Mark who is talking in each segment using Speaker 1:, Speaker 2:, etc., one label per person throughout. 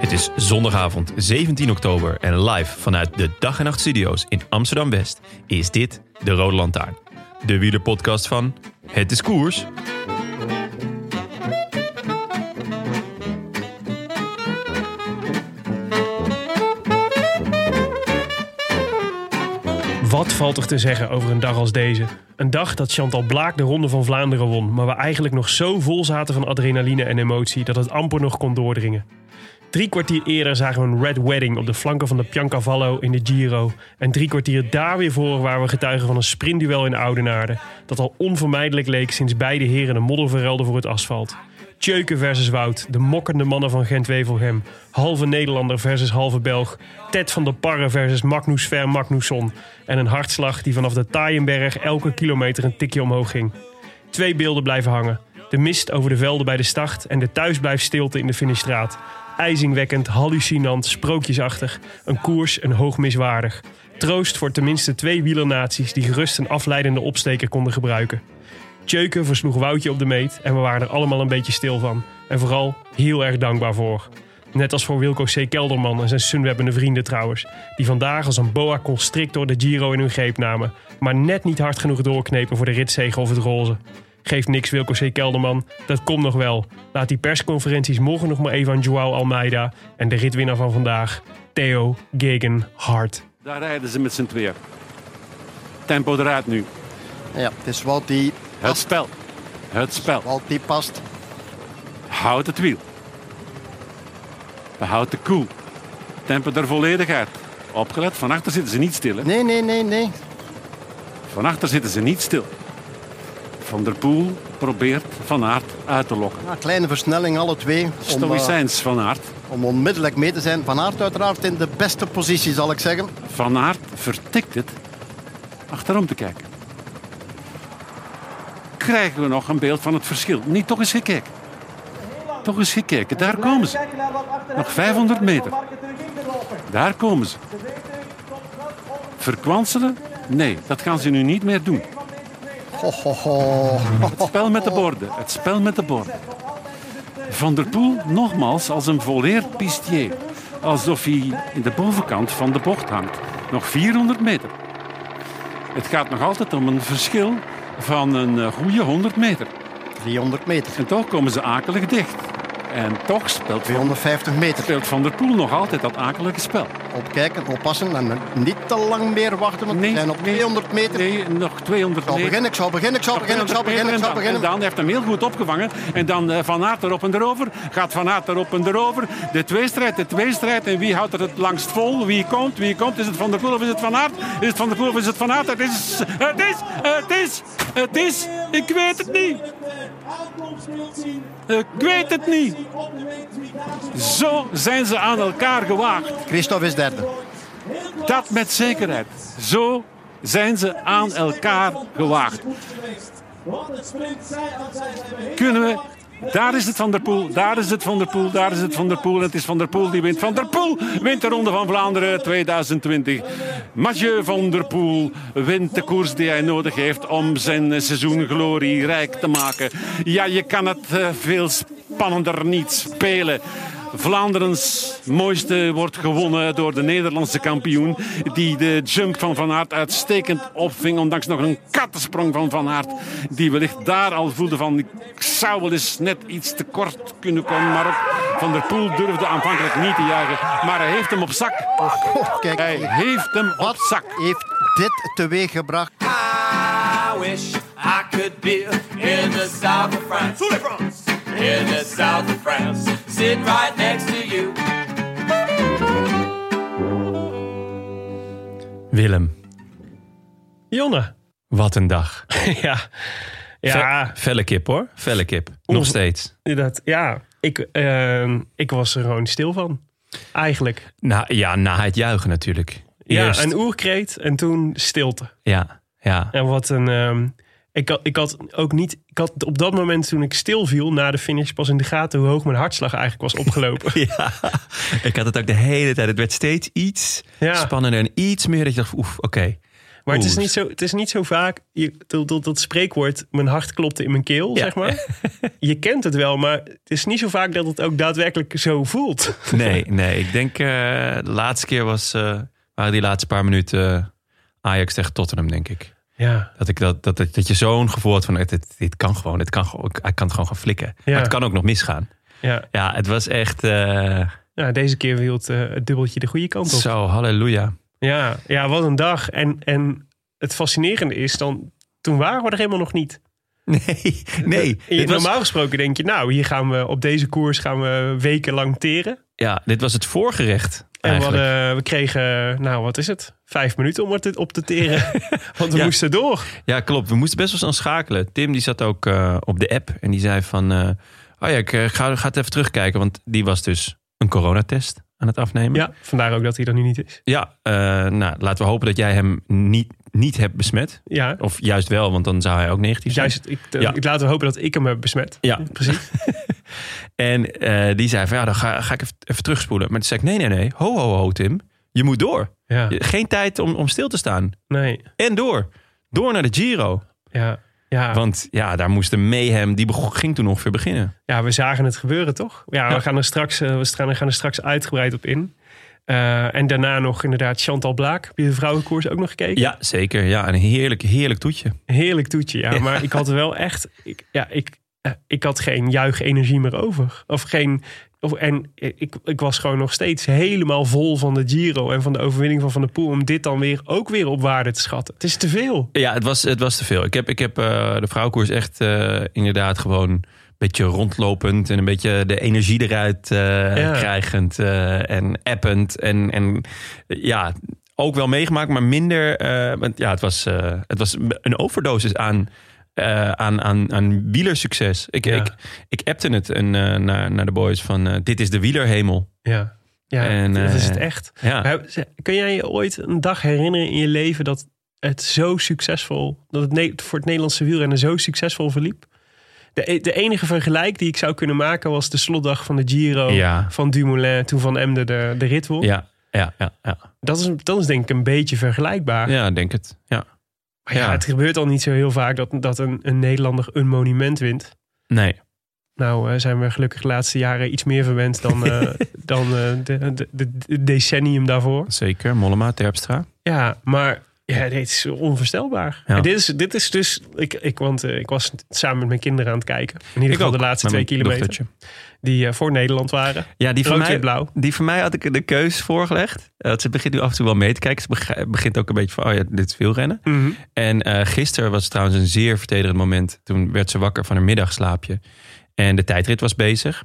Speaker 1: Het is zondagavond 17 oktober en live vanuit de Dag en Nacht Studio's in Amsterdam West is dit de Rode Lantaarn. De wielerpodcast van Het is Koers.
Speaker 2: Wat valt er te zeggen over een dag als deze? Een dag dat Chantal Blaak de Ronde van Vlaanderen won, maar we eigenlijk nog zo vol zaten van adrenaline en emotie dat het amper nog kon doordringen. Drie kwartier eerder zagen we een Red Wedding op de flanken van de Piancavallo in de Giro. En drie kwartier daar weer voor waren we getuigen van een sprintduel in Oudenaarde. Dat al onvermijdelijk leek sinds beide heren de modder verruilden voor het asfalt. Tjeuken versus Wout, de mokkende mannen van Gent-Wevelgem. Halve Nederlander versus halve Belg. Ted van der Parre versus Magnus Ver Magnusson. En een hartslag die vanaf de Taaienberg elke kilometer een tikje omhoog ging. Twee beelden blijven hangen. De mist over de velden bij de start en de thuisblijfstilte in de finishstraat. IJzingwekkend, hallucinant, sprookjesachtig. Een koers een hoog miswaardig. Troost voor tenminste twee wielernaties die gerust een afleidende opsteker konden gebruiken. Tjeuken versloeg Woutje op de meet en we waren er allemaal een beetje stil van. En vooral heel erg dankbaar voor. Net als voor Wilco C. Kelderman en zijn sunwebbende vrienden trouwens. Die vandaag als een boa constrictor de Giro in hun greep namen. Maar net niet hard genoeg doorknepen voor de ritzegel of het roze. Geeft niks Wilco C. Kelderman, dat komt nog wel. Laat die persconferenties morgen nog maar even aan Joao Almeida en de ritwinnaar van vandaag, Theo Gegen Hart.
Speaker 3: Daar rijden ze met z'n tweeën. Tempo eruit nu.
Speaker 4: Ja, het is wat die,
Speaker 3: Het spel. Het spel.
Speaker 4: wat die past.
Speaker 3: Houd het wiel. Behoud de koel. Tempo er volledig uit. Opgelet, van achter zitten ze niet stil. Hè?
Speaker 4: Nee, nee, nee, nee.
Speaker 3: Van achter zitten ze niet stil. Van der Poel probeert Van Aert uit te lokken.
Speaker 4: Een kleine versnelling, alle twee. Om, eh,
Speaker 3: Stoïcijns Van Aert.
Speaker 4: om onmiddellijk mee te zijn. Van Aert uiteraard in de beste positie, zal ik zeggen.
Speaker 3: Van Aert vertikt het achterom te kijken. Krijgen we nog een beeld van het verschil? Niet toch eens gekeken. Toch eens gekeken. Daar komen ze. Nog 500 meter. Daar komen ze. Verkwanselen? Nee, dat gaan ze nu niet meer doen.
Speaker 4: Ho, ho, ho.
Speaker 3: Het spel met de borden. Het spel met de borden. Van der Poel nogmaals als een volleerd pistier. Alsof hij in de bovenkant van de bocht hangt. Nog 400 meter. Het gaat nog altijd om een verschil van een eh, goede 100 meter.
Speaker 4: 300 meter,
Speaker 3: En toch komen ze akelig dicht. En toch speelt Van,
Speaker 4: 250 meter.
Speaker 3: speelt van der Poel nog altijd dat akelige spel.
Speaker 4: Opkijken, oppassen en niet te lang meer wachten. Want we zijn op 200 meter.
Speaker 3: Nee, nog 200
Speaker 4: Ik zal
Speaker 3: meter.
Speaker 4: beginnen, ik zal beginnen, ik zal beginnen, ik zal beginnen, ik zal
Speaker 3: En
Speaker 4: beginnen.
Speaker 3: Daan heeft hem heel goed opgevangen. En dan eh, Van Aert erop en erover. Gaat Van Aert erop en erover. De tweestrijd, de tweestrijd. En wie houdt er het langst vol? Wie komt? Wie komt? Is het Van der Poel of is het Van Aert? Is het Van der Poel of is het Van Aert? Het is... Het is... Het is... Het is... Ik weet het niet. Ik weet het niet. Zo zijn ze aan elkaar gewaagd.
Speaker 4: Christophe is derde.
Speaker 3: Dat met zekerheid. Zo zijn ze aan elkaar gewaagd. Kunnen we. Daar is het Van der Poel, daar is het Van der Poel, daar is het Van der Poel. En het is Van der Poel die wint. Van der Poel wint de Ronde van Vlaanderen 2020. Mathieu van der Poel wint de koers die hij nodig heeft om zijn seizoen glorie rijk te maken. Ja, je kan het eh, veel spannender niet spelen. Vlaanderens mooiste wordt gewonnen door de Nederlandse kampioen. Die de jump van Van Aert uitstekend opving. Ondanks nog een kattensprong van Van Aert. Die wellicht daar al voelde van... Ik zou wel eens net iets te kort kunnen komen. Maar ook Van der Poel durfde aanvankelijk niet te jagen. Maar hij heeft hem op zak.
Speaker 4: Oh, kijk,
Speaker 3: Hij heeft hem op
Speaker 4: wat
Speaker 3: zak.
Speaker 4: heeft dit teweeg gebracht?
Speaker 5: I wish I could be in the south of France. In the south of France. Sit right next to you.
Speaker 1: Willem,
Speaker 2: Jonne.
Speaker 1: Wat een dag.
Speaker 2: ja. Ja,
Speaker 1: Ve- Felle kip hoor. Felle kip. Nog
Speaker 2: Onge-
Speaker 1: steeds.
Speaker 2: dat, ja. Ik, ehm, ik was er gewoon stil van. Eigenlijk.
Speaker 1: Na, ja, na het juichen natuurlijk.
Speaker 2: Ja,
Speaker 1: Eerst.
Speaker 2: een oerkreet en toen stilte.
Speaker 1: Ja, ja.
Speaker 2: En wat een. ehm, ik, had, ik had ook niet. Ik had op dat moment toen ik stilviel na de finish pas in de gaten hoe hoog mijn hartslag eigenlijk was opgelopen.
Speaker 1: Ja, ik had het ook de hele tijd. Het werd steeds iets
Speaker 2: Ja.
Speaker 1: spannender en iets meer dat je dacht, oef, oké.
Speaker 2: Maar het is,
Speaker 1: Oeh.
Speaker 2: niet zo, het is niet zo vaak. Je, dat, dat, dat spreekwoord, mijn hart klopte in mijn keel,
Speaker 1: Ja.
Speaker 2: zeg maar. Je kent het wel, maar het is niet zo vaak dat het ook daadwerkelijk zo voelt.
Speaker 1: Nee, nee. Ik denk eh, de laatste keer was, eh, waren die laatste paar minuten eh, Ajax tegen Tottenham, denk ik.
Speaker 2: Ja,
Speaker 1: Dat, ik dat, dat, dat, dat je zo'n gevoel had van, het- dit, dit kan gewoon. Dit kan, gewoon- ik- hij kan het gewoon gaan flikken.
Speaker 2: Ja.
Speaker 1: Maar het kan ook nog misgaan.
Speaker 2: ja.
Speaker 1: Ja, het was echt eh,
Speaker 2: ja deze keer hield eh, het dubbeltje de goede kant op.
Speaker 1: zo, halleluja.
Speaker 2: Ja, ja, wat een dag. En, en het fascinerende is dan, toen waren we er helemaal nog niet.
Speaker 1: Nee, nee.
Speaker 2: Je-
Speaker 1: Dit was,
Speaker 2: Eh, normaal gesproken denk je, nou, hier gaan we op deze koers gaan we wekenlang teren.
Speaker 1: ja, dit was het voorgerecht
Speaker 2: En we,
Speaker 1: eigenlijk.
Speaker 2: hadden- we kregen, nou, wat is het? Vijf minuten om het op te teren. Want we
Speaker 1: Ja.
Speaker 2: moesten door.
Speaker 1: Ja, klopt. We moesten best wel eens aan schakelen. Tim die zat ook eh, op de app en die zei van... eh, oh ja, ik eh, ga, ga het even terugkijken. Want die was dus een coronatest aan het afnemen.
Speaker 2: Ja, vandaar ook dat hij er nu niet is.
Speaker 1: Ja, eh, nou, laten we hopen dat jij hem niet, niet hebt besmet.
Speaker 2: Ja,
Speaker 1: Of juist wel, want dan zou hij ook negatief zijn.
Speaker 2: juist. Ik, eh,
Speaker 1: Ja.
Speaker 2: ik- laten we hopen dat ik hem heb besmet.
Speaker 1: Ja,
Speaker 2: Precies.
Speaker 1: en eh, die zei van ja, dan ga, ga ik even, even terugspoelen. Maar toen zei ik nee, nee, nee. Ho, ho, ho, Tim. Je moet door.
Speaker 2: Ja,
Speaker 1: Je- Geen tijd om, om stil te staan.
Speaker 2: nee.
Speaker 1: En door. Door naar de Giro.
Speaker 2: Ja. Ja.
Speaker 1: Want ja, daar moest de mayhem, die bego- ging toen ongeveer beginnen.
Speaker 2: ja, we zagen het gebeuren, toch? Ja, we gaan er straks, eh, we stra- gaan er straks uitgebreid op in. Eh, en daarna nog inderdaad Chantal Blaak. Heb je de vrouwenkoers ook nog gekeken?
Speaker 1: Ja, zeker. Ja, een heerlijk, heerlijk toetje.
Speaker 2: Heerlijk toetje, ja.
Speaker 1: Ja.
Speaker 2: Maar ik had wel echt... Ik, ja, ik, eh, ik had geen juichenergie meer over. Of geen... Of, en ik, ik was gewoon nog steeds helemaal vol van de Giro... en van de overwinning van Van der Poel... om dit dan weer ook weer op waarde te schatten. Het is te veel.
Speaker 1: Ja, het was, het was te veel. Ik heb, ik heb eh, de vrouwenkoers echt eh, inderdaad gewoon een beetje rondlopend en een beetje de energie eruit eh, krijgend eh, en append. En, en eh, ja, ook wel meegemaakt, maar minder. eh, want ja, het was, eh, het was een overdosis aan. eh, aan, aan, aan wielersucces. Ik,
Speaker 2: Ja.
Speaker 1: ik, ik appte het en, eh, naar, naar de boys van eh, dit is de wielerhemel.
Speaker 2: Ja, ja
Speaker 1: En,
Speaker 2: dat is het
Speaker 1: eh,
Speaker 2: echt.
Speaker 1: Ja.
Speaker 2: Maar Kun jij je ooit een dag herinneren in je leven... dat het zo succesvol... dat het ne- voor het Nederlandse wielrennen zo succesvol verliep? De, e- de enige vergelijk die ik zou kunnen maken... was de slotdag van de Giro...
Speaker 1: Ja.
Speaker 2: van Dumoulin, toen Van Emden de, de rit won.
Speaker 1: Ja, ja, ja, ja.
Speaker 2: Dat, is, dat is denk ik een beetje vergelijkbaar.
Speaker 1: Ja, denk het. Ja.
Speaker 2: maar ja,
Speaker 1: ja.
Speaker 2: het gebeurt al niet zo heel vaak dat, dat een, een Nederlander een monument wint.
Speaker 1: Nee.
Speaker 2: Nou eh, zijn we gelukkig de laatste jaren iets meer verwend dan, eh, dan eh, de, de, de- de decennium daarvoor.
Speaker 1: Zeker. Mollema, Terpstra.
Speaker 2: Ja, maar ja, dit is onvoorstelbaar.
Speaker 1: Ja.
Speaker 2: En dit, is, dit is dus... Ik, ik, want eh, ik was samen met mijn kinderen aan het kijken. In ieder geval de
Speaker 1: ook,
Speaker 2: laatste
Speaker 1: met
Speaker 2: twee
Speaker 1: mijn
Speaker 2: kilometer.
Speaker 1: dochtertje.
Speaker 2: Die eh, voor Nederland waren.
Speaker 1: Ja, die van,
Speaker 2: Rood, wit,
Speaker 1: mij,
Speaker 2: blauw.
Speaker 1: die van mij had ik de keus voorgelegd. Eh, ze begint nu af en toe wel mee te kijken. Ze beg- begint ook een beetje van, oh ja, dit is wielrennen.
Speaker 2: Mhm.
Speaker 1: En eh gisteren was het trouwens een zeer vertederend moment. Toen werd ze wakker van haar middagslaapje. En de tijdrit was bezig.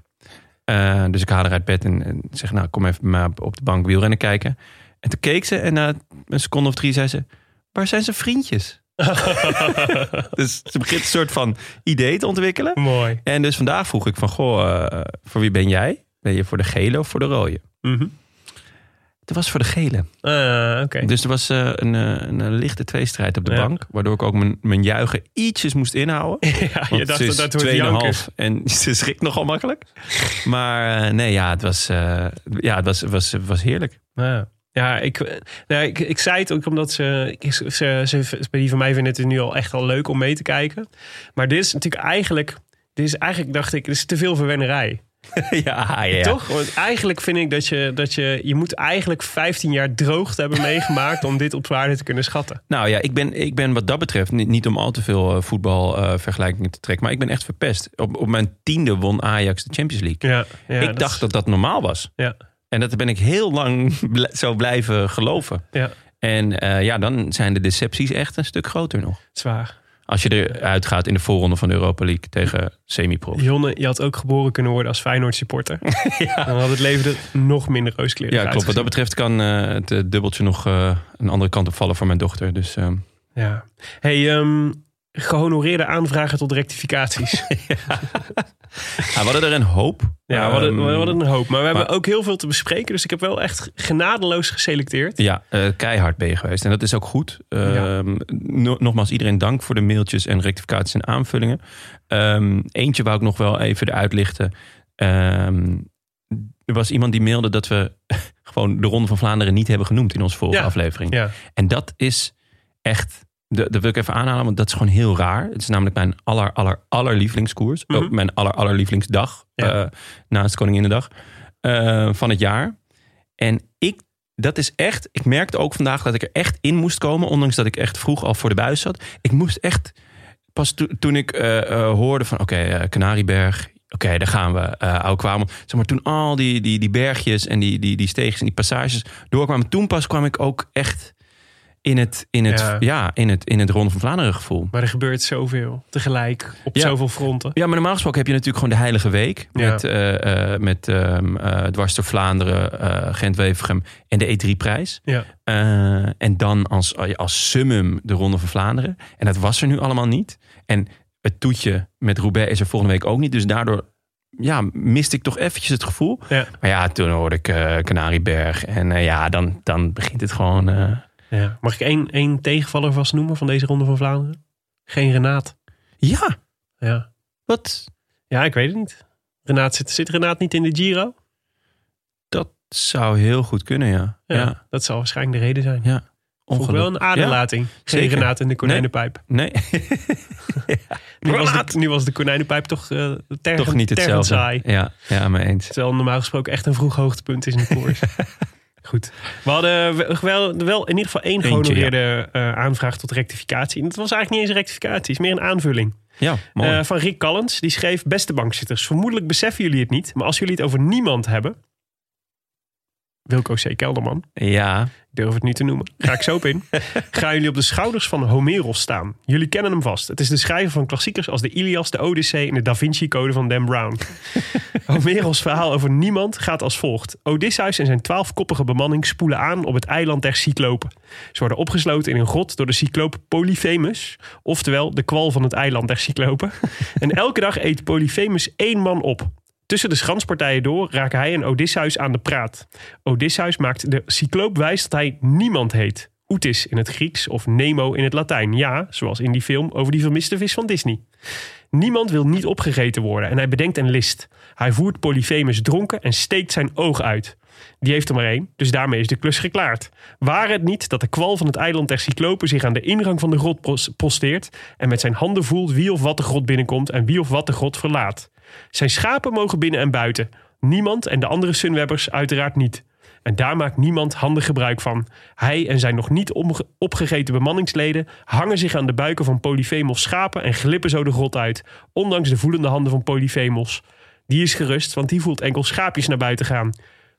Speaker 1: Eh, dus ik haal haar uit bed en, en zeg, nou, kom even bij mij op- op de bank wielrennen kijken. En toen keek ze en na een seconde of drie zei ze... Waar zijn ze vriendjes? dus ze begint een soort van idee te ontwikkelen.
Speaker 2: Mooi.
Speaker 1: En dus vandaag vroeg ik van, goh, eh, voor wie ben jij? Ben je voor de gele of voor de rode?
Speaker 2: Mhm.
Speaker 1: Het was voor de gele.
Speaker 2: Ah, Oké.
Speaker 1: Dus er was eh, een, eh, een, eh, lichte tweestrijd op de
Speaker 2: Ja.
Speaker 1: bank. Waardoor ik ook mijn, mijn juichen ietsjes moest inhouden.
Speaker 2: Ja, je
Speaker 1: Want
Speaker 2: dacht
Speaker 1: ze
Speaker 2: dat
Speaker 1: is
Speaker 2: dat wordt janken.
Speaker 1: 2,5 en ze schrikt nogal makkelijk. Maar eh, nee, ja, het was, eh, ja, het was, was, was heerlijk.
Speaker 2: Ja, ja ik, eh, nou, ik, ik zei het ook omdat ze, ik- ze, ze, ze- Die van mij vinden het nu al echt al leuk om mee te kijken. Maar dit is natuurlijk eigenlijk... Dit is eigenlijk, dacht ik, dit is te veel verwennerij.
Speaker 1: ja, ja.
Speaker 2: Toch? Want eigenlijk vind ik dat je, dat je... Je moet eigenlijk 15 jaar droogte hebben meegemaakt... om dit op waarde te kunnen schatten.
Speaker 1: Nou ja, ik ben, ik ben wat dat betreft, niet, niet om al te veel eh, voetbalvergelijkingen te trekken, maar ik ben echt verpest. Op, op mijn tiende won Ajax de Champions League.
Speaker 2: Ja, ja,
Speaker 1: ik dacht dat dat normaal was.
Speaker 2: Ja,
Speaker 1: En dat ben ik heel lang bl- zo blijven geloven.
Speaker 2: ja,
Speaker 1: En eh, ja, dan zijn de decepties echt een stuk groter nog.
Speaker 2: zwaar.
Speaker 1: Als je eruit gaat in de voorronde van de Europa League tegen semi-pro.
Speaker 2: Jonne, je had ook geboren kunnen worden als Feyenoord supporter. Dan had het leven er nog minder rooskleurig
Speaker 1: Ja, klopt. Wat dat
Speaker 2: uitgezien.
Speaker 1: betreft kan eh, het eh, dubbeltje nog eh, een andere kant op vallen voor mijn dochter. Dus eh,
Speaker 2: Ja. Hey, ehm, gehonoreerde aanvragen tot rectificaties.
Speaker 1: Ja, we hadden er een hoop.
Speaker 2: ja, we hadden, we
Speaker 1: Ehm,
Speaker 2: hadden een hoop. Maar we hebben
Speaker 1: maar-
Speaker 2: ook heel veel te bespreken. Dus ik heb wel echt genadeloos geselecteerd.
Speaker 1: Ja, eh, keihard ben je geweest. En dat is ook goed. Ehm, no- nogmaals, iedereen dank voor de mailtjes en rectificaties en aanvullingen. Ehm, eentje wou ik nog wel even eruit lichten. Ehm, er was iemand die mailde dat we gewoon de Ronde van Vlaanderen niet hebben genoemd in onze vorige
Speaker 2: Ja.
Speaker 1: aflevering.
Speaker 2: Ja.
Speaker 1: En dat is echt, dat dat wil ik even aanhalen, want dat is gewoon heel raar. Het is namelijk mijn aller, aller, aller lievelingskoers.
Speaker 2: Mhm.
Speaker 1: Ook mijn aller, aller lievelingsdag.
Speaker 2: Ja.
Speaker 1: eh, naast Koninginnedag. eh, van het jaar. En ik, dat is echt, ik merkte ook vandaag dat ik er echt in moest komen. Ondanks dat ik echt vroeg al voor de buis zat. Ik moest echt, pas to- toen ik eh, eh, hoorde van, oké, eh Canarieberg. Oké, daar gaan we. eh oude kwamen. Zeg maar, toen al die, die, die bergjes en die, die, die steegjes en die passages doorkwamen. Toen pas kwam ik ook echt in het, in het,
Speaker 2: Ja.
Speaker 1: ja. in het, in het Ronde van Vlaanderen gevoel.
Speaker 2: Maar er gebeurt zoveel tegelijk op
Speaker 1: Ja.
Speaker 2: zoveel fronten.
Speaker 1: Ja, maar normaal gesproken heb je natuurlijk gewoon de Heilige Week.
Speaker 2: Ja.
Speaker 1: Met, eh, eh, met ehm, eh, dwars door Vlaanderen, eh Gent-Wevergem en de E E3-prijs.
Speaker 2: Ja.
Speaker 1: Eh, en dan als, als summum de Ronde van Vlaanderen. En dat was er nu allemaal niet. En het toetje met Roubaix is er volgende week ook niet. Dus daardoor ja, miste ik toch eventjes het gevoel.
Speaker 2: Ja.
Speaker 1: Maar ja, toen hoorde ik eh Canarieberg. En eh, ja, dan, dan begint het gewoon... eh,
Speaker 2: Ja. Mag ik één, één tegenvaller vast noemen van deze Ronde van Vlaanderen? Geen Renaat.
Speaker 1: ja,
Speaker 2: Ja,
Speaker 1: wat...
Speaker 2: ja ik weet het niet. Renaat zit, zit Renaat niet in de Giro?
Speaker 1: Dat zou heel goed kunnen, ja.
Speaker 2: Ja,
Speaker 1: Ja,
Speaker 2: Dat zal waarschijnlijk de reden zijn. Vond ik wel een
Speaker 1: ongelooflijk. Ja.
Speaker 2: aderlating. Geen
Speaker 1: zeker.
Speaker 2: Renaat in de konijnenpijp.
Speaker 1: Nee.
Speaker 2: Nu, was
Speaker 1: Renaat!
Speaker 2: de, nu was de konijnenpijp toch eh tergend-
Speaker 1: Toch niet
Speaker 2: tergend saai.
Speaker 1: hetzelfde. Ja, ja, mee eens.
Speaker 2: Terwijl normaal gesproken echt een vroeg hoogtepunt is in de koers. Goed. We hadden we- wel, wel in ieder geval één
Speaker 1: Eentje,
Speaker 2: gehonoreerde eh, aanvraag tot rectificatie. En dat was eigenlijk niet eens een rectificatie, het is meer een aanvulling.
Speaker 1: Ja, mooi.
Speaker 2: Eh, van Rick Callens, die schreef... Beste bankzitters, vermoedelijk beseffen jullie het niet... maar als jullie het over niemand hebben... Wilco C. Kelderman,
Speaker 1: ja,
Speaker 2: ik durf het niet te noemen. Ga ik zo op in. Gaan jullie op de schouders van Homeros staan. Jullie kennen hem vast. Het is de schrijver van klassiekers als de Ilias, de Odyssee en de Da Vinci Code van Dan Brown. Homeros verhaal over niemand gaat als volgt. Odysseus en zijn twaalfkoppige bemanning spoelen aan op het eiland der Cyclopen. Ze worden opgesloten in een grot door de cycloop Polyphemus, oftewel de kwal van het eiland der Cyclopen. En elke dag eet Polyphemus één man op. Tussen de schanspartijen door raken hij en Odysseus aan de praat. Odysseus maakt de cycloop wijs dat hij niemand heet. Oetis in het Grieks of Nemo in het Latijn. Ja, zoals in die film over die vermiste vis van Disney. Niemand wil niet opgegeten worden en hij bedenkt een list. Hij voert Polyphemus dronken en steekt zijn oog uit. Die heeft er maar één, dus daarmee is de klus geklaard. Waar het niet dat de kwal van het eiland der Cyclopen zich aan de ingang van de grot pos- posteert en met zijn handen voelt wie of wat de grot binnenkomt en wie of wat de grot verlaat. Zijn schapen mogen binnen en buiten. Niemand en de andere Sunwebbers uiteraard niet. En daar maakt niemand handig gebruik van. Hij en zijn nog niet omge- opgegeten bemanningsleden hangen zich aan de buiken van Polyphemos schapen en glippen zo de grot uit, ondanks de voelende handen van Polyphemos. Die is gerust, want die voelt enkel schaapjes naar buiten gaan.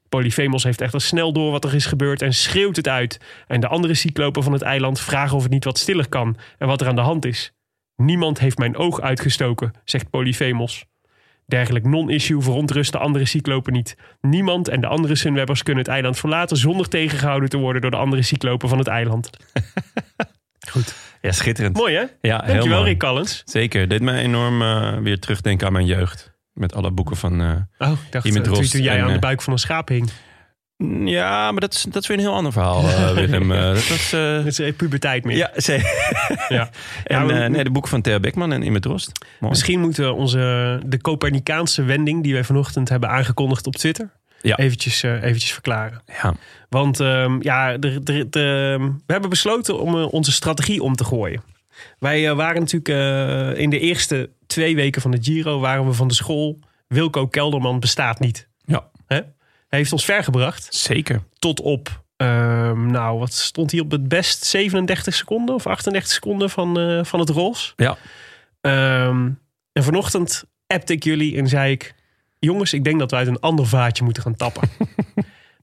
Speaker 2: Polyphemos heeft echter snel door wat er is gebeurd en schreeuwt het uit. En de andere cyclopen van het eiland vragen of het niet wat stiller kan en wat er aan de hand is. Niemand heeft mijn oog uitgestoken, zegt Polyphemos. Dergelijk non-issue verontrust de andere cyclopen niet. Niemand en de andere Sunwebbers kunnen het eiland verlaten zonder tegengehouden te worden door de andere cyclopen van het eiland.
Speaker 1: ja schitterend.
Speaker 2: Mooi hè?
Speaker 1: Ja, heel
Speaker 2: Dankjewel
Speaker 1: mooi.
Speaker 2: Rick Collins.
Speaker 1: Zeker. Deed mij enorm eh, weer terugdenken aan mijn jeugd. Met alle boeken van... eh,
Speaker 2: Oh, ik dacht
Speaker 1: Hier met
Speaker 2: eh, toen,
Speaker 1: Rost
Speaker 2: toen jij
Speaker 1: en,
Speaker 2: aan de
Speaker 1: eh,
Speaker 2: buik van een schaap hing.
Speaker 1: ja, maar dat is, dat is weer een heel ander verhaal, eh, Willem. Eh, dat was... eh,
Speaker 2: Dat is eh, puberteit meer.
Speaker 1: ja, zeker.
Speaker 2: Ja. Ja,
Speaker 1: En
Speaker 2: maar-
Speaker 1: eh, nee, de boeken van Thea Beckman en Immert Rost. Mooi.
Speaker 2: Misschien moeten we onze, eh, de Copernicaanse wending die wij vanochtend hebben aangekondigd op Twitter
Speaker 1: Ja.
Speaker 2: eventjes, eh, eventjes verklaren.
Speaker 1: Ja.
Speaker 2: Want ehm, ja, er- er- er- ehm, we hebben besloten om eh, onze strategie om te gooien. Wij eh, waren natuurlijk eh, in de eerste twee weken van de Giro waren we van de school. Wilco Kelderman bestaat niet.
Speaker 1: ja,
Speaker 2: Hè? Hij heeft ons vergebracht
Speaker 1: zeker.
Speaker 2: tot op, ehm, nou wat stond hij op het best? 37 seconden of 38 seconden van, eh, van het roze.
Speaker 1: Ja.
Speaker 2: Ehm, en vanochtend appte ik jullie en zei ik... Jongens, ik denk dat we uit een ander vaatje moeten gaan tappen.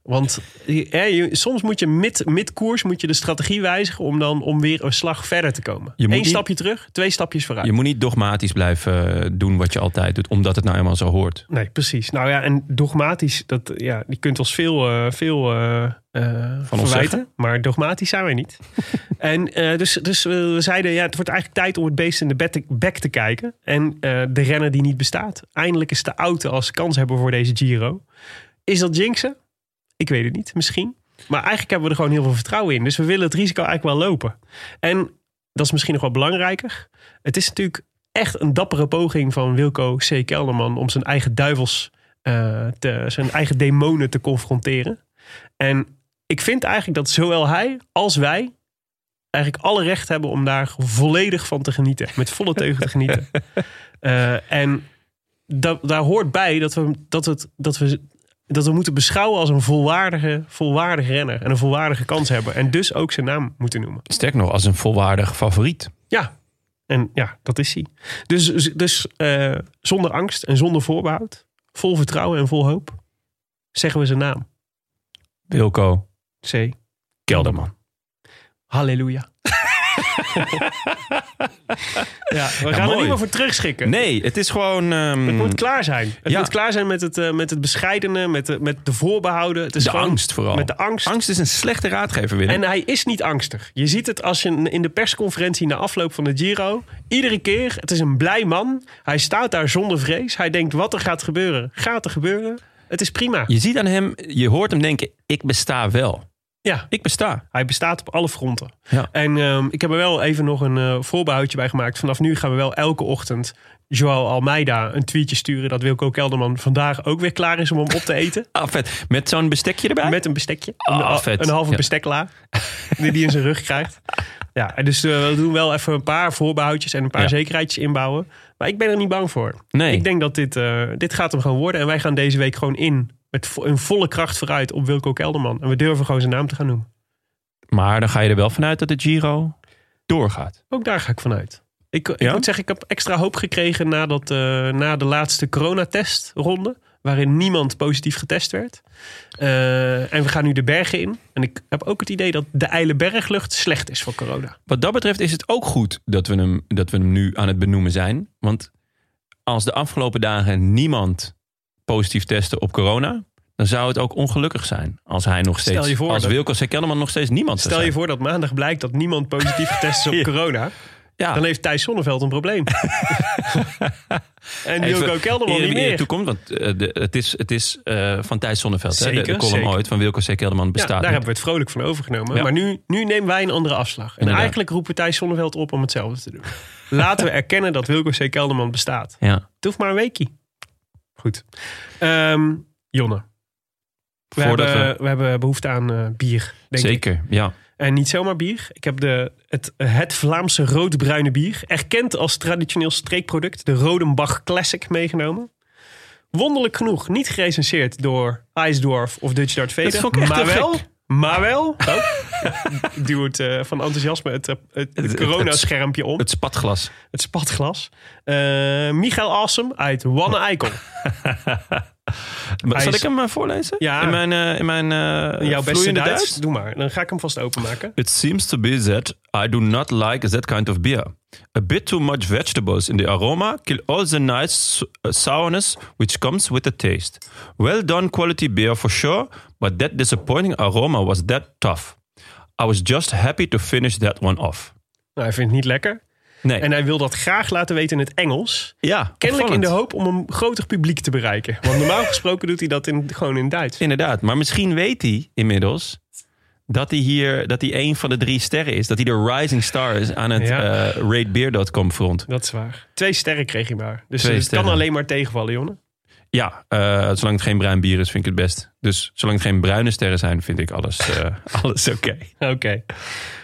Speaker 2: Want eh, je- soms moet je mid, midkoers moet je de strategie wijzigen om dan om weer een slag verder te komen.
Speaker 1: Je
Speaker 2: Eén
Speaker 1: moet niet-
Speaker 2: stapje terug, twee stapjes vooruit.
Speaker 1: Je moet niet dogmatisch blijven eh, doen wat je altijd doet, omdat het nou eenmaal zo hoort.
Speaker 2: Nee, precies. Nou ja, en dogmatisch, dat, ja, je kunt ons veel, eh, veel eh, eh, verwijten,
Speaker 1: zeggen.
Speaker 2: maar dogmatisch zijn wij niet. en eh, dus, dus we zeiden, ja, het wordt eigenlijk tijd om het beest in de bed te- bek te kijken. En eh, de renner die niet bestaat. Eindelijk is de auto als kans hebben voor deze Giro. Is dat jinxen? Ik weet het niet, misschien. Maar eigenlijk hebben we er gewoon heel veel vertrouwen in. Dus we willen het risico eigenlijk wel lopen. En dat is misschien nog wel belangrijker. Het is natuurlijk echt een dappere poging van Wilco C. Kelderman om zijn eigen duivels, eh, te, zijn eigen demonen te confronteren. En ik vind eigenlijk dat zowel hij als wij eigenlijk alle recht hebben om daar volledig van te genieten. Met volle teugen te genieten. Eh, en da- daar hoort bij dat we, dat, het, dat, we, dat we moeten beschouwen als een volwaardige, volwaardig renner. En een volwaardige kans hebben. En dus ook zijn naam moeten noemen.
Speaker 1: Sterk nog, als een volwaardig favoriet.
Speaker 2: Ja, en ja, dat is hij. Dus, dus eh, zonder angst en zonder voorbehoud, vol vertrouwen en vol hoop, zeggen we zijn naam.
Speaker 1: Wilco
Speaker 2: C.
Speaker 1: Kelderman.
Speaker 2: Halleluja. ja, we gaan er
Speaker 1: mooi.
Speaker 2: niet meer voor terugschikken.
Speaker 1: Nee, het is gewoon... ehm,
Speaker 2: Het moet klaar zijn. Het
Speaker 1: Ja.
Speaker 2: moet klaar zijn met het, eh, met het bescheidene, met de, met de voorbehouden. Het is
Speaker 1: de
Speaker 2: gewoon-
Speaker 1: angst vooral.
Speaker 2: Met de angst.
Speaker 1: Angst is een slechte raadgever, Willem.
Speaker 2: En hij is niet angstig. Je ziet het als je in de persconferentie na afloop van de Giro. Iedere keer, het is een blij man. Hij staat daar zonder vrees. Hij denkt wat er gaat gebeuren. Gaat er gebeuren. Het is prima.
Speaker 1: Je ziet aan hem, je hoort hem denken, ik besta wel.
Speaker 2: Ja,
Speaker 1: Ik besta.
Speaker 2: hij bestaat op alle fronten.
Speaker 1: Ja.
Speaker 2: En ehm, ik heb er wel even nog een eh voorbehoudje bij gemaakt. Vanaf nu gaan we wel elke ochtend Joao Almeida een tweetje sturen... dat Wilco Kelderman vandaag ook weer klaar is om hem op te eten.
Speaker 1: Ah, vet. Met zo'n bestekje erbij?
Speaker 2: Met een bestekje.
Speaker 1: Ah,
Speaker 2: een,
Speaker 1: vet.
Speaker 2: een halve
Speaker 1: Ja.
Speaker 2: bestekla. Die die in zijn rug krijgt. Ja, en dus eh, we doen wel even een paar voorbehoudjes en een paar
Speaker 1: Ja.
Speaker 2: zekerheidjes inbouwen. Maar ik ben er niet bang voor.
Speaker 1: Nee.
Speaker 2: Ik denk dat dit, eh, dit gaat hem gewoon worden. En wij gaan deze week gewoon in. Met vo- een volle kracht vooruit op Wilco Kelderman. En we durven gewoon zijn naam te gaan noemen.
Speaker 1: Maar dan ga je er wel vanuit dat de Giro doorgaat.
Speaker 2: Ook daar ga ik vanuit. Ik, ik
Speaker 1: Ja?
Speaker 2: moet zeggen, ik heb extra hoop gekregen nadat, eh, na de laatste coronatestronde. Waarin niemand positief getest werd. Eh, en we gaan nu de bergen in. En ik heb ook het idee dat de eile berglucht slecht is voor corona.
Speaker 1: Wat dat betreft is het ook goed dat we hem, dat we hem nu aan het benoemen zijn. Want als de afgelopen dagen niemand positief testte op corona... dan zou het ook ongelukkig zijn als hij nog
Speaker 2: Stel
Speaker 1: steeds...
Speaker 2: je voor
Speaker 1: als
Speaker 2: dat-
Speaker 1: Wilco Kelderman nog steeds niemand zou
Speaker 2: Stel je
Speaker 1: zijn.
Speaker 2: voor dat maandag blijkt dat niemand positief getest is op
Speaker 1: Ja.
Speaker 2: corona.
Speaker 1: Ja.
Speaker 2: Dan heeft Thijs Zonneveld een probleem. en Wilco
Speaker 1: Even
Speaker 2: Kelderman
Speaker 1: eer-
Speaker 2: niet
Speaker 1: eer
Speaker 2: meer.
Speaker 1: toekomt, want eh, de- het is, het is eh, van Thijs Zonneveld. hè? de,
Speaker 2: Zeker,
Speaker 1: de column
Speaker 2: zeker.
Speaker 1: ooit van Wilco C. Kelderman
Speaker 2: Ja,
Speaker 1: bestaat
Speaker 2: daar
Speaker 1: niet.
Speaker 2: hebben we het vrolijk van overgenomen.
Speaker 1: Ja.
Speaker 2: Maar nu, nu nemen wij een andere afslag. En
Speaker 1: Inderdaad.
Speaker 2: eigenlijk roepen Thijs Zonneveld op om hetzelfde te doen. Laten we erkennen dat Wilco C. Kelderman bestaat.
Speaker 1: Ja.
Speaker 2: Het hoeft maar een weekje. Goed. Ehm, Jonne. We
Speaker 1: Voordat
Speaker 2: hebben, we... hebben behoefte aan eh, bier, denk ik.
Speaker 1: Zeker, ja.
Speaker 2: En Eh, niet zomaar bier. Ik heb de, het, het Vlaamse roodbruine bier, erkend als traditioneel streekproduct, de Rodenbach Classic, meegenomen. Wonderlijk genoeg, niet gerecenseerd door IJsdorf of Dutch Dart Vader.
Speaker 1: Dat vond ik echt
Speaker 2: maar
Speaker 1: heel
Speaker 2: wel,
Speaker 1: gek.
Speaker 2: maar wel. Oh, ik duw het eh, van enthousiasme het, eh, het,
Speaker 1: Het-
Speaker 2: het
Speaker 1: het-
Speaker 2: coronaschermpje om.
Speaker 1: Het spatglas.
Speaker 2: Het spatglas. Eh Michael Assem uit Wanne Eikel.
Speaker 1: Maar
Speaker 2: Hij
Speaker 1: Zal
Speaker 2: is-
Speaker 1: ik hem eh, voorlezen?
Speaker 2: Ja.
Speaker 1: In mijn, eh, in mijn eh,
Speaker 2: Jouw beste
Speaker 1: vloeiende
Speaker 2: Duits.
Speaker 1: Duits?
Speaker 2: Doe maar. Dan ga ik hem vast openmaken.
Speaker 1: It seems to be that I do not like that kind of beer. A bit too much vegetables in the aroma kill all the nice uh, sourness which comes with the taste. Well done quality beer for sure, but that disappointing aroma was that tough. I was just happy to finish that one off.
Speaker 2: Nou, hij vindt het niet lekker.
Speaker 1: Nee,
Speaker 2: En hij wil dat graag laten weten in het Engels.
Speaker 1: ja,
Speaker 2: Kennelijk in
Speaker 1: opvallend.
Speaker 2: de hoop om een groter publiek te bereiken. Want normaal gesproken doet hij dat in, gewoon in Duits.
Speaker 1: Inderdaad, maar misschien weet hij inmiddels dat hij hier dat hij een van de drie sterren is. Dat hij de rising star is aan het
Speaker 2: Ja.
Speaker 1: eh, ratebeer.com front.
Speaker 2: Dat is waar. Twee sterren kreeg hij maar. Dus
Speaker 1: Twee
Speaker 2: het
Speaker 1: sterren.
Speaker 2: kan alleen maar tegenvallen, Jonne.
Speaker 1: Ja, eh, zolang het geen bruin bier is, vind ik het best. Dus zolang het geen bruine sterren zijn, vind ik alles, eh, alles oké.
Speaker 2: Oké.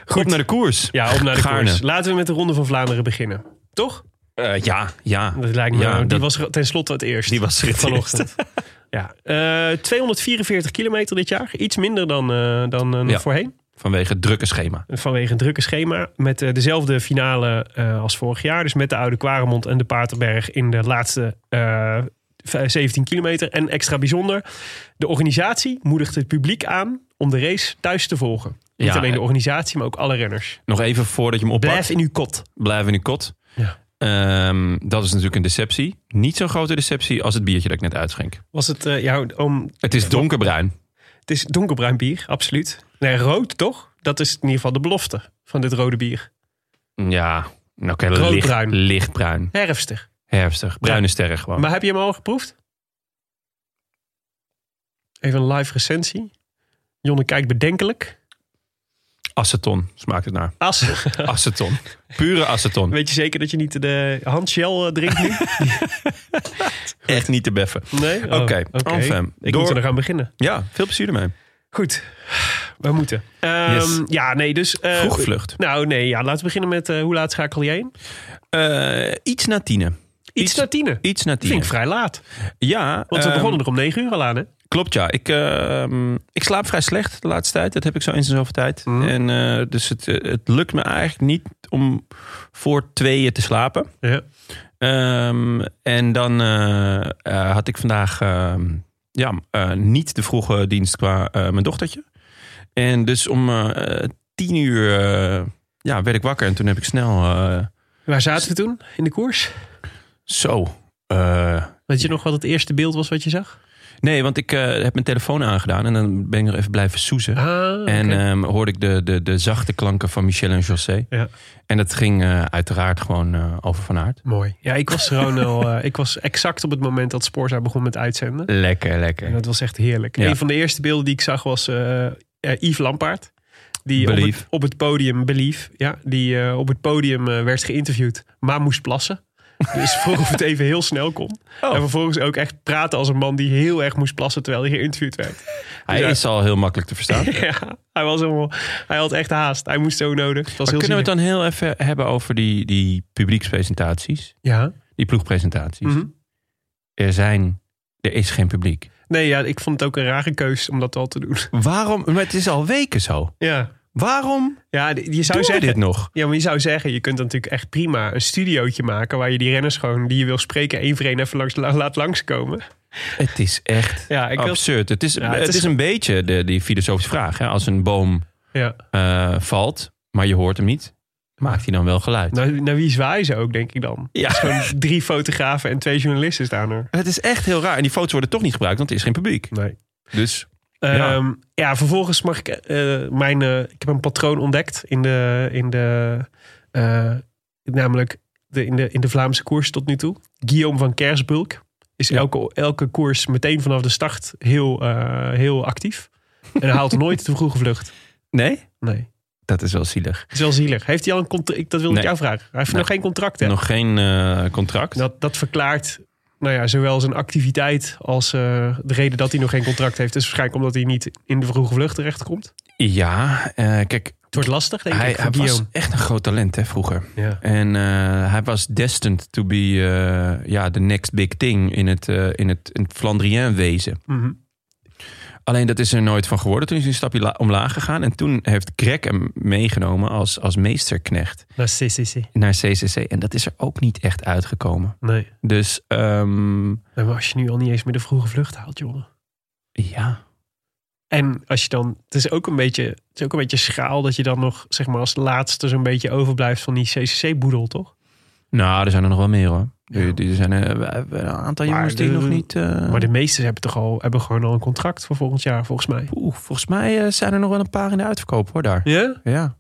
Speaker 1: Goed naar de koers.
Speaker 2: Ja, op naar de
Speaker 1: Gaarne.
Speaker 2: koers. Laten we met de Ronde van Vlaanderen beginnen. Toch?
Speaker 1: Eh, ja, ja.
Speaker 2: Dat lijkt me.
Speaker 1: Ja,
Speaker 2: nou, die
Speaker 1: dat-
Speaker 2: was tenslotte het eerst.
Speaker 1: Die was er het
Speaker 2: vanochtend. ja. Eh, 244 kilometer dit jaar. Iets minder dan, eh, dan eh, nog
Speaker 1: Ja.
Speaker 2: voorheen.
Speaker 1: Vanwege het drukke schema.
Speaker 2: Vanwege een drukke schema. Met eh, dezelfde finale eh, als vorig jaar. Dus met de Oude Kwaremond en de Paterberg in de laatste eh, 17 kilometer. En extra bijzonder, de organisatie moedigt het publiek aan om de race thuis te volgen. Niet
Speaker 1: Ja,
Speaker 2: alleen de
Speaker 1: eh,
Speaker 2: organisatie, maar ook alle renners.
Speaker 1: Nog even voordat je hem oppakt.
Speaker 2: Blijf in uw kot.
Speaker 1: Blijf in uw kot.
Speaker 2: Ja.
Speaker 1: Ehm, dat is natuurlijk een deceptie. Niet zo'n grote deceptie als het biertje dat ik net uitschenk.
Speaker 2: Was het, eh, ja, om,
Speaker 1: Het is donkerbruin.
Speaker 2: het is donkerbruin bier, absoluut. Nee, rood toch? Dat is in ieder geval de belofte van dit rode bier.
Speaker 1: Ja, nou oké, licht,
Speaker 2: Roodbruin.
Speaker 1: lichtbruin.
Speaker 2: Herfstig.
Speaker 1: Herfstig. Bruine sterren gewoon.
Speaker 2: Maar heb je hem al geproefd? Even een live recensie. Jonne kijkt bedenkelijk.
Speaker 1: Aceton smaakt het naar.
Speaker 2: As,
Speaker 1: Aceton. Pure aceton.
Speaker 2: weet je zeker dat je niet de handshell eh, drinkt nu?
Speaker 1: Echt niet te beffen.
Speaker 2: Nee? Oh,
Speaker 1: Oké, Anfem.
Speaker 2: Ik
Speaker 1: Door-
Speaker 2: moet er nog aan beginnen.
Speaker 1: Ja, veel plezier ermee.
Speaker 2: Goed, we moeten. Ehm,
Speaker 1: Yes.
Speaker 2: Ja, nee, dus... eh,
Speaker 1: Vroege vlucht.
Speaker 2: Nou, nee, ja, laten we beginnen met eh, hoe laat schakel je heen? Iets,
Speaker 1: Eh, iets na tienen. Iets-
Speaker 2: na tienen.
Speaker 1: Iets na
Speaker 2: Vind
Speaker 1: tienen.
Speaker 2: ik vrij laat.
Speaker 1: Ja,
Speaker 2: Want we
Speaker 1: ehm,
Speaker 2: begonnen er om negen uur al aan, hè?
Speaker 1: Klopt, ja. Ik, ehm, ik slaap vrij slecht de laatste tijd. Dat heb ik zo eens in zoveel tijd.
Speaker 2: Mhm.
Speaker 1: En, eh, dus het, eh, het lukt me eigenlijk niet om voor tweeën te slapen.
Speaker 2: Ja.
Speaker 1: Ehm, en dan eh, eh, had ik vandaag ehm, ja, eh, niet de vroege dienst qua eh, mijn dochtertje. En dus om eh, tien uur eh, ja, werd ik wakker. En toen heb ik snel eh,
Speaker 2: Waar zaten we toen in de koers?
Speaker 1: zo... eh,
Speaker 2: Weet je nog wat het eerste beeld was wat je zag?
Speaker 1: nee, want ik eh, heb mijn telefoon aangedaan. En dan ben ik nog even blijven soezen.
Speaker 2: Ah,
Speaker 1: En
Speaker 2: oké.
Speaker 1: ehm, hoorde ik de, de, de zachte klanken van Michel en José.
Speaker 2: Ja.
Speaker 1: En dat ging eh, uiteraard gewoon eh, over Van Aert.
Speaker 2: Mooi. Ja, ik was er gewoon al. eh, ik was exact op het moment dat Spoorza begon met uitzenden.
Speaker 1: Lekker,
Speaker 2: En
Speaker 1: lekker.
Speaker 2: dat was echt heerlijk.
Speaker 1: Ja.
Speaker 2: Een van de eerste beelden die ik zag was eh, eh, Yves Lampaard. Die op
Speaker 1: Belief.
Speaker 2: het, op het podium, Belief, ja, die eh, op het podium eh, werd geïnterviewd, maar moest plassen. Dus vroeg of het even heel snel kon.
Speaker 1: Oh.
Speaker 2: En vervolgens ook echt praten als een man die heel erg moest plassen terwijl hij geïnterviewd werd.
Speaker 1: Hij
Speaker 2: Ja.
Speaker 1: is al heel makkelijk te verstaan.
Speaker 2: ja, hij, was helemaal, hij had echt haast. Hij moest zo nodig. Het was
Speaker 1: Maar
Speaker 2: heel
Speaker 1: kunnen we het dan heel even hebben over die, die publiekspresentaties?
Speaker 2: zielig. Ja.
Speaker 1: Die ploegpresentaties?
Speaker 2: Mhm.
Speaker 1: Er zijn... Er is geen publiek.
Speaker 2: Nee, ja, ik vond het ook een rare keus om dat al te doen.
Speaker 1: Waarom? Maar het is al weken zo.
Speaker 2: Ja,
Speaker 1: Waarom
Speaker 2: ja die- je
Speaker 1: doen
Speaker 2: zou
Speaker 1: we
Speaker 2: Nou, zeggen...
Speaker 1: dit nog?
Speaker 2: Ja, maar je zou zeggen, je kunt dan natuurlijk echt prima een studiootje maken... waar je die renners gewoon, die je wil spreken, één voor één even langs, la- laat langskomen.
Speaker 1: Het is echt
Speaker 2: Ja, ik wil-
Speaker 1: absurd. Het is,
Speaker 2: het
Speaker 1: het
Speaker 2: is-
Speaker 1: is een beetje de, die filosofische vraag. Hè? Als een boom
Speaker 2: Ja.
Speaker 1: eh, valt, maar je hoort hem niet, maakt hij dan wel geluid?
Speaker 2: Nou, naar wie zwaaien ze ook, denk ik dan?
Speaker 1: Ja.
Speaker 2: Gewoon drie fotografen en twee journalisten staan er.
Speaker 1: Het is echt heel raar. En die foto's worden toch niet gebruikt, want er is geen publiek.
Speaker 2: Nee.
Speaker 1: Dus
Speaker 2: Ja.
Speaker 1: Ja.
Speaker 2: Ehm, ja, vervolgens mag ik eh, mijn... eh, ik heb een patroon ontdekt in de... In de eh, namelijk de, in, de, in de Vlaamse koers tot nu toe. Guillaume van Kersbulk is elke, elke koers meteen vanaf de start heel, eh, heel actief. En haalt nooit de vroege vlucht.
Speaker 1: nee,
Speaker 2: Nee.
Speaker 1: dat is wel zielig.
Speaker 2: Het is wel zielig. Heeft hij al een contract? Ik- Dat wil ik
Speaker 1: Nee.
Speaker 2: jou vragen. Hij heeft
Speaker 1: Nee.
Speaker 2: nog geen contract, hè?
Speaker 1: Nog geen eh, contract.
Speaker 2: Dat, dat verklaart nou ja, zowel zijn activiteit als eh, de reden dat hij nog geen contract heeft. is waarschijnlijk omdat hij niet in de vroege vlucht terechtkomt. Het
Speaker 1: Ja, eh, kijk,
Speaker 2: wordt lastig, denk
Speaker 1: hij,
Speaker 2: ik,
Speaker 1: hij
Speaker 2: voor
Speaker 1: was
Speaker 2: Guillaume.
Speaker 1: echt een groot talent hè, vroeger.
Speaker 2: Ja.
Speaker 1: En eh, hij was destined to be eh, ja, the next big thing in het, eh, in het, in het Flandrien wezen.
Speaker 2: Mhm.
Speaker 1: Alleen dat is er nooit van geworden. Toen is hij een stapje la- omlaag gegaan. En toen heeft Greg hem meegenomen als, als meesterknecht
Speaker 2: Naar CCC.
Speaker 1: naar CCC. En dat is er ook niet echt uitgekomen.
Speaker 2: Nee.
Speaker 1: Dus ehm,
Speaker 2: Nee, Maar als je nu al niet eens meer de vroege vlucht haalt, jongen.
Speaker 1: ja,
Speaker 2: En als je dan, het is ook een beetje, het is ook een beetje schaal dat je dan nog, zeg maar, als laatste zo'n beetje overblijft van die CCC-boedel, toch?
Speaker 1: Nou, er zijn er nog wel meer hoor. Er,
Speaker 2: Ja.
Speaker 1: er zijn eh, we hebben een aantal
Speaker 2: Maar
Speaker 1: jongens die
Speaker 2: de-
Speaker 1: nog niet. eh,
Speaker 2: Maar de meesten hebben toch al, hebben gewoon al een contract voor volgend jaar, volgens mij.
Speaker 1: Oeh, volgens mij eh, zijn er nog wel een paar in de uitverkoop hoor daar.
Speaker 2: Ja?
Speaker 1: Ja.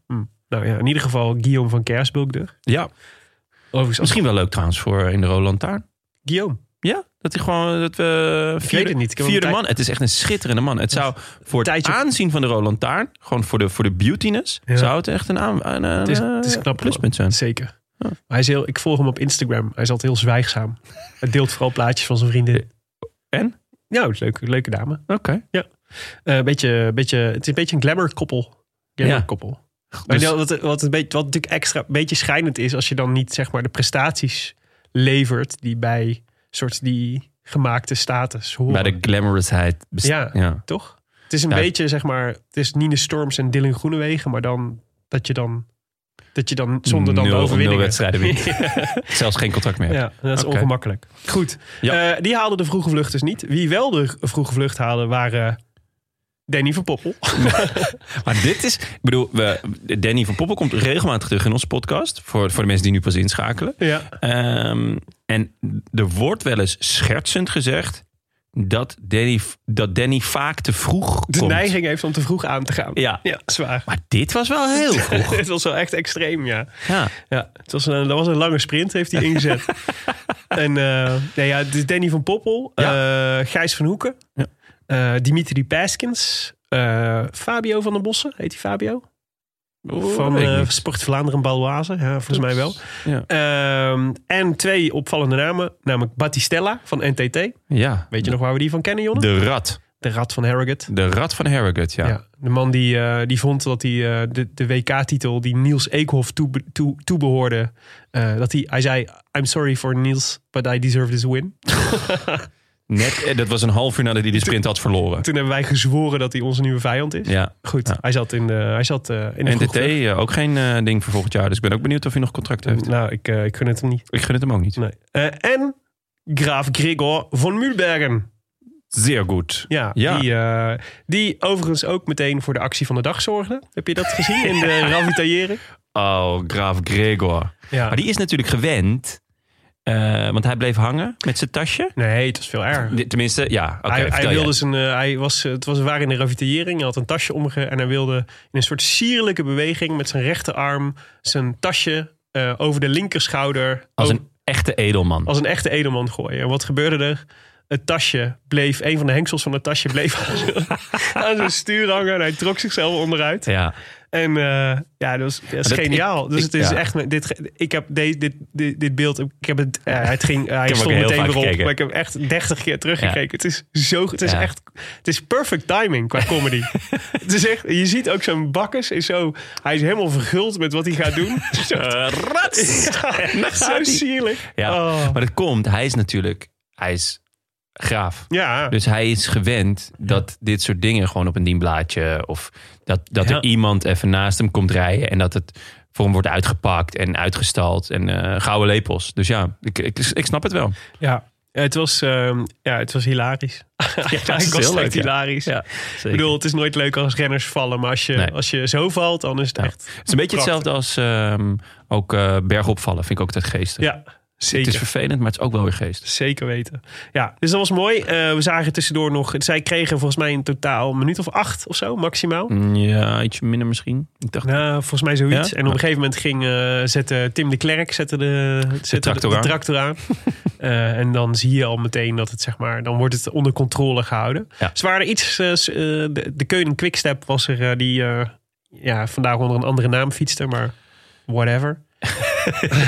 Speaker 2: Nou ja, in ieder geval Guillaume van Kersbulk dus.
Speaker 1: ja.
Speaker 2: Overigens,
Speaker 1: Misschien wel leuk trouwens voor eh, in de Rode Lantaarn.
Speaker 2: Guillaume.
Speaker 1: Ja, dat hij gewoon eh, dat we
Speaker 2: weet het niet. Ik heb
Speaker 1: vierde
Speaker 2: hem een
Speaker 1: man. Het is echt een schitterende man. Het zou voor het
Speaker 2: tijdje-
Speaker 1: aanzien van de Rode Lantaarn, gewoon voor de voor de beautiness,
Speaker 2: Ja.
Speaker 1: zou het echt een aan een, een,
Speaker 2: Het is, het is
Speaker 1: eh,
Speaker 2: knap.
Speaker 1: pluspunt zijn.
Speaker 2: Zeker. Maar Hij is heel, ik volg hem op Instagram. Hij is altijd heel zwijgzaam. Hij deelt vooral plaatjes van zijn vrienden.
Speaker 1: En?
Speaker 2: Ja, het is leuk, leuke dame.
Speaker 1: Oké.
Speaker 2: Eh, beetje, beetje, het is een beetje een glamour koppel. Glamour koppel.
Speaker 1: Dus-
Speaker 2: Maar wat, wat, een beetje, wat natuurlijk extra een beetje schijnend is als je dan niet zeg maar, de prestaties levert die bij soort die gemaakte status horen.
Speaker 1: Bij de glamorousheid. best-
Speaker 2: Ja.
Speaker 1: ja.
Speaker 2: Toch? Het is een
Speaker 1: Ja.
Speaker 2: beetje zeg maar, het is Nine Storms en Dylan Groenewegen, maar dan dat je dan Dat je dan zonder dan de
Speaker 1: Nul-
Speaker 2: overwinningen...
Speaker 1: nul wedstrijden wint. Zelfs geen contract meer hebt.
Speaker 2: Ja, dat is
Speaker 1: Oké.
Speaker 2: ongemakkelijk. Goed,
Speaker 1: Ja.
Speaker 2: Eh, die haalden de vroege vluchters niet. Wie wel de vroege vlucht haalden waren Danny van Poppel.
Speaker 1: Maar dit is, ik bedoel, we, Danny van Poppel komt regelmatig terug in onze podcast. Voor, voor de mensen die nu pas inschakelen.
Speaker 2: ja.
Speaker 1: Ehm, en er wordt wel eens schertsend gezegd dat Danny, dat Danny vaak te vroeg
Speaker 2: De
Speaker 1: komt.
Speaker 2: neiging heeft om te vroeg aan te gaan.
Speaker 1: Ja.
Speaker 2: ja zwaar.
Speaker 1: Maar dit was wel heel vroeg.
Speaker 2: het was wel echt extreem, ja.
Speaker 1: Ja.
Speaker 2: ja het was een, dat was een lange sprint, heeft hij ingezet. en eh nee, ja, het is Danny van Poppel, eh, Gijs van Hoeken,
Speaker 1: Ja.
Speaker 2: eh, Dimitri Paskins, eh, Fabio van den Bossen, heet hij Fabio? van
Speaker 1: weet ik
Speaker 2: eh,
Speaker 1: niet.
Speaker 2: Sport Vlaanderen Baloise, ja, volgens mij wel.
Speaker 1: Ja.
Speaker 2: Ehm, en twee opvallende namen, namelijk Battistella van NTT.
Speaker 1: ja.
Speaker 2: Weet je nog waar we die van kennen, Jonne?
Speaker 1: De rat.
Speaker 2: De rat van Harrogate.
Speaker 1: De rat van Harrogate, ja.
Speaker 2: Ja. de man die, eh, die vond dat hij eh, de, de WK-titel die Niels Eekhof toebe- toe- toebehoorde, eh, dat hij, hij zei, I'm sorry for Niels, but I deserve this win.
Speaker 1: Net, eh, dat was een half uur nadat hij de sprint had verloren.
Speaker 2: Toen hebben wij gezworen dat hij onze nieuwe vijand is.
Speaker 1: Ja.
Speaker 2: Goed,
Speaker 1: Ja.
Speaker 2: hij zat in de, hij zat, eh, in de
Speaker 1: NTT
Speaker 2: vroege
Speaker 1: eh, ook geen eh, ding voor volgend jaar. Dus ik ben ook benieuwd of hij nog contract
Speaker 2: vlucht.
Speaker 1: heeft.
Speaker 2: Nou, ik, eh, ik gun het hem niet.
Speaker 1: Ik gun het hem ook niet.
Speaker 2: Nee. Eh, en Graaf Gregor van Mühlbergen.
Speaker 1: Zeer goed.
Speaker 2: Ja,
Speaker 1: Ja.
Speaker 2: Die, eh, die overigens ook meteen voor de actie van de dag zorgde. Heb je dat gezien in de ravitaillering?
Speaker 1: Oh, Graaf Gregor.
Speaker 2: Ja.
Speaker 1: Maar die is natuurlijk gewend. eh, want hij bleef hangen met zijn tasje.
Speaker 2: Nee, het was veel erger.
Speaker 1: Di- Tenminste, ja. oké,
Speaker 2: hij,
Speaker 1: vertel
Speaker 2: hij wilde
Speaker 1: jij.
Speaker 2: zijn, eh, hij was, eh, het was waar in de ravitaillering. Hij had een tasje omge en hij wilde in een soort sierlijke beweging met zijn rechterarm zijn tasje eh, over de linkerschouder
Speaker 1: Als
Speaker 2: o-
Speaker 1: een echte edelman.
Speaker 2: als een echte edelman gooien. En wat gebeurde er? Het tasje bleef, een van de hengsels van het tasje bleef aan zijn- aan zijn stuur hangen en hij trok zichzelf onderuit.
Speaker 1: Ja.
Speaker 2: En eh, ja, dat is, dat is
Speaker 1: dat-
Speaker 2: geniaal.
Speaker 1: ik-
Speaker 2: dus
Speaker 1: ik-
Speaker 2: het is
Speaker 1: ja.
Speaker 2: echt. me- Dit, ge- ik heb de, dit, dit, dit beeld. Ik heb het, eh, het ging, hij
Speaker 1: hem ook
Speaker 2: stond
Speaker 1: heel
Speaker 2: meteen
Speaker 1: vaak
Speaker 2: weer op.
Speaker 1: gekeken.
Speaker 2: Maar ik heb echt 30 keer teruggekeken. Het is zo. Het is
Speaker 1: Ja.
Speaker 2: echt. Het is perfect timing qua comedy. het is echt. Je ziet ook zo'n bakkers. Is zo, hij is helemaal verguld met wat hij gaat doen. zo,
Speaker 1: Eh,
Speaker 2: ja, zo
Speaker 1: hij.
Speaker 2: sierlijk.
Speaker 1: Ja.
Speaker 2: Oh.
Speaker 1: Maar dat komt. Hij is natuurlijk... Hij is graaf.
Speaker 2: ja.
Speaker 1: Dus hij is gewend dat dit soort dingen gewoon op een dienblaadje... of dat, dat
Speaker 2: Ja.
Speaker 1: er iemand even naast hem komt rijden... en dat het voor hem wordt uitgepakt en uitgestald. En eh, gouden lepels. Dus ja, ik, ik, ik snap het wel.
Speaker 2: ja. Het was, ehm, ja, het was hilarisch. Ja,
Speaker 1: is
Speaker 2: was
Speaker 1: heel
Speaker 2: echt
Speaker 1: leuk, ja.
Speaker 2: hilarisch.
Speaker 1: Zeker.
Speaker 2: Ik bedoel, het is nooit leuk als renners vallen. Maar als je,
Speaker 1: Nee.
Speaker 2: als je zo valt, dan is het echt...
Speaker 1: Het is een beetje
Speaker 2: Prachtig.
Speaker 1: hetzelfde als ehm, ook eh, bergopvallen. Vind ik ook altijd geestig.
Speaker 2: Ja,
Speaker 1: Het is
Speaker 2: zeker.
Speaker 1: vervelend, maar het is ook wel weer geestig.
Speaker 2: Zeker weten. Ja, dus dat was mooi. Eh, we zagen tussendoor nog... Zij kregen volgens mij in totaal een minuut of acht of zo, maximaal.
Speaker 1: Mm, Ja, iets minder misschien. Ik dacht,
Speaker 2: Nou, volgens mij zoiets.
Speaker 1: Ja?
Speaker 2: En op een gegeven moment ging, eh, zette Tim de Klerk zette de, zette de-
Speaker 1: tractor
Speaker 2: de
Speaker 1: aan.
Speaker 2: tractor aan. Eh, en dan zie je al meteen dat het, zeg maar, dan wordt het onder controle gehouden.
Speaker 1: Ja.
Speaker 2: Ze waren iets, eh, s- eh, de, de Keuning Quickstep was er eh, die eh, ja, vandaag onder een andere naam fietste, maar whatever.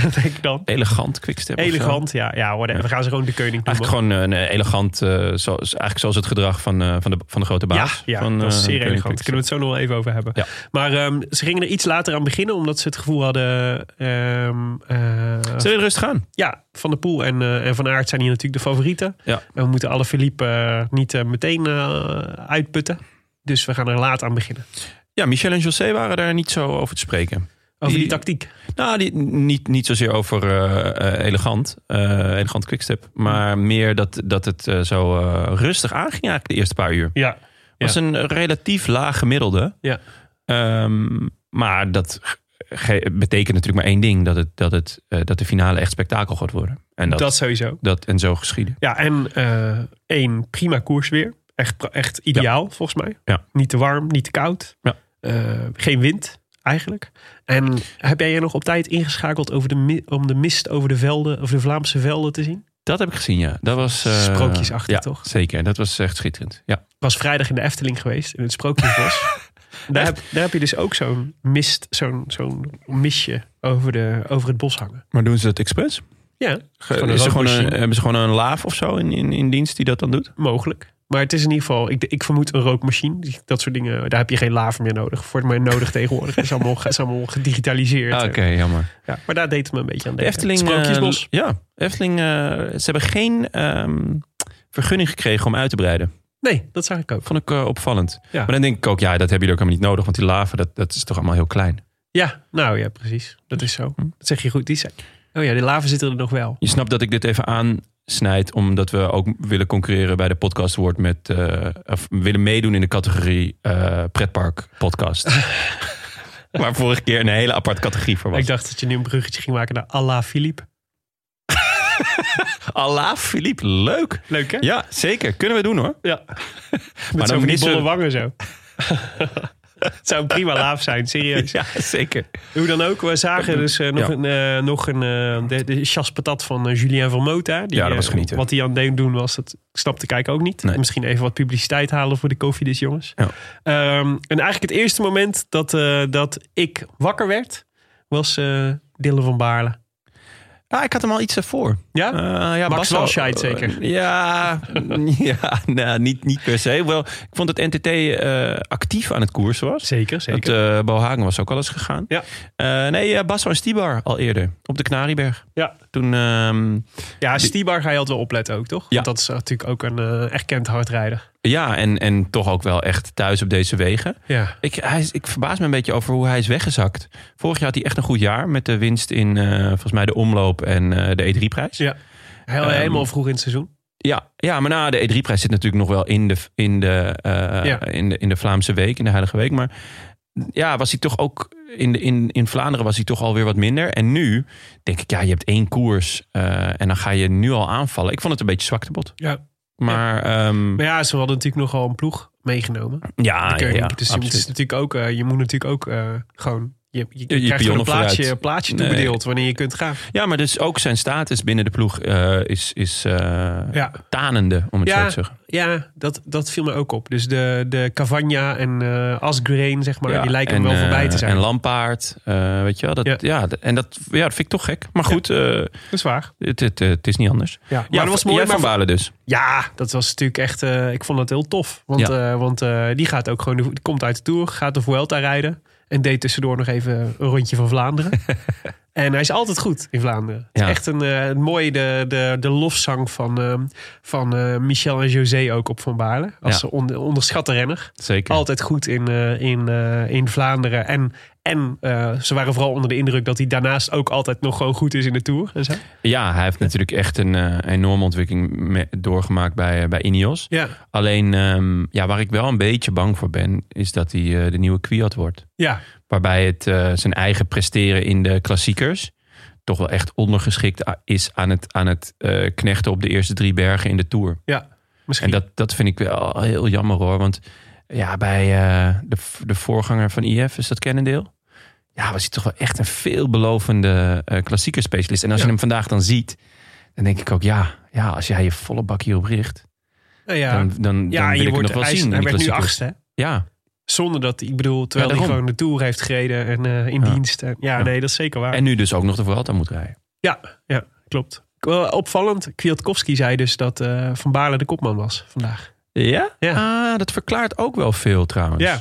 Speaker 2: Denk ik dan.
Speaker 1: elegant quickstep. of zo.
Speaker 2: Elegant, ja, ja, whatever. We gaan ze gewoon de Keuning noemen.
Speaker 1: Eigenlijk gewoon een eh, elegant, eh, zoals, eigenlijk zoals het gedrag van, eh, van, de, van de grote baas.
Speaker 2: Ja, ja
Speaker 1: van,
Speaker 2: dat is
Speaker 1: eh,
Speaker 2: zeer
Speaker 1: Koning
Speaker 2: elegant. Daar
Speaker 1: Quickstep.
Speaker 2: kunnen we het zo nog wel even over hebben.
Speaker 1: Ja.
Speaker 2: Maar ehm, ze gingen er iets later aan beginnen, omdat ze het gevoel hadden... ehm, eh,
Speaker 1: Zullen we rustig gaan?
Speaker 2: ja, Van der Poel en, eh, en Van Aert zijn hier natuurlijk de favorieten.
Speaker 1: Ja.
Speaker 2: En we moeten alle Philippe niet eh, meteen eh, uitputten. Dus we gaan er laat aan beginnen.
Speaker 1: Ja, Michel en José waren daar niet zo over te spreken.
Speaker 2: Over die
Speaker 1: Die-
Speaker 2: tactiek.
Speaker 1: Nou, die, niet, niet zozeer over eh, eh, elegant, eh, elegant quickstep. Maar meer dat, dat het eh, zo eh, rustig aanging eigenlijk de eerste paar uur.
Speaker 2: Ja. Ja.
Speaker 1: was een relatief laag gemiddelde.
Speaker 2: Ja.
Speaker 1: Ehm, maar dat ge- betekent natuurlijk maar één ding: dat, het, dat, het, eh, dat de finale echt spektakel gaat worden. En dat,
Speaker 2: Dat,
Speaker 1: dat...
Speaker 2: sowieso.
Speaker 1: en zo geschieden.
Speaker 2: Ja, en eh één prima koers weer. Echt, pra- echt ideaal, volgens mij.
Speaker 1: Ja.
Speaker 2: Niet te warm, niet te koud.
Speaker 1: Ja.
Speaker 2: Eh, geen wind, eigenlijk. En heb jij je nog op tijd ingeschakeld over de, mi- om de mist over de velden, over de Vlaamse velden te zien?
Speaker 1: Dat heb ik gezien, ja. Dat was. eh,
Speaker 2: Sprookjesachtig,
Speaker 1: ja,
Speaker 2: toch?
Speaker 1: Zeker, dat was echt schitterend. Ja.
Speaker 2: Ik was vrijdag in de Efteling geweest, in het Sprookjesbos. daar, heb, daar heb je dus ook zo'n mist, zo'n zo'n mistje over, de, over het bos hangen.
Speaker 1: Maar doen ze dat expres?
Speaker 2: Ja,
Speaker 1: Ge-
Speaker 2: Gewoon een
Speaker 1: Eh, is er gewoon een,
Speaker 2: rookmachine.
Speaker 1: hebben ze gewoon een laaf of zo in, in, in dienst die dat dan doet?
Speaker 2: mogelijk. Maar het is in ieder geval, ik, ik vermoed een rookmachine. Dat soort dingen, daar heb je geen laver meer nodig. Voor mij nodig tegenwoordig. Het is allemaal, het is allemaal gedigitaliseerd.
Speaker 1: Ah, Oké, jammer.
Speaker 2: Ja, maar daar deed het me een beetje aan
Speaker 1: De
Speaker 2: denken.
Speaker 1: Efteling.
Speaker 2: Het Sprookjesbos.
Speaker 1: eh, ja, Efteling. eh, ze hebben geen ehm, vergunning gekregen om uit te breiden.
Speaker 2: nee, dat zag ik ook.
Speaker 1: Vond ik eh, opvallend.
Speaker 2: Ja.
Speaker 1: Maar dan denk ik ook, ja, dat hebben jullie ook helemaal niet nodig. Want die laven, dat, dat is toch allemaal heel klein.
Speaker 2: Ja, nou ja, precies. Dat is
Speaker 1: Hm.
Speaker 2: zo. Dat zeg je goed. Die zijn. Oh ja, de laven zitten er nog wel.
Speaker 1: Je snapt dat ik dit even aansnijd, omdat we ook willen concurreren bij de Podcast Award met. eh, of willen meedoen in de categorie eh, Pretpark Podcast. Waar vorige keer een hele aparte categorie voor was.
Speaker 2: Ik dacht dat je nu een bruggetje ging maken naar Allah Philippe.
Speaker 1: Allah, Philippe, leuk.
Speaker 2: Leuk hè?
Speaker 1: Ja, zeker. Kunnen we doen hoor.
Speaker 2: Ja.
Speaker 1: dan
Speaker 2: Met zo'n van die
Speaker 1: niet zo-
Speaker 2: bolle wangen zo. Het zou een prima laaf zijn, serieus.
Speaker 1: Ja, zeker.
Speaker 2: Hoe dan ook, we zagen dus eh, nog,
Speaker 1: Ja.
Speaker 2: een, eh, nog een, eh, de, de chaspatat van eh, Julien Vermota. Die,
Speaker 1: Ja, dat was
Speaker 2: eh,
Speaker 1: genieten.
Speaker 2: Wat hij aan het doen was, dat snapte ik eigenlijk ook niet.
Speaker 1: Nee.
Speaker 2: Misschien even wat publiciteit halen voor de koffie dus jongens.
Speaker 1: Ja.
Speaker 2: Ehm, en eigenlijk het eerste moment dat, eh, dat ik wakker werd, was eh Dylan van Baarle.
Speaker 1: Ah, ik had hem al iets ervoor.
Speaker 2: Ja?
Speaker 1: Eh, ja
Speaker 2: Max
Speaker 1: Basso-
Speaker 2: Walscheid zeker.
Speaker 1: Eh, ja, ja nou, niet, niet per se. Wel, ik vond dat NTT eh, actief aan het koersen was.
Speaker 2: Zeker,
Speaker 1: Want eh Bohagen was ook al eens gegaan.
Speaker 2: Ja.
Speaker 1: Eh, nee, eh, Basso en Stibar al eerder. Op de Knarieberg.
Speaker 2: Ja.
Speaker 1: Toen, ehm,
Speaker 2: ja, Stibar ga je altijd wel opletten ook, toch?
Speaker 1: Ja.
Speaker 2: Want dat is natuurlijk ook een eh, erkend hardrijder.
Speaker 1: ja, en, en toch ook wel echt thuis op deze wegen.
Speaker 2: Ja.
Speaker 1: Ik, hij is- ik verbaas me een beetje over hoe hij is weggezakt. Vorig jaar had hij echt een goed jaar. Met de winst in eh, volgens mij de omloop en eh, de E3-prijs.
Speaker 2: Ja. Heel,
Speaker 1: Ehm,
Speaker 2: helemaal vroeg in het seizoen.
Speaker 1: Ja, ja maar na de E3-prijs zit natuurlijk nog wel in de, in, de, eh,
Speaker 2: Ja.
Speaker 1: in, de, in de Vlaamse week, in de Heilige Week. Maar ja, was hij toch ook in, de, in, in Vlaanderen was hij toch alweer wat minder. En nu denk ik, ja, je hebt één koers eh, en dan ga je nu al aanvallen. Ik vond het een beetje zwaktebod.
Speaker 2: Ja.
Speaker 1: Maar ehm,
Speaker 2: Maar ja, ze hadden natuurlijk nogal een ploeg meegenomen.
Speaker 1: ja, ja,
Speaker 2: Keuning.
Speaker 1: Ah, ja,
Speaker 2: dus je moet, het is
Speaker 1: absoluut.
Speaker 2: natuurlijk ook, eh, je moet natuurlijk ook eh, gewoon. Je, je,
Speaker 1: je
Speaker 2: krijgt gewoon
Speaker 1: pionnen
Speaker 2: een plaatje,
Speaker 1: vooruit.
Speaker 2: een plaatje
Speaker 1: Nee.
Speaker 2: toebedeeld wanneer je kunt gaan.
Speaker 1: ja, maar dus ook zijn status binnen de ploeg eh, is, is eh,
Speaker 2: Ja,
Speaker 1: tanende, om het zo
Speaker 2: ja,
Speaker 1: te zeggen.
Speaker 2: ja dat, dat viel me ook op. Dus de, de Cavagna en eh Asgreen, zeg maar,
Speaker 1: Ja,
Speaker 2: die lijken
Speaker 1: en,
Speaker 2: wel voorbij te
Speaker 1: eh,
Speaker 2: zijn.
Speaker 1: En Lampaard, eh, weet je wel. Dat, ja.
Speaker 2: Ja.
Speaker 1: d- en dat, ja, dat vind ik toch gek. Maar goed, eh,
Speaker 2: dat is waar.
Speaker 1: Het, het, het is niet anders.
Speaker 2: Ja, maar dat was mooi.
Speaker 1: Jij
Speaker 2: maar-
Speaker 1: van Balen dus.
Speaker 2: ja, dat was natuurlijk echt. eh, ik vond dat heel tof. Want, eh, want eh, die gaat ook gewoon. de- Die komt uit de tour, gaat de Vuelta rijden. En deed tussendoor nog even een rondje van Vlaanderen. en hij is altijd goed in Vlaanderen. Het
Speaker 1: Ja.
Speaker 2: is echt een, eh, een mooie de, de, de lofzang van, ehm, van eh, Michel en José ook op Van Baarle.
Speaker 1: Ja.
Speaker 2: Als een on, onderschatte renner.
Speaker 1: Zeker.
Speaker 2: Altijd goed in, eh, in, eh, in Vlaanderen. En, en eh, ze waren vooral onder de indruk dat hij daarnaast ook altijd nog gewoon goed is in de tour. En zo.
Speaker 1: Ja, hij heeft natuurlijk echt een eh, enorme ontwikkeling me- doorgemaakt bij, eh, bij Ineos.
Speaker 2: Ja.
Speaker 1: Alleen ehm, ja, waar ik wel een beetje bang voor ben, is dat hij eh, de nieuwe Kwiat wordt.
Speaker 2: ja,
Speaker 1: Waarbij het eh, zijn eigen presteren in de klassiekers toch wel echt ondergeschikt a- is aan het, aan het eh, knechten op de eerste drie bergen in de Tour.
Speaker 2: ja. Misschien.
Speaker 1: En dat, dat vind ik wel heel jammer hoor. Want ja, bij eh, de, de voorganger van IF, is dat Cannondale? Ja, was hij toch wel echt een veelbelovende eh klassieker specialist. En als
Speaker 2: Ja.
Speaker 1: je hem vandaag dan ziet, dan denk ik ook ja, ja als jij je volle bak hierop richt,
Speaker 2: Nou ja.
Speaker 1: dan, dan, dan
Speaker 2: Ja,
Speaker 1: wil
Speaker 2: je
Speaker 1: ik hem
Speaker 2: wordt,
Speaker 1: nog wel
Speaker 2: hij, is-
Speaker 1: zien. in
Speaker 2: hij
Speaker 1: die
Speaker 2: werd nu
Speaker 1: klassiekers.
Speaker 2: achtste. hè?
Speaker 1: Ja,
Speaker 2: Zonder dat, ik bedoel, terwijl
Speaker 1: Ja,
Speaker 2: hij
Speaker 1: daarom.
Speaker 2: gewoon de Tour heeft gereden en eh, in
Speaker 1: Ja.
Speaker 2: dienst. En, ja,
Speaker 1: Ja.
Speaker 2: nee, dat is zeker waar.
Speaker 1: en nu dus ook nog de Vuelta moet rijden.
Speaker 2: ja, ja, klopt. Wel Opvallend, Kwiatkowski zei dus dat eh, Van Baarle de kopman was vandaag.
Speaker 1: Ja? Oh. Ah, dat verklaart ook wel veel trouwens.
Speaker 2: Ja,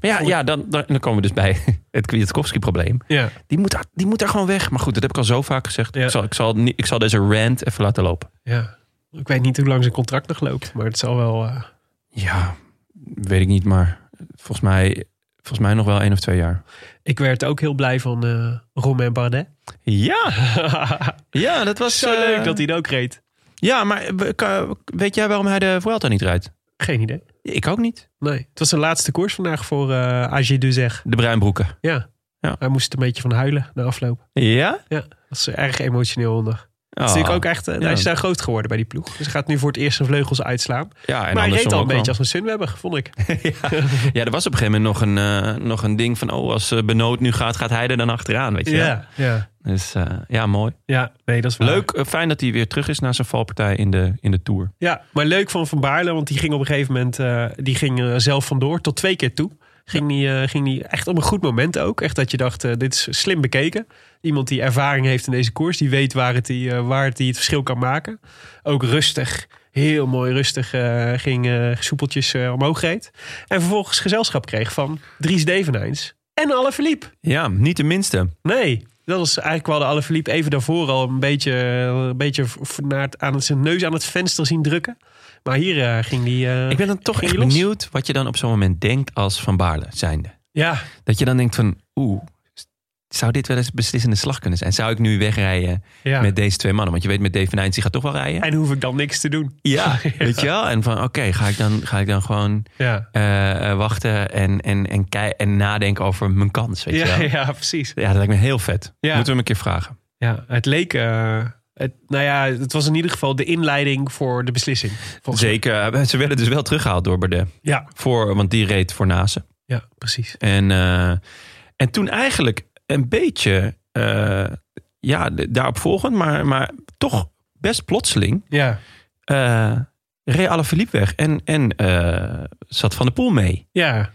Speaker 1: Maar ja, ja dan, dan, dan komen we dus bij het Kwiatkowski-probleem.
Speaker 2: ja.
Speaker 1: Die moet, daar- die moet daar gewoon weg. Maar goed, dat heb ik al zo vaak gezegd.
Speaker 2: Ja.
Speaker 1: Ik, zal, ik, zal, niet- ik zal deze rant even laten lopen.
Speaker 2: ja. Ik weet niet hoe lang zijn contract nog loopt, maar het zal wel... eh,
Speaker 1: Ja, weet ik niet, maar volgens mij, volgens mij nog wel één of twee jaar.
Speaker 2: ik werd ook heel blij van eh Romain Bardet.
Speaker 1: Ja, ja dat was
Speaker 2: Zo
Speaker 1: eh,
Speaker 2: leuk dat hij het ook reed.
Speaker 1: Ja, maar we- ka- weet jij waarom hij de Vuelta niet rijdt?
Speaker 2: Geen idee.
Speaker 1: Ik ook niet.
Speaker 2: Nee, het was zijn laatste koers vandaag voor eh AG Duzeg.
Speaker 1: De Bruinbroeken.
Speaker 2: Ja.
Speaker 1: Ja.
Speaker 2: hij moest er een beetje van huilen na afloop.
Speaker 1: Ja?
Speaker 2: Dat is erg emotioneel onder.
Speaker 1: Oh.
Speaker 2: Het is natuurlijk ook echt, eh,
Speaker 1: Ja.
Speaker 2: hij is daar groot geworden bij die ploeg. Dus hij gaat nu voor het eerst zijn vleugels uitslaan.
Speaker 1: ja, en
Speaker 2: maar hij reed
Speaker 1: andersom
Speaker 2: al een
Speaker 1: ook wel.
Speaker 2: beetje als een sunwebber, vond ik.
Speaker 1: Ja, er was op een gegeven moment nog een, eh, nog een ding van... oh, als eh, Benoot nu gaat, gaat hij er dan achteraan, weet je wel?
Speaker 2: ja.
Speaker 1: Dus eh, ja, mooi.
Speaker 2: ja, nee, dat is waar.
Speaker 1: Leuk, eh, fijn dat hij weer terug is na zijn valpartij in de, in de Tour.
Speaker 2: Ja, maar leuk van Van Baarle, want die ging op een gegeven moment eh, die ging, eh, zelf vandoor. Tot twee keer toe. Ging die, eh, ging die echt op een goed moment ook. Echt dat je dacht, eh, dit is slim bekeken. Iemand die ervaring heeft in deze koers. Die weet waar het, die, eh, waar het, die het verschil kan maken. Ook rustig. Heel mooi rustig eh, ging eh, soepeltjes eh, omhoog reed. En vervolgens gezelschap kreeg van Dries Devenijns en Alle Verliep.
Speaker 1: Ja, niet de minste.
Speaker 2: Nee, dat was eigenlijk wel de Alaphilippe even daarvoor al een beetje, een beetje v- naar het, aan het, zijn neus aan het venster zien drukken. Maar hier eh, ging die. eh,
Speaker 1: Ik ben dan toch
Speaker 2: Ging
Speaker 1: echt
Speaker 2: je los?
Speaker 1: benieuwd wat je dan op zo'n moment denkt als Van Baarle zijnde.
Speaker 2: Ja,
Speaker 1: Dat je dan denkt van, oeh, zou dit wel eens beslissende slag kunnen zijn? Zou ik nu wegrijden
Speaker 2: Ja.
Speaker 1: met deze twee mannen? Want je weet met Dave Van Eyns, die gaat toch wel rijden.
Speaker 2: En hoef ik dan niks te doen.
Speaker 1: ja, weet je wel? En van, oké, ga, ik dan- ga ik dan gewoon
Speaker 2: Ja,
Speaker 1: eh, eh, wachten en, en, en, kei- en nadenken over mijn kans, weet je
Speaker 2: ja,
Speaker 1: wel?
Speaker 2: ja precies.
Speaker 1: Ja, dat lijkt me heel vet.
Speaker 2: Ja.
Speaker 1: Moeten we hem een keer vragen.
Speaker 2: Ja, het leek... eh, het, nou ja, het was in ieder geval de inleiding voor de beslissing. volgens mij.
Speaker 1: Zeker. eh, Ze werden dus wel teruggehaald door Bardet.
Speaker 2: Ja,
Speaker 1: Voor, want die reed voor Nase.
Speaker 2: ja, precies.
Speaker 1: En, eh, en toen eigenlijk een beetje eh, ja, d- daarop volgend, maar, maar toch best plotseling
Speaker 2: Ja,
Speaker 1: eh reed Alaphilippe weg en, en eh, zat Van de Poel mee.
Speaker 2: ja,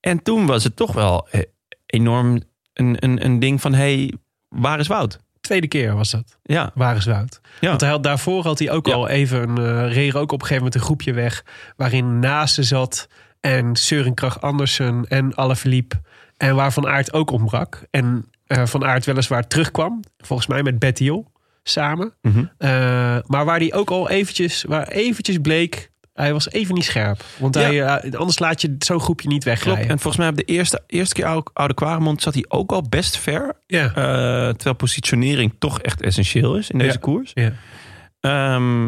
Speaker 1: En toen was het toch wel eh, enorm een, een, een ding van, hey, waar is Wout?
Speaker 2: tweede keer was dat.
Speaker 1: Ja,
Speaker 2: Wagerswoud.
Speaker 1: Ja.
Speaker 2: Want hij had, daarvoor had hij ook
Speaker 1: Ja.
Speaker 2: al even een eh reed er ook op een gegeven moment een groepje weg. Waarin Nase zat en Søren Kragh Andersen en Alaphilippe. En waar Van Aert ook ontbrak. En eh, Van Aert weliswaar terugkwam. Volgens mij met Bettiol samen.
Speaker 1: Mhm.
Speaker 2: Eh, maar waar hij ook al eventjes, waar eventjes bleek... Hij was even niet scherp. Want
Speaker 1: Ja.
Speaker 2: hij, eh, anders laat je zo'n groepje niet
Speaker 1: klopt.
Speaker 2: wegrijden.
Speaker 1: En volgens mij op de eerste, eerste keer Oude, oude Quaremont zat hij ook al best ver.
Speaker 2: Ja.
Speaker 1: eh, terwijl positionering toch echt essentieel is in deze
Speaker 2: Ja.
Speaker 1: koers.
Speaker 2: Ja.
Speaker 1: Ehm,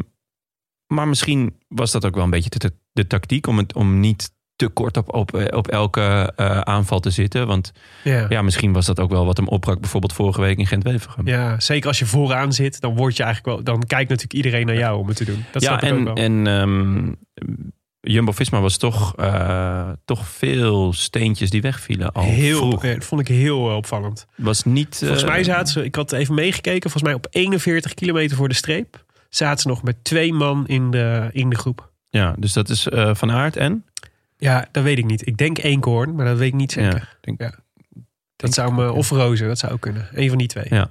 Speaker 1: maar misschien was dat ook wel een beetje de, de tactiek om, het, om niet te kort op, op, op elke eh, aanval te zitten. Want
Speaker 2: ja.
Speaker 1: ja, misschien was dat ook wel wat hem opbrak, bijvoorbeeld vorige week in Gent-Wevergem.
Speaker 2: Ja, zeker als je vooraan zit, dan word je eigenlijk wel. Dan kijkt natuurlijk iedereen naar jou om het te doen. Dat
Speaker 1: Ja,
Speaker 2: snap ik ook
Speaker 1: en,
Speaker 2: wel.
Speaker 1: en ehm, Jumbo-Visma was toch, eh, toch veel steentjes die wegvielen al
Speaker 2: heel,
Speaker 1: Oh, vroeg.
Speaker 2: eh, dat vond ik heel eh, opvallend.
Speaker 1: Was niet,
Speaker 2: Volgens
Speaker 1: eh,
Speaker 2: mij zaten ze, ik had even meegekeken, volgens mij op 41 kilometer voor de streep zaten ze nog met twee man in de, in de groep.
Speaker 1: Ja, dus dat is eh, Van Aert en?
Speaker 2: Ja, dat weet ik niet. Ik denk Eekhoorn, maar dat weet ik niet zeker.
Speaker 1: Ja, denk,
Speaker 2: Ja.
Speaker 1: denk
Speaker 2: dat zou me,
Speaker 1: ook,
Speaker 2: of Rozen, dat zou ook kunnen. Een van die twee.
Speaker 1: Ja.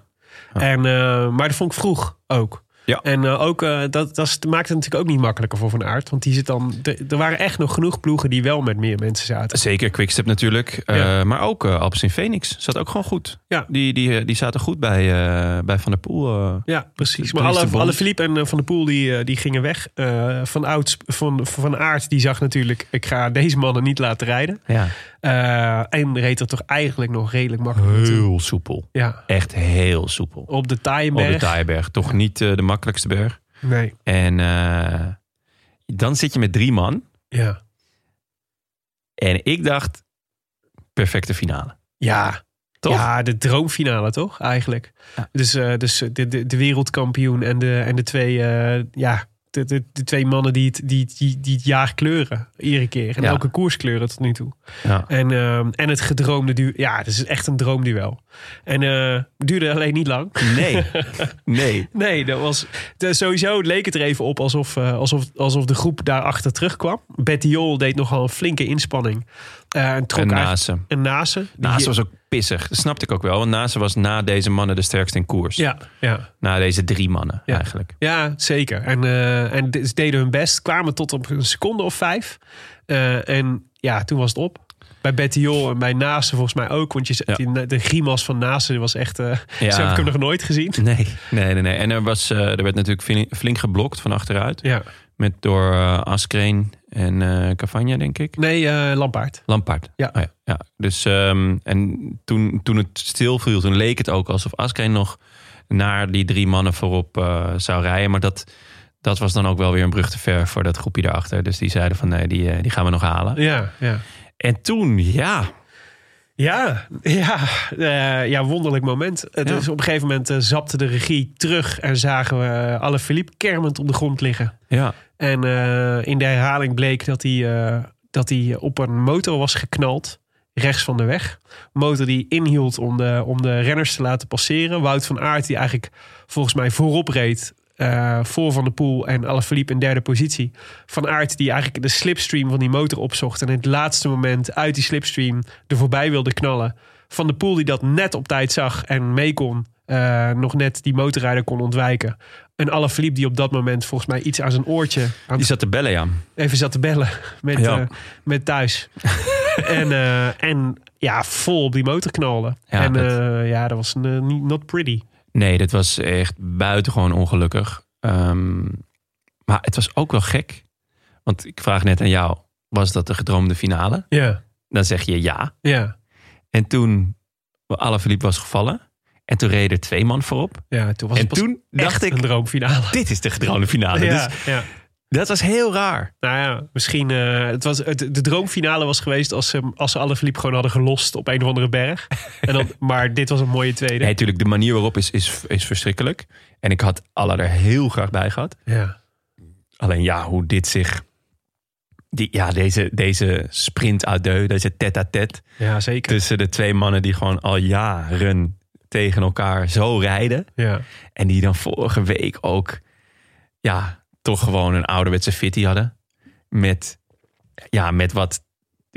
Speaker 1: Ja.
Speaker 2: En, eh, maar dat vond ik vroeg ook.
Speaker 1: Ja.
Speaker 2: En eh, ook, eh, dat, dat is- maakt het natuurlijk ook niet makkelijker voor Van Aert. Want die zit dan, er- er waren echt nog genoeg ploegen die wel met meer mensen zaten.
Speaker 1: Zeker, Quickstep natuurlijk.
Speaker 2: Ja.
Speaker 1: Eh, maar ook eh Alpes in Phoenix zat ook gewoon goed.
Speaker 2: Ja.
Speaker 1: Die, die, eh, die zaten goed bij, eh, bij Van der Poel. eh.
Speaker 2: Ja, precies.
Speaker 1: Toen
Speaker 2: Maar
Speaker 1: is de
Speaker 2: alle,
Speaker 1: band-
Speaker 2: alle Philippe en eh, Van der Poel die, eh, die gingen weg. Eh, van, Ouds, van, van Aert die zag natuurlijk... ik ga deze mannen niet laten rijden. Eh, en reed er toch eigenlijk nog redelijk makkelijk naartoe.
Speaker 1: Heel soepel.
Speaker 2: Ja,
Speaker 1: Echt heel soepel.
Speaker 2: op de
Speaker 1: Op de
Speaker 2: Taaienberg.
Speaker 1: Taaienberg. Toch niet eh, de makkelijkste berg.
Speaker 2: nee,
Speaker 1: En eh, dan zit je met drie man.
Speaker 2: ja.
Speaker 1: En ik dacht, perfecte finale.
Speaker 2: Ja,
Speaker 1: Toch?
Speaker 2: ja, de droomfinale toch eigenlijk.
Speaker 1: Ja.
Speaker 2: Dus, eh, dus de, de, de wereldkampioen en de, en de twee... eh, ja, de, de, de twee mannen die het, die, die, die het jaar kleuren. Iedere keer. En
Speaker 1: Ja.
Speaker 2: elke koers kleuren tot nu toe.
Speaker 1: Ja.
Speaker 2: En, ehm, en het gedroomde duel. Ja, het is echt een droomduel. En eh duurde alleen niet lang.
Speaker 1: Nee. nee.
Speaker 2: Nee, dat was. de- sowieso leek het er even op alsof, eh, alsof, alsof de groep daarachter terugkwam. Betty Jol deed nogal een flinke inspanning. Eh, en trok
Speaker 1: En
Speaker 2: eigenlijk-
Speaker 1: Nase.
Speaker 2: En Nase. die-
Speaker 1: Nase Nou, was ook pissig. Dat snapte ik ook wel. Want Nase was na deze mannen de sterkste in koers.
Speaker 2: Ja, ja,
Speaker 1: Na deze drie mannen
Speaker 2: Ja.
Speaker 1: eigenlijk.
Speaker 2: ja, zeker. En, eh, en de- ze deden hun best. Kwamen tot op een seconde of vijf. Eh, en ja, toen was het op. Bij Betty Jol en bij Nase volgens mij ook. Want je,
Speaker 1: Ja.
Speaker 2: die- de grimas van Nase was echt... eh,
Speaker 1: Ja.
Speaker 2: Zo heb ik hem nog nooit gezien.
Speaker 1: Nee, nee, nee. nee. En er, was, eh, er werd natuurlijk flink- flink geblokt van achteruit.
Speaker 2: Ja.
Speaker 1: Met door eh Askreen en eh Cavagna, denk ik.
Speaker 2: Nee, eh, Lampaard.
Speaker 1: Lampaard.
Speaker 2: Ja.
Speaker 1: Oh ja, ja. Dus ehm, en toen, toen het stilviel, toen leek het ook alsof Askreen nog naar die drie mannen voorop eh, zou rijden. Maar dat, dat was dan ook wel weer een brug te ver voor dat groepje daarachter. Dus die zeiden van nee, die, eh, die gaan we nog halen.
Speaker 2: Ja, ja.
Speaker 1: En toen, ja.
Speaker 2: Ja, ja, eh, ja wonderlijk moment. Het
Speaker 1: Ja.
Speaker 2: is op een gegeven moment eh, zapte de regie terug en zagen we eh, Alaphilippe kermend op de grond liggen.
Speaker 1: Ja,
Speaker 2: En eh, in de herhaling bleek dat hij, eh, dat hij op een motor was geknald. Rechts van de weg. Motor die inhield om de, om de renners te laten passeren. Wout van Aert, die eigenlijk volgens mij voorop reed. eh, voor Van der Poel en Alaphilippe in derde positie. Van Aert die eigenlijk de slipstream van die motor opzocht. En in het laatste moment uit die slipstream er voorbij wilde knallen. Van der Poel die dat net op tijd zag en mee kon. eh, nog net die motorrijder kon ontwijken. En Alaphilippe die op dat moment volgens mij iets aan zijn oortje... Aan
Speaker 1: die zat te bellen, ja.
Speaker 2: even zat te bellen met,
Speaker 1: Ja.
Speaker 2: eh, met thuis. en, eh, en ja, vol op die motor knallen.
Speaker 1: Ja,
Speaker 2: en
Speaker 1: dat-
Speaker 2: eh, ja, dat was een, eh, niet not pretty.
Speaker 1: Nee, dat was echt buitengewoon ongelukkig. Ehm, maar het was ook wel gek. Want ik vraag net aan jou, was dat de gedroomde finale?
Speaker 2: Ja,
Speaker 1: Dan zeg je ja.
Speaker 2: ja.
Speaker 1: En toen Alaphilippe was gevallen. En toen reden er twee man voorop.
Speaker 2: Ja, toen was
Speaker 1: en
Speaker 2: het pas
Speaker 1: toen dacht
Speaker 2: echt
Speaker 1: ik,
Speaker 2: een droomfinale.
Speaker 1: dit is de gedroomde finale.
Speaker 2: Ja,
Speaker 1: Dus
Speaker 2: ja.
Speaker 1: dat was heel raar.
Speaker 2: Nou ja, misschien. eh, het was, het, de droomfinale was geweest als ze, als ze alle Philippe gewoon hadden gelost op een of andere berg. En dan, maar dit was een mooie tweede.
Speaker 1: Nee, natuurlijk, de manier waarop is, is, is verschrikkelijk. En ik had Alla er heel graag bij gehad.
Speaker 2: Ja.
Speaker 1: Alleen ja, hoe dit zich... Die, ja, deze, deze sprint à deux, deze tête-à-tête...
Speaker 2: ja, zeker.
Speaker 1: tussen de twee mannen die gewoon al jaren tegen elkaar zo rijden.
Speaker 2: ja.
Speaker 1: En die dan vorige week ook, ja, toch gewoon een ouderwetse fitty hadden. Met, ja, met wat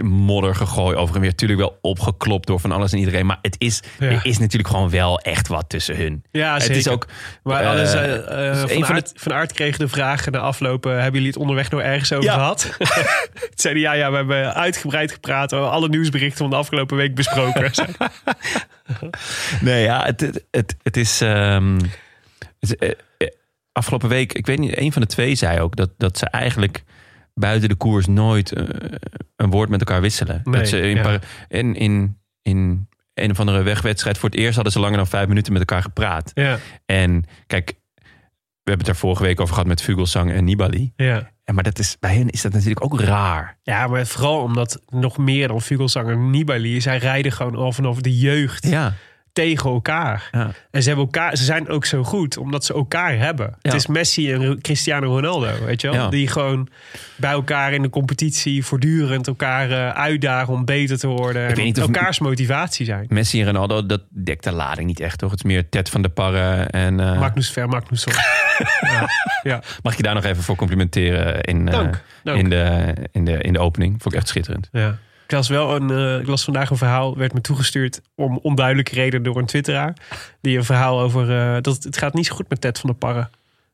Speaker 1: modder gegooid over en weer. Tuurlijk wel opgeklopt door van alles en iedereen. Maar het is,
Speaker 2: Ja.
Speaker 1: er is natuurlijk gewoon wel echt wat tussen hun.
Speaker 2: ja,
Speaker 1: het
Speaker 2: zeker.
Speaker 1: is ook...
Speaker 2: maar
Speaker 1: eh,
Speaker 2: alles, eh, eh,
Speaker 1: een
Speaker 2: van,
Speaker 1: van de-
Speaker 2: Aert, van Aert kreeg de vraag na aflopen: hebben jullie het onderweg nog ergens over
Speaker 1: Ja.
Speaker 2: gehad? Het zeiden ja, ja, we hebben uitgebreid gepraat. We hebben alle nieuwsberichten van de afgelopen week besproken.
Speaker 1: Nee, ja, het, het, het, het is... ehm, het is, eh, eh, afgelopen week, ik weet niet, een van de twee zei ook... dat, dat ze eigenlijk buiten de koers nooit eh, een woord met elkaar wisselen.
Speaker 2: Nee,
Speaker 1: dat ze in,
Speaker 2: ja.
Speaker 1: Par- in, in, in een of andere wegwedstrijd... voor het eerst hadden ze langer dan vijf minuten met elkaar gepraat.
Speaker 2: ja,
Speaker 1: En kijk, we hebben het daar vorige week over gehad... met Vugelsang en Nibali.
Speaker 2: ja.
Speaker 1: En, maar dat is, bij hen is dat natuurlijk ook raar.
Speaker 2: Ja, maar vooral omdat nog meer dan Fugelsanger Nibali, zij rijden gewoon al vanaf de jeugd
Speaker 1: Ja,
Speaker 2: tegen elkaar.
Speaker 1: ja.
Speaker 2: En ze, hebben elkaar, ze zijn ook zo goed, omdat ze elkaar hebben. Het is Messi en Cristiano Ronaldo, weet je wel?
Speaker 1: Ja.
Speaker 2: Die gewoon bij elkaar in de competitie voortdurend elkaar eh, uitdagen om beter te worden. En
Speaker 1: weet niet of-
Speaker 2: elkaars motivatie zijn.
Speaker 1: Messi en Ronaldo, dat dekt de lading niet echt, toch? Het is meer Ted van der Parre en... eh,
Speaker 2: Magnus Ver, Magnus ja. ja.
Speaker 1: Mag ik je daar nog even voor complimenteren in, eh,
Speaker 2: Dank, dank.
Speaker 1: In, de, in, de, in de opening? Vond ik echt schitterend.
Speaker 2: Ja. Ik las wel een. eh, ik las vandaag een verhaal, werd me toegestuurd om onduidelijke reden door een twitteraar. Die een verhaal over eh, dat het gaat niet zo goed met Ted van der Parre.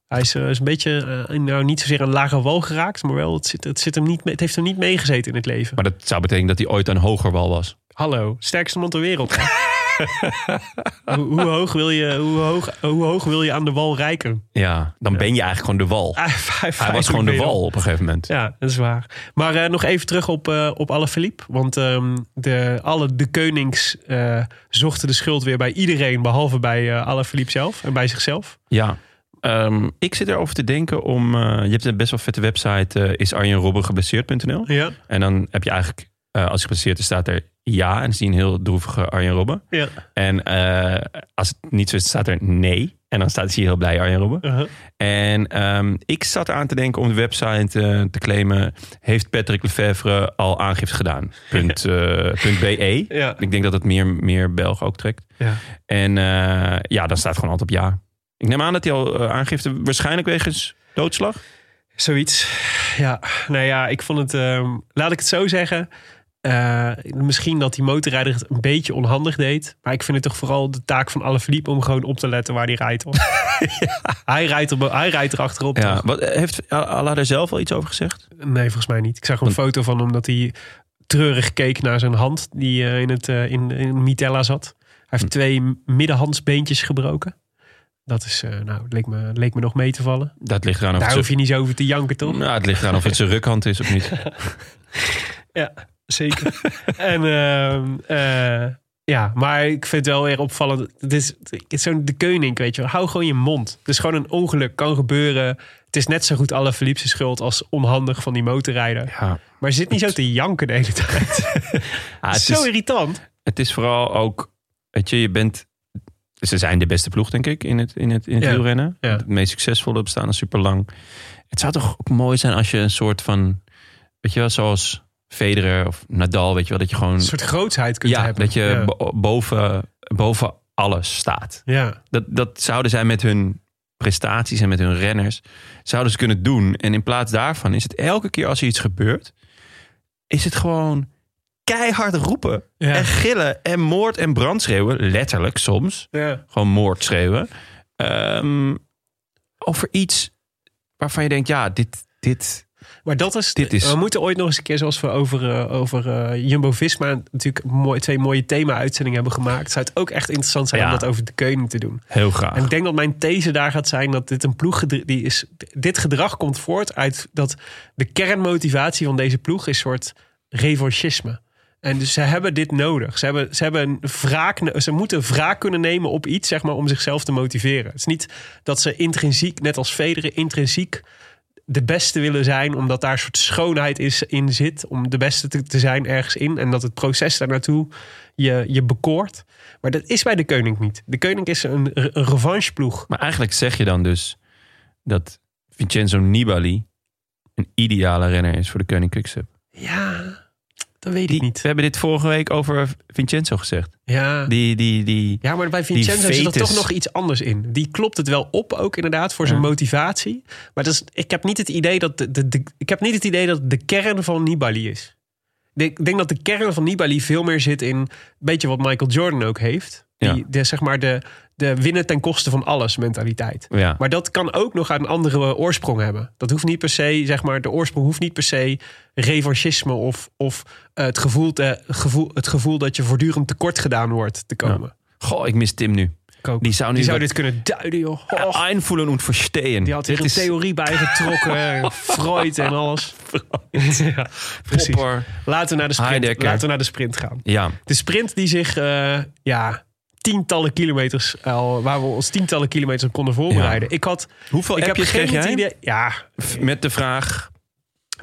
Speaker 2: Hij is, eh, is een beetje, eh, in- nou niet zozeer een lage wal geraakt, maar wel, het, zit, het, zit hem niet, mee- het heeft hem niet meegezeten in het leven.
Speaker 1: Maar dat zou betekenen dat hij ooit aan hoger wal was.
Speaker 2: Hallo, sterkste man ter wereld. hè? hoe, hoe, hoog wil je, hoe, hoog, hoe hoog wil je aan de wal rijken?
Speaker 1: Ja, dan ben je eigenlijk gewoon de wal.
Speaker 2: Ah,
Speaker 1: hij was gewoon de wal op een gegeven moment.
Speaker 2: Ja, dat is waar. Maar eh, nog even terug op, eh op Alaphilippe. Want ehm, de, alle de Keunings eh, zochten de schuld weer bij iedereen... behalve bij eh Alaphilippe zelf en bij zichzelf.
Speaker 1: Ja. Ehm, ik zit erover te denken om... eh, je hebt een best wel vette website, eh is arjenrobbengeblesseerd.nl.
Speaker 2: Ja,
Speaker 1: En dan heb je eigenlijk, eh, als hij geblesseerd is, staat er ja. En dan zie je een heel droevige Arjen Robben.
Speaker 2: ja.
Speaker 1: En eh, als het niet zo is, staat er nee. En dan staat, zie je heel blij Arjen Robben.
Speaker 2: Uh-huh.
Speaker 1: En ehm, ik zat aan te denken om de website eh, te claimen. Heeft Patrick Lefevre al aangifte gedaan? Punt, eh, punt BE.
Speaker 2: Ja.
Speaker 1: Ik denk dat het meer, meer Belgen ook trekt.
Speaker 2: Ja.
Speaker 1: En eh, ja, dan staat gewoon altijd op ja. Ik neem aan dat hij al eh, aangifte, waarschijnlijk wegens doodslag.
Speaker 2: Zoiets. Ja, nou ja, ik vond het... ehm, laat ik het zo zeggen. Eh, misschien dat die motorrijder het een beetje onhandig deed. Maar ik vind het toch vooral de taak van Alaphilippe... om gewoon op te letten waar hij rijdt. hoor. hij, rijdt er, hij rijdt er achterop. toch?
Speaker 1: Ja. Wat, eh, heeft Allah daar zelf al iets over gezegd?
Speaker 2: Nee, volgens mij niet. Ik zag een foto van hem dat hij treurig keek naar zijn hand die eh, in, het, eh, in, in Mitella zat. Hij
Speaker 1: Hm.
Speaker 2: heeft twee m- middenhandsbeentjes gebroken. Dat is, eh, nou, leek me, leek me nog mee te vallen.
Speaker 1: Dat ligt eraan of
Speaker 2: Daar
Speaker 1: het,
Speaker 2: hoef
Speaker 1: zijn-
Speaker 2: je niet zo over te janken, toch?
Speaker 1: nou, het ligt eraan of het zijn rukhand is of niet.
Speaker 2: Zeker. en ehm, eh, ja, maar ik vind het wel weer opvallend. Het is, het is zo'n de koning, weet je wel. Hou gewoon je mond. Het is gewoon een ongeluk, kan gebeuren. Het is net zo goed alle Philipse schuld als onhandig van die motorrijder.
Speaker 1: Ja.
Speaker 2: Maar zit niet zo te janken de hele tijd.
Speaker 1: Ah, het
Speaker 2: zo
Speaker 1: is-
Speaker 2: irritant.
Speaker 1: Het is vooral ook, weet je, je bent. Ze zijn de beste ploeg, denk ik, in het, in het, in het
Speaker 2: Ja,
Speaker 1: wielrennen.
Speaker 2: ja.
Speaker 1: Het meest succesvolle bestaan super lang. Het zou toch ook mooi zijn als je een soort van, weet je wel, zoals Federer of Nadal, weet je wel, dat je gewoon,
Speaker 2: een soort grootsheid kunt
Speaker 1: ja,
Speaker 2: hebben.
Speaker 1: dat je
Speaker 2: ja.
Speaker 1: bo- boven, boven alles staat.
Speaker 2: Ja.
Speaker 1: Dat, dat zouden zij met hun prestaties en met hun renners, zouden ze kunnen doen. En in plaats daarvan is het elke keer als er iets gebeurt, is het gewoon keihard roepen.
Speaker 2: Ja.
Speaker 1: En gillen en moord en brand schreeuwen. Letterlijk soms. Gewoon moord schreeuwen. Ehm, over iets waarvan je denkt, ja, dit... dit
Speaker 2: Maar dat is,
Speaker 1: Dit is-
Speaker 2: We moeten ooit nog eens een keer, zoals we over, eh, over eh, Jumbo-Visma... natuurlijk mooi, twee mooie thema-uitzendingen hebben gemaakt... zou het ook echt interessant zijn
Speaker 1: Ja.
Speaker 2: om dat over de keuning te doen.
Speaker 1: Heel graag.
Speaker 2: En ik denk dat mijn these daar gaat zijn dat dit een ploeg... gedr- Die is, dit gedrag komt voort uit dat de kernmotivatie van deze ploeg... is een soort revanchisme. En dus ze hebben dit nodig. Ze, hebben, ze, hebben een wraak, ze moeten wraak kunnen nemen op iets zeg maar, om zichzelf te motiveren. Het is niet dat ze intrinsiek, net als Federer, intrinsiek de beste willen zijn. Omdat daar een soort schoonheid is, in zit. Om de beste te, te zijn ergens in. En dat het proces daar naartoe je, je bekoort. Maar dat is bij de koning niet. De koning is een, re- een revancheploeg.
Speaker 1: Maar eigenlijk zeg je dan dus dat Vincenzo Nibali een ideale renner is voor de Koning Quickstep.
Speaker 2: Ja, dat weet
Speaker 1: Die,
Speaker 2: ik
Speaker 1: we
Speaker 2: niet.
Speaker 1: hebben dit vorige week over Vincenzo gezegd.
Speaker 2: Ja.
Speaker 1: Die, die, die,
Speaker 2: Ja, maar bij Vincenzo zit er
Speaker 1: fetus.
Speaker 2: toch nog iets anders in. Die klopt het wel op ook inderdaad voor zijn
Speaker 1: Ja.
Speaker 2: motivatie. Maar dat is, ik, heb niet het idee dat de, de, de- ik heb niet het idee dat het de kern van Nibali is. Ik denk- ik denk dat de kern van Nibali veel meer zit in... een beetje wat Michael Jordan ook heeft. Die,
Speaker 1: Ja.
Speaker 2: de, zeg maar de, de winnen ten koste van alles mentaliteit.
Speaker 1: Ja.
Speaker 2: Maar dat kan ook nog een andere eh, oorsprong hebben. Dat hoeft niet per se, zeg maar, de oorsprong hoeft niet per se revanchisme of, of eh, het, gevoel te, gevoel, het gevoel dat je voortdurend tekort gedaan wordt te komen.
Speaker 1: Goh, ik mis Tim nu. Die zou nu
Speaker 2: Die zou
Speaker 1: wel-
Speaker 2: dit kunnen duiden, joh. Och,
Speaker 1: Einvoelen und verstehen.
Speaker 2: die had hier
Speaker 1: Dit
Speaker 2: een
Speaker 1: is
Speaker 2: theorie bij getrokken. Freud en alles. ja, precies.
Speaker 1: Popper.
Speaker 2: Laten we, naar de sprint,
Speaker 1: Heidegger.
Speaker 2: laten we naar de sprint gaan.
Speaker 1: Ja,
Speaker 2: De sprint die zich, eh, ja, tientallen kilometers, al waar we ons tientallen kilometers op konden voorbereiden. Ik had,
Speaker 1: Hoeveel
Speaker 2: ik heb
Speaker 1: appjes
Speaker 2: geen
Speaker 1: kreeg jij?
Speaker 2: idee. Ja,
Speaker 1: F- met de vraag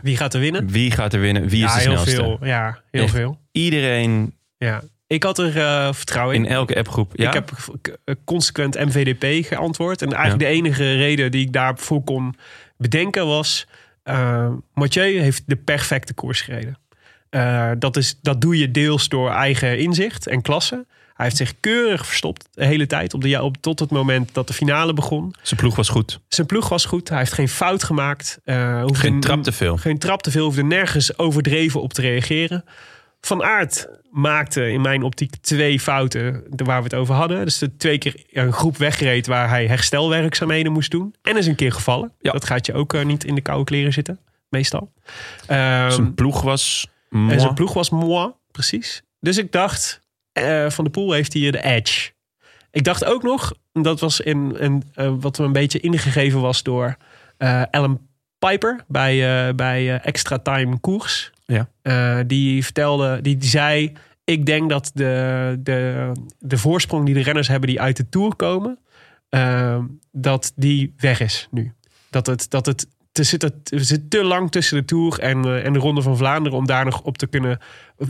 Speaker 2: wie gaat er winnen?
Speaker 1: wie gaat er winnen, wie is
Speaker 2: ja,
Speaker 1: de
Speaker 2: heel
Speaker 1: snelste.
Speaker 2: veel. Ja, heel
Speaker 1: Echt.
Speaker 2: veel.
Speaker 1: Iedereen
Speaker 2: Ja. Ik had er eh, vertrouwen in.
Speaker 1: in elke appgroep. Ja?
Speaker 2: Ik heb k- eh, consequent MVDP geantwoord. En eigenlijk de enige reden die ik daarvoor kon bedenken was... eh Mathieu heeft de perfecte koers gereden. Eh, dat, is, dat doe je deels door eigen inzicht en klasse. Hij heeft zich keurig verstopt de hele tijd. Op de, ja- op, tot het moment dat de finale begon.
Speaker 1: Zijn ploeg was goed.
Speaker 2: Zijn ploeg was goed. Hij heeft geen fout gemaakt. Eh, hoefde
Speaker 1: Geen
Speaker 2: n-
Speaker 1: trap te veel.
Speaker 2: geen trap te veel, hoefde nergens overdreven op te reageren. Van Aert maakte in mijn optiek twee fouten de- waar we het over hadden. Dus de twee keer een groep wegreed waar hij herstelwerkzaamheden moest doen. En is een keer gevallen.
Speaker 1: Ja.
Speaker 2: Dat gaat je ook eh, niet in de koude kleren zitten, meestal. Ehm,
Speaker 1: Zijn ploeg was...
Speaker 2: en
Speaker 1: mooi.
Speaker 2: zijn ploeg was moi, precies. Dus ik dacht, eh, Van de Poel heeft hier de edge. Ik dacht ook nog, en dat was in, in, eh, wat me een beetje ingegeven was door eh Alan Piper bij, eh, bij eh, Extra Time Koers.
Speaker 1: Ja.
Speaker 2: Eh, die vertelde, die, die zei, ik denk dat de, de, de voorsprong die de renners hebben die uit de Tour komen, eh, dat die weg is nu. Dat het, dat het er zit, er, er zit te lang tussen de Tour en, eh, en de Ronde van Vlaanderen om daar nog op te kunnen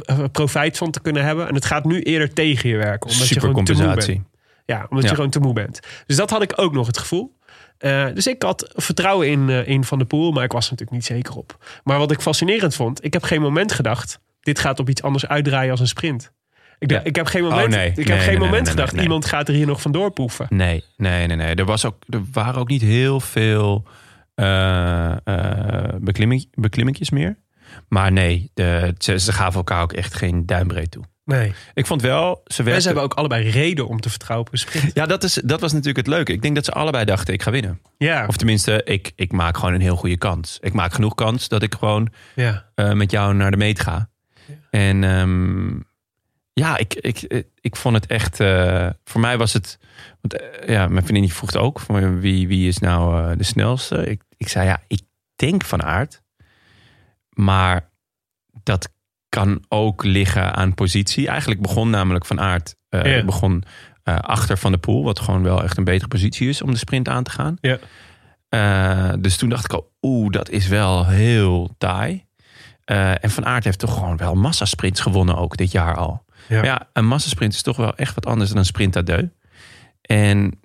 Speaker 2: eh, profijt van te kunnen hebben. En het gaat nu eerder tegen je werken. Omdat je gewoon te moe bent.
Speaker 1: Supercompensatie.
Speaker 2: Ja, omdat
Speaker 1: Ja.
Speaker 2: je gewoon te moe bent. Dus dat had ik ook nog het gevoel. Eh, dus ik had vertrouwen in, eh, in Van der Poel, maar ik was er natuurlijk niet zeker op. Maar wat ik fascinerend vond, ik heb geen moment gedacht... dit gaat op iets anders uitdraaien als een sprint. Ik, dacht,
Speaker 1: Ja.
Speaker 2: ik heb geen moment,
Speaker 1: Oh, nee.
Speaker 2: ik heb
Speaker 1: Nee,
Speaker 2: geen
Speaker 1: nee, nee,
Speaker 2: moment
Speaker 1: nee, nee,
Speaker 2: gedacht,
Speaker 1: nee.
Speaker 2: iemand gaat er hier nog vandoor poeven.
Speaker 1: Nee, nee, nee, nee. Er, was ook, er waren ook niet heel veel eh eh, beklimming, beklimminkjes meer. Maar nee, de, ze, ze gaven elkaar ook echt geen duimbreed toe.
Speaker 2: Nee.
Speaker 1: Ik vond wel, ze
Speaker 2: En
Speaker 1: werkten...
Speaker 2: ze hebben ook allebei reden om te vertrouwen op een sprint.
Speaker 1: Ja, dat, is, dat was natuurlijk het leuke. Ik denk dat ze allebei dachten, ik ga winnen.
Speaker 2: Ja,
Speaker 1: Of tenminste, ik, ik maak gewoon een heel goede kans. Ik maak genoeg kans dat ik gewoon
Speaker 2: ja.
Speaker 1: eh, met jou naar de meet ga. En ehm, ja, ik, ik, ik, ik vond het echt... eh, voor mij was het... Want, eh, ja, mijn vriendin die vroeg het ook. Van wie, wie is nou eh, de snelste? Ik, ik zei, ja, ik denk van aard. Maar dat kan ook liggen aan positie. Eigenlijk begon namelijk van aard... eh,
Speaker 2: Ja.
Speaker 1: begon eh, achter van de pool. Wat gewoon wel echt een betere positie is om de sprint aan te gaan.
Speaker 2: Ja.
Speaker 1: Eh, dus toen dacht ik al, oeh, dat is wel heel taai. Eh, en Van Aert heeft toch gewoon wel massasprints gewonnen ook dit jaar al.
Speaker 2: Ja.
Speaker 1: Ja, ja een massasprint is toch wel echt wat anders dan een sprint à deux. En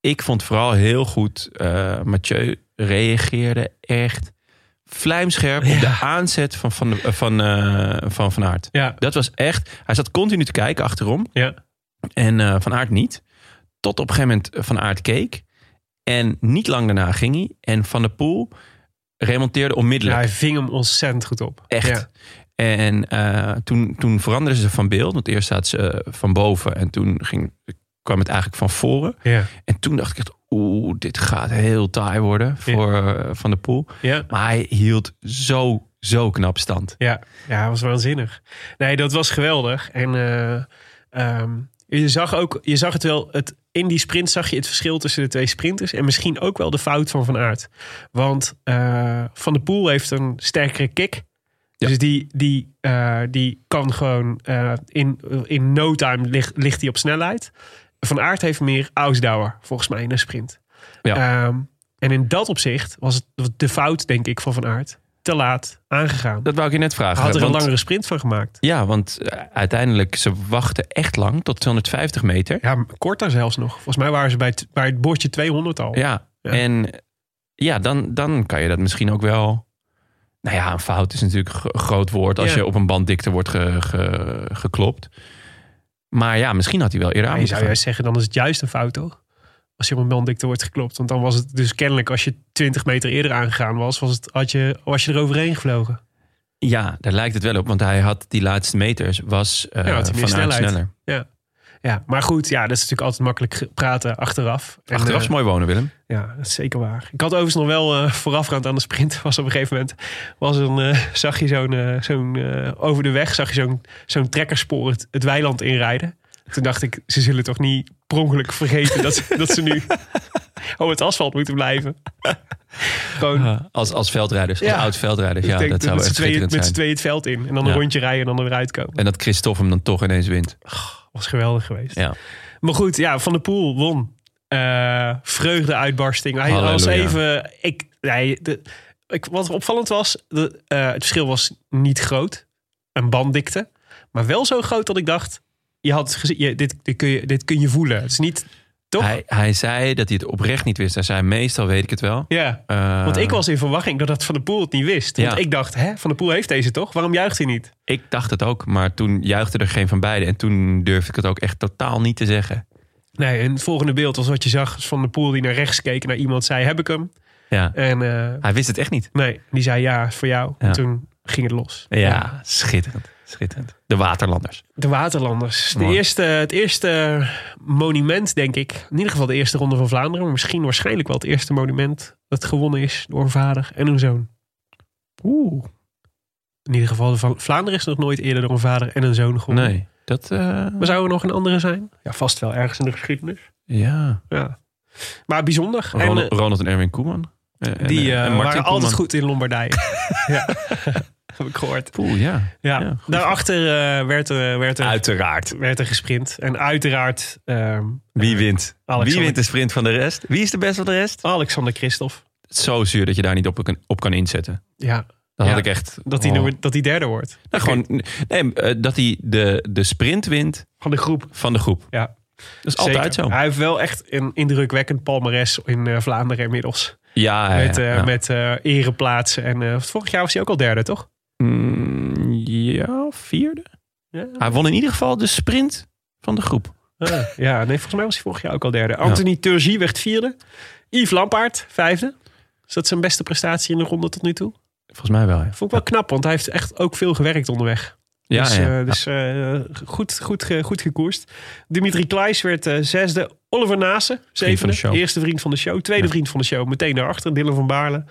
Speaker 1: ik vond vooral heel goed, eh, Mathieu reageerde echt vlijmscherp op de aanzet van Van, de- eh, van, eh, van, van Aert.
Speaker 2: Ja,
Speaker 1: Dat was echt, hij zat continu te kijken achterom
Speaker 2: ja.
Speaker 1: en eh, Van Aert niet. Tot op een gegeven moment Van Aert keek. En niet lang daarna ging hij. En Van der Poel remonteerde
Speaker 2: Ja,
Speaker 1: onmiddellijk.
Speaker 2: hij ving hem ontzettend goed op.
Speaker 1: Echt.
Speaker 2: Ja.
Speaker 1: En eh, toen, toen veranderden ze van beeld. Want eerst zaten ze eh, van boven en toen ging, kwam het eigenlijk van voren.
Speaker 2: Ja.
Speaker 1: En toen dacht ik echt, oeh, dit gaat heel taai worden voor eh, Van der Poel.
Speaker 2: Ja.
Speaker 1: Maar hij hield zo, zo knap stand.
Speaker 2: Ja, ja, dat was waanzinnig. Nee, dat was geweldig. En eh, ehm, je zag ook, je zag het wel, het, in die sprint zag je het verschil tussen de twee sprinters. En misschien ook wel de fout van Van Aert. Want eh, Van der Poel heeft een sterkere kick. Dus die, die, eh, die kan gewoon eh, in, in no time ligt, ligt die op snelheid. Van Aert heeft meer Ausdauer, volgens mij, in een sprint.
Speaker 1: Ja.
Speaker 2: Ehm, en in dat opzicht was het de fout, denk ik, van Van Aert. Te laat aangegaan.
Speaker 1: Dat wou ik je net vragen.
Speaker 2: Hij had er een
Speaker 1: want-
Speaker 2: langere sprint van gemaakt.
Speaker 1: Ja, want eh, uiteindelijk, ze wachten echt lang, tot 250 meter.
Speaker 2: Ja, korter zelfs nog. Volgens mij waren ze bij het, bij het bordje 200 al.
Speaker 1: Ja,
Speaker 2: Ja.
Speaker 1: en ja, dan, dan kan je dat misschien ook wel... Nou ja, een fout is natuurlijk een gro- groot woord... als
Speaker 2: Ja.
Speaker 1: je op een banddikte wordt ge- ge- geklopt. Maar ja, misschien had hij wel eerder aan
Speaker 2: Ja, je
Speaker 1: moeten
Speaker 2: zou
Speaker 1: gaan.
Speaker 2: juist zeggen, dan is het juist een fout, toch? Als je op een banddikte wordt geklopt. Want dan was het dus kennelijk, als je 20 meter eerder aangegaan was, was, het, had je, was je er overheen gevlogen.
Speaker 1: Ja, daar lijkt het wel op. Want hij had die laatste meters, was eh
Speaker 2: Ja, had hij meer
Speaker 1: vanuit
Speaker 2: snelheid.
Speaker 1: sneller.
Speaker 2: Ja, maar goed, ja, dat is natuurlijk altijd makkelijk ge- praten achteraf. En,
Speaker 1: Achteraf is
Speaker 2: eh,
Speaker 1: mooi wonen, Willem.
Speaker 2: ja, dat is zeker waar. Ik had overigens nog wel eh, voorafgaand aan de sprint, was op een gegeven moment, was een, eh, zag je zo'n, eh, zo'n eh, over de weg, zag je zo'n, zo'n trekkerspoor het, het weiland inrijden. Toen dacht ik, ze zullen toch niet prongelijk vergeten dat, ze- dat ze nu op het asfalt moeten blijven. Gewoon
Speaker 1: Als, als veldrijders,
Speaker 2: Ja.
Speaker 1: als oud-veldrijders. Ja,
Speaker 2: Ik denk
Speaker 1: dat zou
Speaker 2: met
Speaker 1: echt
Speaker 2: z'n tweeën,
Speaker 1: schitterend zijn.
Speaker 2: met z'n tweeën het veld in. En dan
Speaker 1: Ja.
Speaker 2: een rondje rijden en dan er weer uitkomen.
Speaker 1: En dat Christophe hem dan toch ineens wint.
Speaker 2: was geweldig geweest.
Speaker 1: Ja.
Speaker 2: Maar goed, ja, Van der Poel won. Eh vreugdeuitbarsting. Hij was
Speaker 1: Halleluja.
Speaker 2: even... Ik, nee, de, ik, wat opvallend was, de, eh, het verschil was niet groot. Een banddikte. Maar wel zo groot dat ik dacht... Je had gezien, je, dit, dit, kun je, dit kun je voelen. Het is niet... Toch?
Speaker 1: Hij, hij zei dat hij het oprecht niet wist. Hij zei, meestal weet ik het wel.
Speaker 2: ja.
Speaker 1: Eh,
Speaker 2: Want ik was in verwachting dat dat Van der Poel het niet wist. Want
Speaker 1: Ja.
Speaker 2: ik dacht, hè, Van der Poel heeft deze toch? Waarom juicht hij niet?
Speaker 1: ik dacht het ook, maar toen juichte er geen van beiden. En toen durfde ik het ook echt totaal niet te zeggen.
Speaker 2: Nee, en het volgende beeld was wat je zag. was Van der Poel die naar rechts keek en naar iemand zei, heb ik hem?
Speaker 1: Ja.
Speaker 2: En eh,
Speaker 1: Hij wist het echt niet.
Speaker 2: Nee, die zei ja, is voor jou.
Speaker 1: Ja.
Speaker 2: En toen ging het los.
Speaker 1: Ja, schitterend. Schitterend. De Waterlanders.
Speaker 2: De Waterlanders. De
Speaker 1: Mooi.
Speaker 2: eerste, het eerste monument, denk ik. In ieder geval de eerste Ronde van Vlaanderen. Maar misschien waarschijnlijk wel het eerste monument dat gewonnen is door een vader en een zoon. Oeh. In ieder geval, de van Vlaanderen is nog nooit eerder door een vader en een zoon gewonnen.
Speaker 1: Nee, dat... eh,
Speaker 2: Maar zou er nog een andere zijn? Ja, vast wel ergens in de geschiedenis.
Speaker 1: ja.
Speaker 2: Ja. Maar bijzonder. en,
Speaker 1: Ronald,
Speaker 2: eh,
Speaker 1: Ronald en Erwin Koeman. Eh, en,
Speaker 2: die
Speaker 1: eh,
Speaker 2: eh,
Speaker 1: en
Speaker 2: waren
Speaker 1: Koeman.
Speaker 2: altijd goed in Lombardije. ja. Heb ik gehoord.
Speaker 1: Poeh, ja.
Speaker 2: Ja,
Speaker 1: Ja, goed.
Speaker 2: daarachter eh, werd, eh, werd, er,
Speaker 1: Uiteraard.
Speaker 2: werd er gesprint. En uiteraard ehm,
Speaker 1: Wie wint?
Speaker 2: Alexander.
Speaker 1: Wie wint de sprint van de rest? Wie is de beste van de rest?
Speaker 2: Alexander Christophe.
Speaker 1: Zo zuur dat je daar niet op kan, op kan inzetten.
Speaker 2: Ja,
Speaker 1: Dat
Speaker 2: Ja.
Speaker 1: had ik echt...
Speaker 2: dat hij
Speaker 1: oh.
Speaker 2: nummer- dat hij derde wordt.
Speaker 1: Nou, gewoon, nee, eh, dat hij de, de sprint wint
Speaker 2: Van de groep.
Speaker 1: van de groep.
Speaker 2: Ja,
Speaker 1: Dat is altijd zo.
Speaker 2: Hij heeft wel echt een indrukwekkend palmares in eh, Vlaanderen inmiddels.
Speaker 1: Ah, Ja, ja,
Speaker 2: met eh,
Speaker 1: ja.
Speaker 2: met eh, ereplaatsen. En eh, vorig jaar was hij ook al derde, toch?
Speaker 1: Mm, ja, vierde.
Speaker 2: Ja.
Speaker 1: Hij won in ieder geval de sprint van de groep.
Speaker 2: ja, nee, volgens mij was hij vorig jaar ook al derde. Anthony Turgie werd vierde. Yves Lampaard, vijfde. Is dat zijn beste prestatie in de ronde tot nu toe?
Speaker 1: Volgens mij wel, ja.
Speaker 2: Vond ik wel knap, want hij heeft echt ook veel gewerkt onderweg.
Speaker 1: Ja,
Speaker 2: dus
Speaker 1: ja.
Speaker 2: eh, dus eh, goed, goed, ge- goed gekoerst. Dimitri Kleis werd eh, zesde. Oliver Nase,
Speaker 1: van de
Speaker 2: zevende.
Speaker 1: show.
Speaker 2: Eerste vriend van de show. Tweede
Speaker 1: Ja.
Speaker 2: vriend van de show. Meteen daarachter. Dylan van Baarle.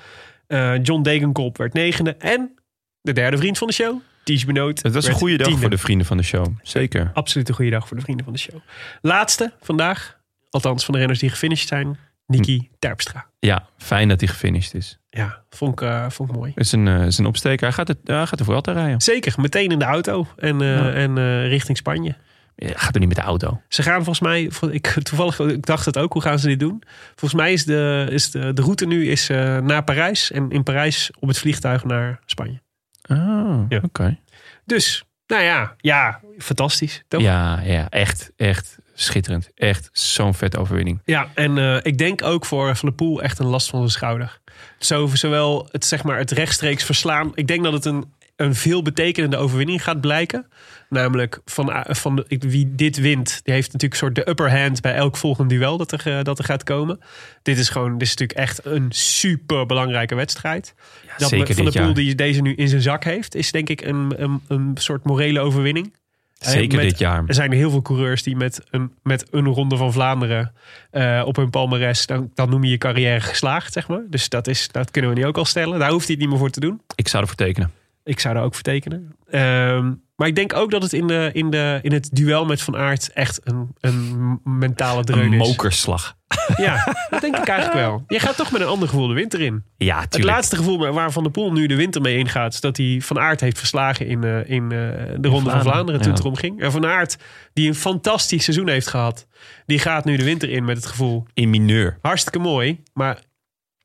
Speaker 2: Eh, John Degenkop werd negende. En de derde vriend van de show. Ties Benoot.
Speaker 1: Het was een
Speaker 2: werd
Speaker 1: goede dag
Speaker 2: tiende.
Speaker 1: voor de vrienden van de show. Zeker.
Speaker 2: Absoluut een goede dag voor de vrienden van de show. Laatste vandaag. Althans van de renners die gefinished zijn.
Speaker 1: Hm.
Speaker 2: Niki Terpstra.
Speaker 1: Ja, fijn dat hij gefinished is.
Speaker 2: Ja, vond ik, eh, vond ik mooi.
Speaker 1: Het is een, eh, is een opsteker. Hij gaat, het, hij gaat de Vuelta rijden.
Speaker 2: Zeker, meteen in de auto en, eh,
Speaker 1: Ja.
Speaker 2: en eh, richting Spanje.
Speaker 1: Ja, gaat er niet met de auto.
Speaker 2: Ze gaan volgens mij, vol- ik, toevallig, ik dacht het ook, hoe gaan ze dit doen? Volgens mij is de, is de, de route nu is, eh, naar Parijs en in Parijs op het vliegtuig naar Spanje.
Speaker 1: Ah,
Speaker 2: Ja.
Speaker 1: oké.
Speaker 2: Dus, nou ja, ja, fantastisch. Toch?
Speaker 1: Ja, ja, echt, echt schitterend. Echt zo'n vet overwinning.
Speaker 2: Ja, en eh, ik denk ook voor Van der Poel echt een last van zijn schouder. Zo, zowel het, zeg maar, het rechtstreeks verslaan. Ik denk dat het een, een veelbetekenende overwinning gaat blijken. Namelijk, van, eh, van de- ik- wie dit wint, die heeft natuurlijk een soort de upper hand bij elk volgend duel dat er, eh, dat er gaat komen. Dit is gewoon, dit is natuurlijk echt een super belangrijke wedstrijd. dat
Speaker 1: zeker
Speaker 2: Van
Speaker 1: dit
Speaker 2: der Poel
Speaker 1: jaar.
Speaker 2: die deze nu in zijn zak heeft, is denk ik een, een, een soort morele overwinning. Eh,
Speaker 1: Zeker
Speaker 2: met-
Speaker 1: dit jaar.
Speaker 2: Er zijn heel veel coureurs die met een, met een ronde van Vlaanderen eh, op hun palmares, dan, dan noem je je carrière geslaagd, zeg maar. Dus dat, is, dat kunnen we nu ook al stellen. Daar hoeft hij het niet meer voor te doen.
Speaker 1: Ik zou ervoor tekenen.
Speaker 2: Ik zou daar ook voor tekenen. Ehm, maar ik denk ook dat het in, de, in, de, in het duel met Van Aert echt een, een mentale dreun
Speaker 1: Een
Speaker 2: is.
Speaker 1: mokerslag.
Speaker 2: Ja, dat denk ik eigenlijk wel. Je gaat toch met een ander gevoel de winter in.
Speaker 1: Ja,
Speaker 2: Het
Speaker 1: tuurlijk.
Speaker 2: laatste gevoel waar Van der Poel nu de winter mee ingaat... is dat hij Van Aert heeft verslagen in, eh, in eh, de Ronde van
Speaker 1: Vlaanderen,
Speaker 2: Vlaanderen toen
Speaker 1: ja.
Speaker 2: het erom ging. En Van Aert, die een fantastisch seizoen heeft gehad... die gaat nu de winter in met het gevoel...
Speaker 1: In mineur.
Speaker 2: hartstikke mooi, maar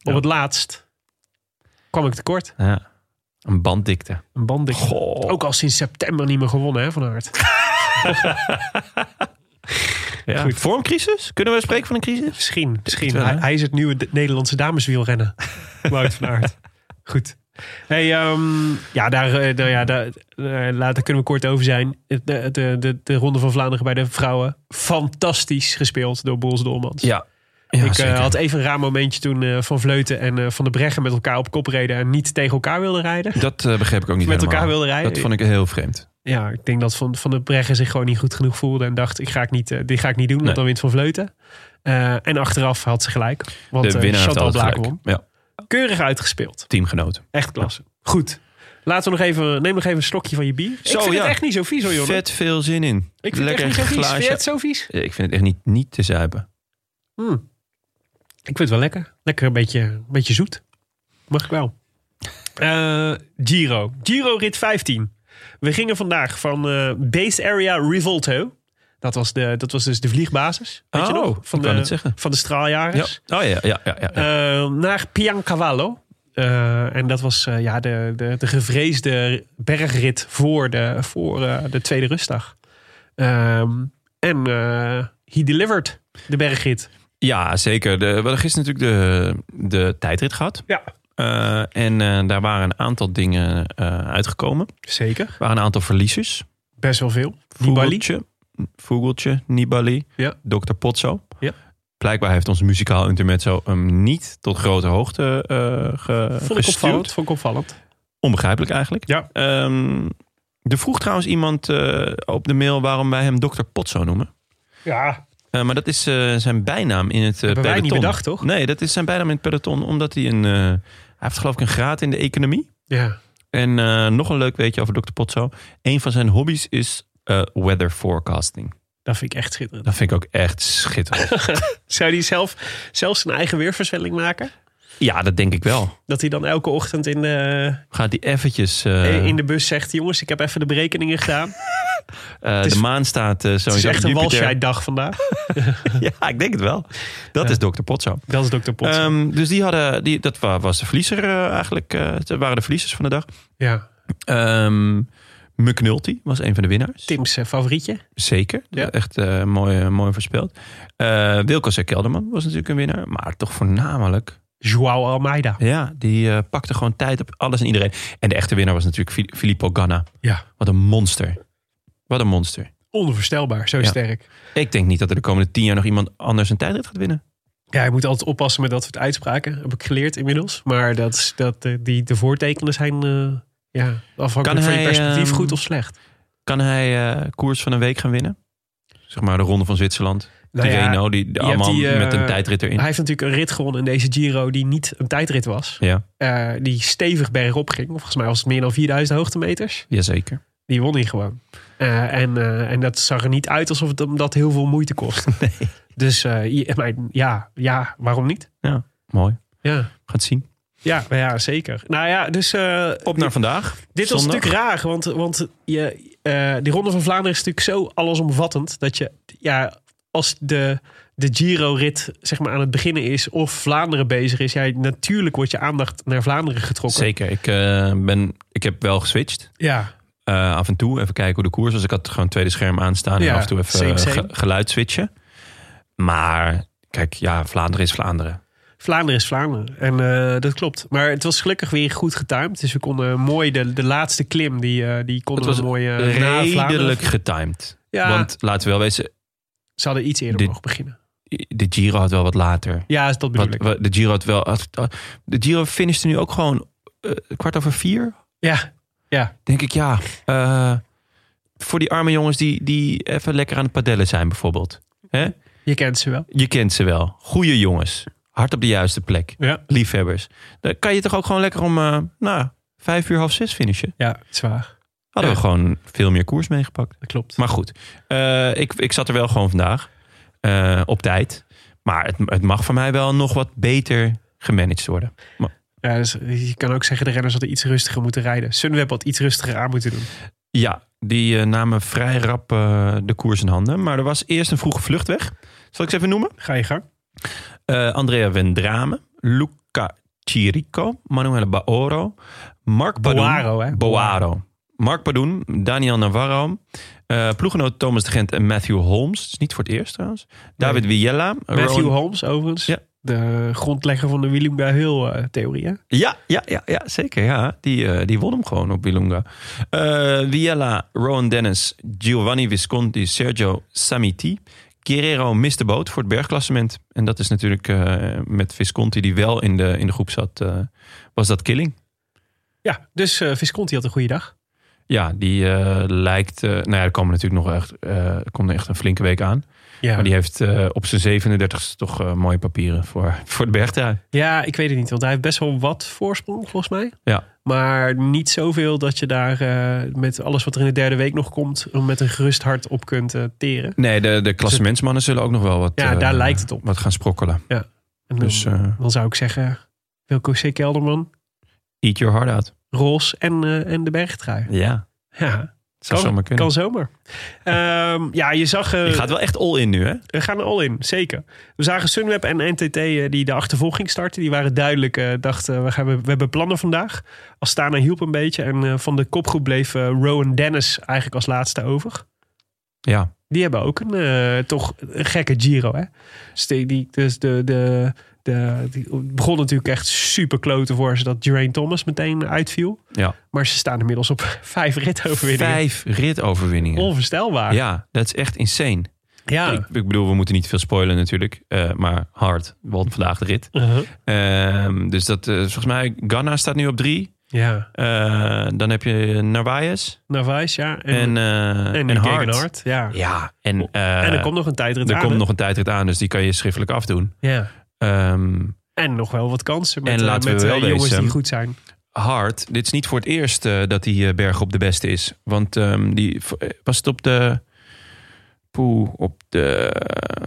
Speaker 2: op het laatst kwam ik tekort.
Speaker 1: Ja. Een banddikte.
Speaker 2: Een bandik.
Speaker 1: Goh.
Speaker 2: Ook al sinds september niet meer gewonnen, hè, Van Aert.
Speaker 1: Ja.
Speaker 2: Goed.
Speaker 1: Vormcrisis? Kunnen we spreken van een crisis?
Speaker 2: Misschien, misschien.
Speaker 1: wel, hè?
Speaker 2: hij, hij is het nieuwe D- Nederlandse dameswielrennen. Wout van Aert. Goed. Hey, ehm, ja, daar, eh, daar, ja, daar, eh, later kunnen we kort over zijn. De, de, de, de Ronde van Vlaanderen bij de vrouwen. Fantastisch gespeeld door Boels Dolmans.
Speaker 1: Ja. ja
Speaker 2: ik eh,
Speaker 1: zeker.
Speaker 2: had even een raar momentje toen eh, Van Vleuten en eh, Van de Breggen met elkaar op kop reden. En niet tegen elkaar wilden rijden.
Speaker 1: Dat eh, begreep ik ook niet
Speaker 2: Met
Speaker 1: helemaal.
Speaker 2: elkaar wilden rijden.
Speaker 1: Dat vond ik heel vreemd.
Speaker 2: Ja, ik denk dat Van, van de Breggen zich gewoon niet goed genoeg voelde. En dacht, ik ga ik niet, eh, dit ga ik niet doen, want
Speaker 1: Nee.
Speaker 2: dan wint Van Vleuten. Eh, en achteraf had ze gelijk. Want
Speaker 1: De
Speaker 2: eh,
Speaker 1: winnaar heeft
Speaker 2: Chantal
Speaker 1: altijd
Speaker 2: Blaak
Speaker 1: gelijk.
Speaker 2: won.
Speaker 1: Ja,
Speaker 2: Keurig uitgespeeld.
Speaker 1: teamgenoten.
Speaker 2: Echt klasse. Goed. Laten we nog even, neem nog even een slokje van je bier.
Speaker 1: Zo,
Speaker 2: ik vind
Speaker 1: ja.
Speaker 2: het echt niet zo vies hoor, jongen.
Speaker 1: Vet veel zin in.
Speaker 2: Ik vind het echt niet zo vies. Vind je het zo vies?
Speaker 1: Eh, Ik vind het echt niet, niet te zuipen.
Speaker 2: Hm. Ik vind het wel lekker. Lekker een beetje, een beetje zoet. Mag ik wel. Eh, Giro. Giro rit 15. We gingen vandaag van eh, Base Area Rivolto. Dat was, de, dat was dus de vliegbasis. Weet je
Speaker 1: Oh,
Speaker 2: nog?
Speaker 1: ik
Speaker 2: Van
Speaker 1: wou
Speaker 2: de,
Speaker 1: net zeggen.
Speaker 2: Van de
Speaker 1: Ja.
Speaker 2: straaljagers.
Speaker 1: Oh ja, ja, ja. ja.
Speaker 2: Eh, naar Piancavallo. Eh, en dat was eh, ja, de, de, de gevreesde bergrit voor de, voor, eh, de tweede rustdag. Ehm, en eh he delivered de bergrit.
Speaker 1: Ja, zeker. De, we hadden gisteren natuurlijk de, de tijdrit gehad.
Speaker 2: Ja,
Speaker 1: Eh, en eh, daar waren een aantal dingen eh, uitgekomen.
Speaker 2: Zeker.
Speaker 1: Er waren een aantal verliezers.
Speaker 2: Best wel veel. Nibali.
Speaker 1: Vogeltje, Vogeltje Nibali,
Speaker 2: Ja.
Speaker 1: Dr. Potso.
Speaker 2: Ja.
Speaker 1: Blijkbaar heeft ons muzikaal intermezzo hem niet tot grote hoogte eh ge,
Speaker 2: Vond ik
Speaker 1: gestuurd.
Speaker 2: opvallend. Vond ik opvallend.
Speaker 1: Onbegrijpelijk eigenlijk.
Speaker 2: Ja.
Speaker 1: Ehm, er vroeg trouwens iemand eh, op de mail waarom wij hem Dr. Potso noemen.
Speaker 2: Ja.
Speaker 1: Eh, maar dat is eh, zijn bijnaam in het eh,
Speaker 2: Hebben wij
Speaker 1: peloton.
Speaker 2: niet bedacht, toch?
Speaker 1: Nee, dat is zijn bijnaam in het peloton. Omdat hij een... eh, hij heeft geloof ik een graad in de economie.
Speaker 2: Ja.
Speaker 1: En eh, nog een leuk weetje over Dr. Potso. Een van zijn hobby's is eh, weather forecasting.
Speaker 2: Dat vind ik echt schitterend.
Speaker 1: Dat vind ik ook echt schitterend.
Speaker 2: Zou hij zelf, zelf zijn eigen weerverschilling maken?
Speaker 1: ja, dat denk ik wel.
Speaker 2: Dat hij dan elke ochtend in de,
Speaker 1: Gaat hij eventjes... eh,
Speaker 2: in de bus zegt... jongens, ik heb even de berekeningen gedaan. Het
Speaker 1: eh,
Speaker 2: is-
Speaker 1: de maan staat eh, sowieso
Speaker 2: is
Speaker 1: op
Speaker 2: echt een
Speaker 1: Jupiter.
Speaker 2: walscheiddag vandaag.
Speaker 1: Ja, ik denk het wel. Dat is Dr. Potso.
Speaker 2: Dat is Dr. Potts.
Speaker 1: Ehm, dus die hadden, die, dat wa- was de verliezer eh, eigenlijk. eh, dat waren de verliezers van de dag.
Speaker 2: ja.
Speaker 1: Ehm McNulty was een van de winnaars.
Speaker 2: Tim's eh, favorietje.
Speaker 1: Zeker.
Speaker 2: Ja.
Speaker 1: Echt eh, mooi, mooi voorspeld. Eh Wilco C. Kelderman was natuurlijk een winnaar. Maar toch voornamelijk.
Speaker 2: Joao Almeida.
Speaker 1: Ja, die eh, pakte gewoon tijd op alles en iedereen. En de echte winnaar was natuurlijk Fi- Filippo Ganna.
Speaker 2: Ja.
Speaker 1: Wat een monster. Wat een monster.
Speaker 2: Onvoorstelbaar. Zo
Speaker 1: Ja.
Speaker 2: sterk.
Speaker 1: Ik denk niet dat er de komende tien jaar nog iemand anders een tijdrit gaat winnen.
Speaker 2: Ja, je moet altijd oppassen met dat soort uitspraken. Heb ik geleerd inmiddels. Maar dat, is- dat, eh, die, de voortekenen zijn eh, ja, afhankelijk
Speaker 1: Kan
Speaker 2: van je
Speaker 1: hij,
Speaker 2: perspectief
Speaker 1: ehm,
Speaker 2: goed of slecht.
Speaker 1: Kan hij eh, koers van een week gaan winnen? Zeg maar de Ronde van Zwitserland.
Speaker 2: Nou
Speaker 1: die
Speaker 2: ja,
Speaker 1: Reno, die,
Speaker 2: je
Speaker 1: allemaal
Speaker 2: hebt die, eh,
Speaker 1: met een tijdrit erin.
Speaker 2: Hij heeft natuurlijk een rit gewonnen in deze Giro die niet een tijdrit was.
Speaker 1: Ja,
Speaker 2: Eh, die stevig bergop ging. Volgens mij was het meer dan 4000 hoogtemeters.
Speaker 1: jazeker.
Speaker 2: Die won hij gewoon. Eh, en, eh, en dat zag er niet uit alsof het hem dat heel veel moeite kost. Dus eh, je- maar ja, ja, waarom niet?
Speaker 1: Ja, mooi.
Speaker 2: Ja,
Speaker 1: Gaat zien.
Speaker 2: ja, maar ja zeker. Nou ja, dus eh,
Speaker 1: Op naar vandaag.
Speaker 2: Dit was
Speaker 1: Zondag.
Speaker 2: natuurlijk raar, want, want je, eh, die Ronde van Vlaanderen is natuurlijk zo allesomvattend. Dat je, ja, als de, de Giro-rit zeg maar, aan het beginnen is of Vlaanderen bezig is, ja, natuurlijk wordt je aandacht naar Vlaanderen getrokken.
Speaker 1: Zeker. Ik, eh, ben, ik heb wel geswitcht.
Speaker 2: Ja,
Speaker 1: Eh, af en toe even kijken hoe de koers was. Ik had gewoon het tweede scherm aanstaan.
Speaker 2: Ja,
Speaker 1: en af en toe even
Speaker 2: same, same.
Speaker 1: eh, ge- geluid switchen. Maar kijk, ja, Vlaanderen is Vlaanderen.
Speaker 2: Vlaanderen is Vlaanderen. En eh, dat klopt. Maar het was gelukkig weer goed getimed. Dus we konden mooi de, de laatste klim, die, eh, die konden
Speaker 1: het
Speaker 2: we
Speaker 1: was
Speaker 2: mooi eh, na Vlaanderen.
Speaker 1: redelijk getimed.
Speaker 2: Ja.
Speaker 1: Want laten we wel wezen,
Speaker 2: Ze hadden iets eerder
Speaker 1: Dit-
Speaker 2: mogen beginnen.
Speaker 1: de Giro had wel wat later.
Speaker 2: Ja, dat bedoel
Speaker 1: Wat,
Speaker 2: ik.
Speaker 1: wat- de Giro had wel... had- had- de Giro finishte nu ook gewoon eh, kwart over vier.
Speaker 2: Ja, ja.
Speaker 1: Denk ik, ja. eh, voor die arme jongens die, die even lekker aan het padellen zijn bijvoorbeeld. Hè?
Speaker 2: je kent ze wel.
Speaker 1: Je kent ze wel. Goeie jongens. Hard op de juiste plek.
Speaker 2: Ja,
Speaker 1: liefhebbers. Dan kan je toch ook gewoon lekker om eh, nou, vijf uur half zes finishen.
Speaker 2: ja zwaar.
Speaker 1: Hadden
Speaker 2: Ja.
Speaker 1: we gewoon veel meer koers meegepakt.
Speaker 2: Dat klopt.
Speaker 1: Maar goed, eh, ik, ik zat er wel gewoon vandaag eh, op tijd. Maar het, het mag van mij wel nog wat beter gemanaged worden. Maar-
Speaker 2: Ja, dus je kan ook zeggen, de renners hadden iets rustiger moeten rijden. Sunweb had iets rustiger aan moeten doen.
Speaker 1: Ja, die eh, namen vrij rap eh, de koers in handen. Maar er was eerst een vroege vlucht weg. Zal ik ze even noemen?
Speaker 2: Ga je gang.
Speaker 1: Eh, Andrea Vendrame, Luca Chirico, Manuele Baoro, Mark Padoen.
Speaker 2: Boaro, hè?
Speaker 1: Boaro. Mark Padoen, Daniel Navarro, eh ploegenoot Thomas de Gent en Matthew Holmes. Dat is niet voor het eerst trouwens. David Viella.
Speaker 2: Matthew
Speaker 1: Rowan-
Speaker 2: Holmes, overigens.
Speaker 1: Ja.
Speaker 2: De grondlegger van de Wilunga Hill-theorie, hè?
Speaker 1: Ja, ja, ja, ja zeker. Ja. Die, eh, die won hem gewoon op Bilunga. Eh Viella, Rowan Dennis, Giovanni Visconti, Sergio Samiti. Guerrero mist de boot voor het bergklassement. En dat is natuurlijk eh, met Visconti, die wel in de, in de groep zat, eh, was dat killing.
Speaker 2: Ja, dus eh, Visconti had een goede dag.
Speaker 1: Ja, die eh, lijkt. eh, nou ja, er komen natuurlijk nog echt, eh, er komt echt een flinke week aan.
Speaker 2: Ja.
Speaker 1: Maar die heeft eh, op zijn 37ste toch eh, mooie papieren voor, voor de bergtrui.
Speaker 2: ja, ik weet het niet, want hij heeft best wel wat voorsprong, volgens mij.
Speaker 1: Ja.
Speaker 2: Maar niet zoveel dat je daar eh, met alles wat er in de derde week nog komt... met een gerust hart op kunt eh, teren.
Speaker 1: Nee, de, de klassementsmannen zullen ook nog wel wat.
Speaker 2: Ja,
Speaker 1: eh,
Speaker 2: daar lijkt het op.
Speaker 1: Wat gaan sprokkelen.
Speaker 2: En dan,
Speaker 1: Dus eh,
Speaker 2: dan zou ik zeggen, Wilco C. Kelderman,
Speaker 1: eat your heart out.
Speaker 2: Roos en, eh, en de bergtrui.
Speaker 1: Ja,
Speaker 2: Ja,
Speaker 1: zou zomaar kunnen.
Speaker 2: kan zomaar. Ehm, ja, je zag... eh,
Speaker 1: Je gaat wel echt all in nu, hè?
Speaker 2: We gaan all in, zeker. We zagen Sunweb en NTT eh, die de achtervolging starten. Die waren duidelijk, eh, dachten we, gaan, we hebben plannen vandaag. Astana hielp een beetje en eh, van de kopgroep bleef eh, Rowan Dennis eigenlijk als laatste over.
Speaker 1: Ja.
Speaker 2: Die hebben ook een eh, toch een gekke Giro, hè? Dus, die, die- dus de, de, de, die- het begon natuurlijk echt super kloten voor ze dat Geraint Thomas meteen uitviel.
Speaker 1: ja.
Speaker 2: Maar ze staan inmiddels op vijf ritoverwinningen.
Speaker 1: Vijf ritoverwinningen.
Speaker 2: Onvoorstelbaar.
Speaker 1: Ja, dat is echt insane.
Speaker 2: Ja.
Speaker 1: Ik, ik bedoel, we moeten niet veel spoilen natuurlijk. eh, maar hard. We hadden vandaag de rit.
Speaker 2: Uh-huh.
Speaker 1: Ehm, dus dat, eh, volgens mij, Ghana staat nu op drie.
Speaker 2: Ja.
Speaker 1: Eh, dan heb je Narvaez
Speaker 2: Narvaez, ja. En,
Speaker 1: en, eh en,
Speaker 2: en,
Speaker 1: Hart.
Speaker 2: Gegenhardt, ja.
Speaker 1: Ja, en,
Speaker 2: En
Speaker 1: eh,
Speaker 2: er komt nog een tijdrit
Speaker 1: er
Speaker 2: aan,
Speaker 1: komt
Speaker 2: hè?
Speaker 1: nog een tijdrit aan, dus die kan je schriftelijk afdoen.
Speaker 2: Ja.
Speaker 1: Ehm
Speaker 2: En nog wel wat kansen met,
Speaker 1: En
Speaker 2: eh,
Speaker 1: laten we
Speaker 2: met
Speaker 1: wel
Speaker 2: eh, jongens
Speaker 1: wezen.
Speaker 2: die goed zijn.
Speaker 1: Hart, dit is niet voor het eerst eh, dat die eh, berg op de beste is. Want ehm, die v- eh, was het op de. Poeh, op de.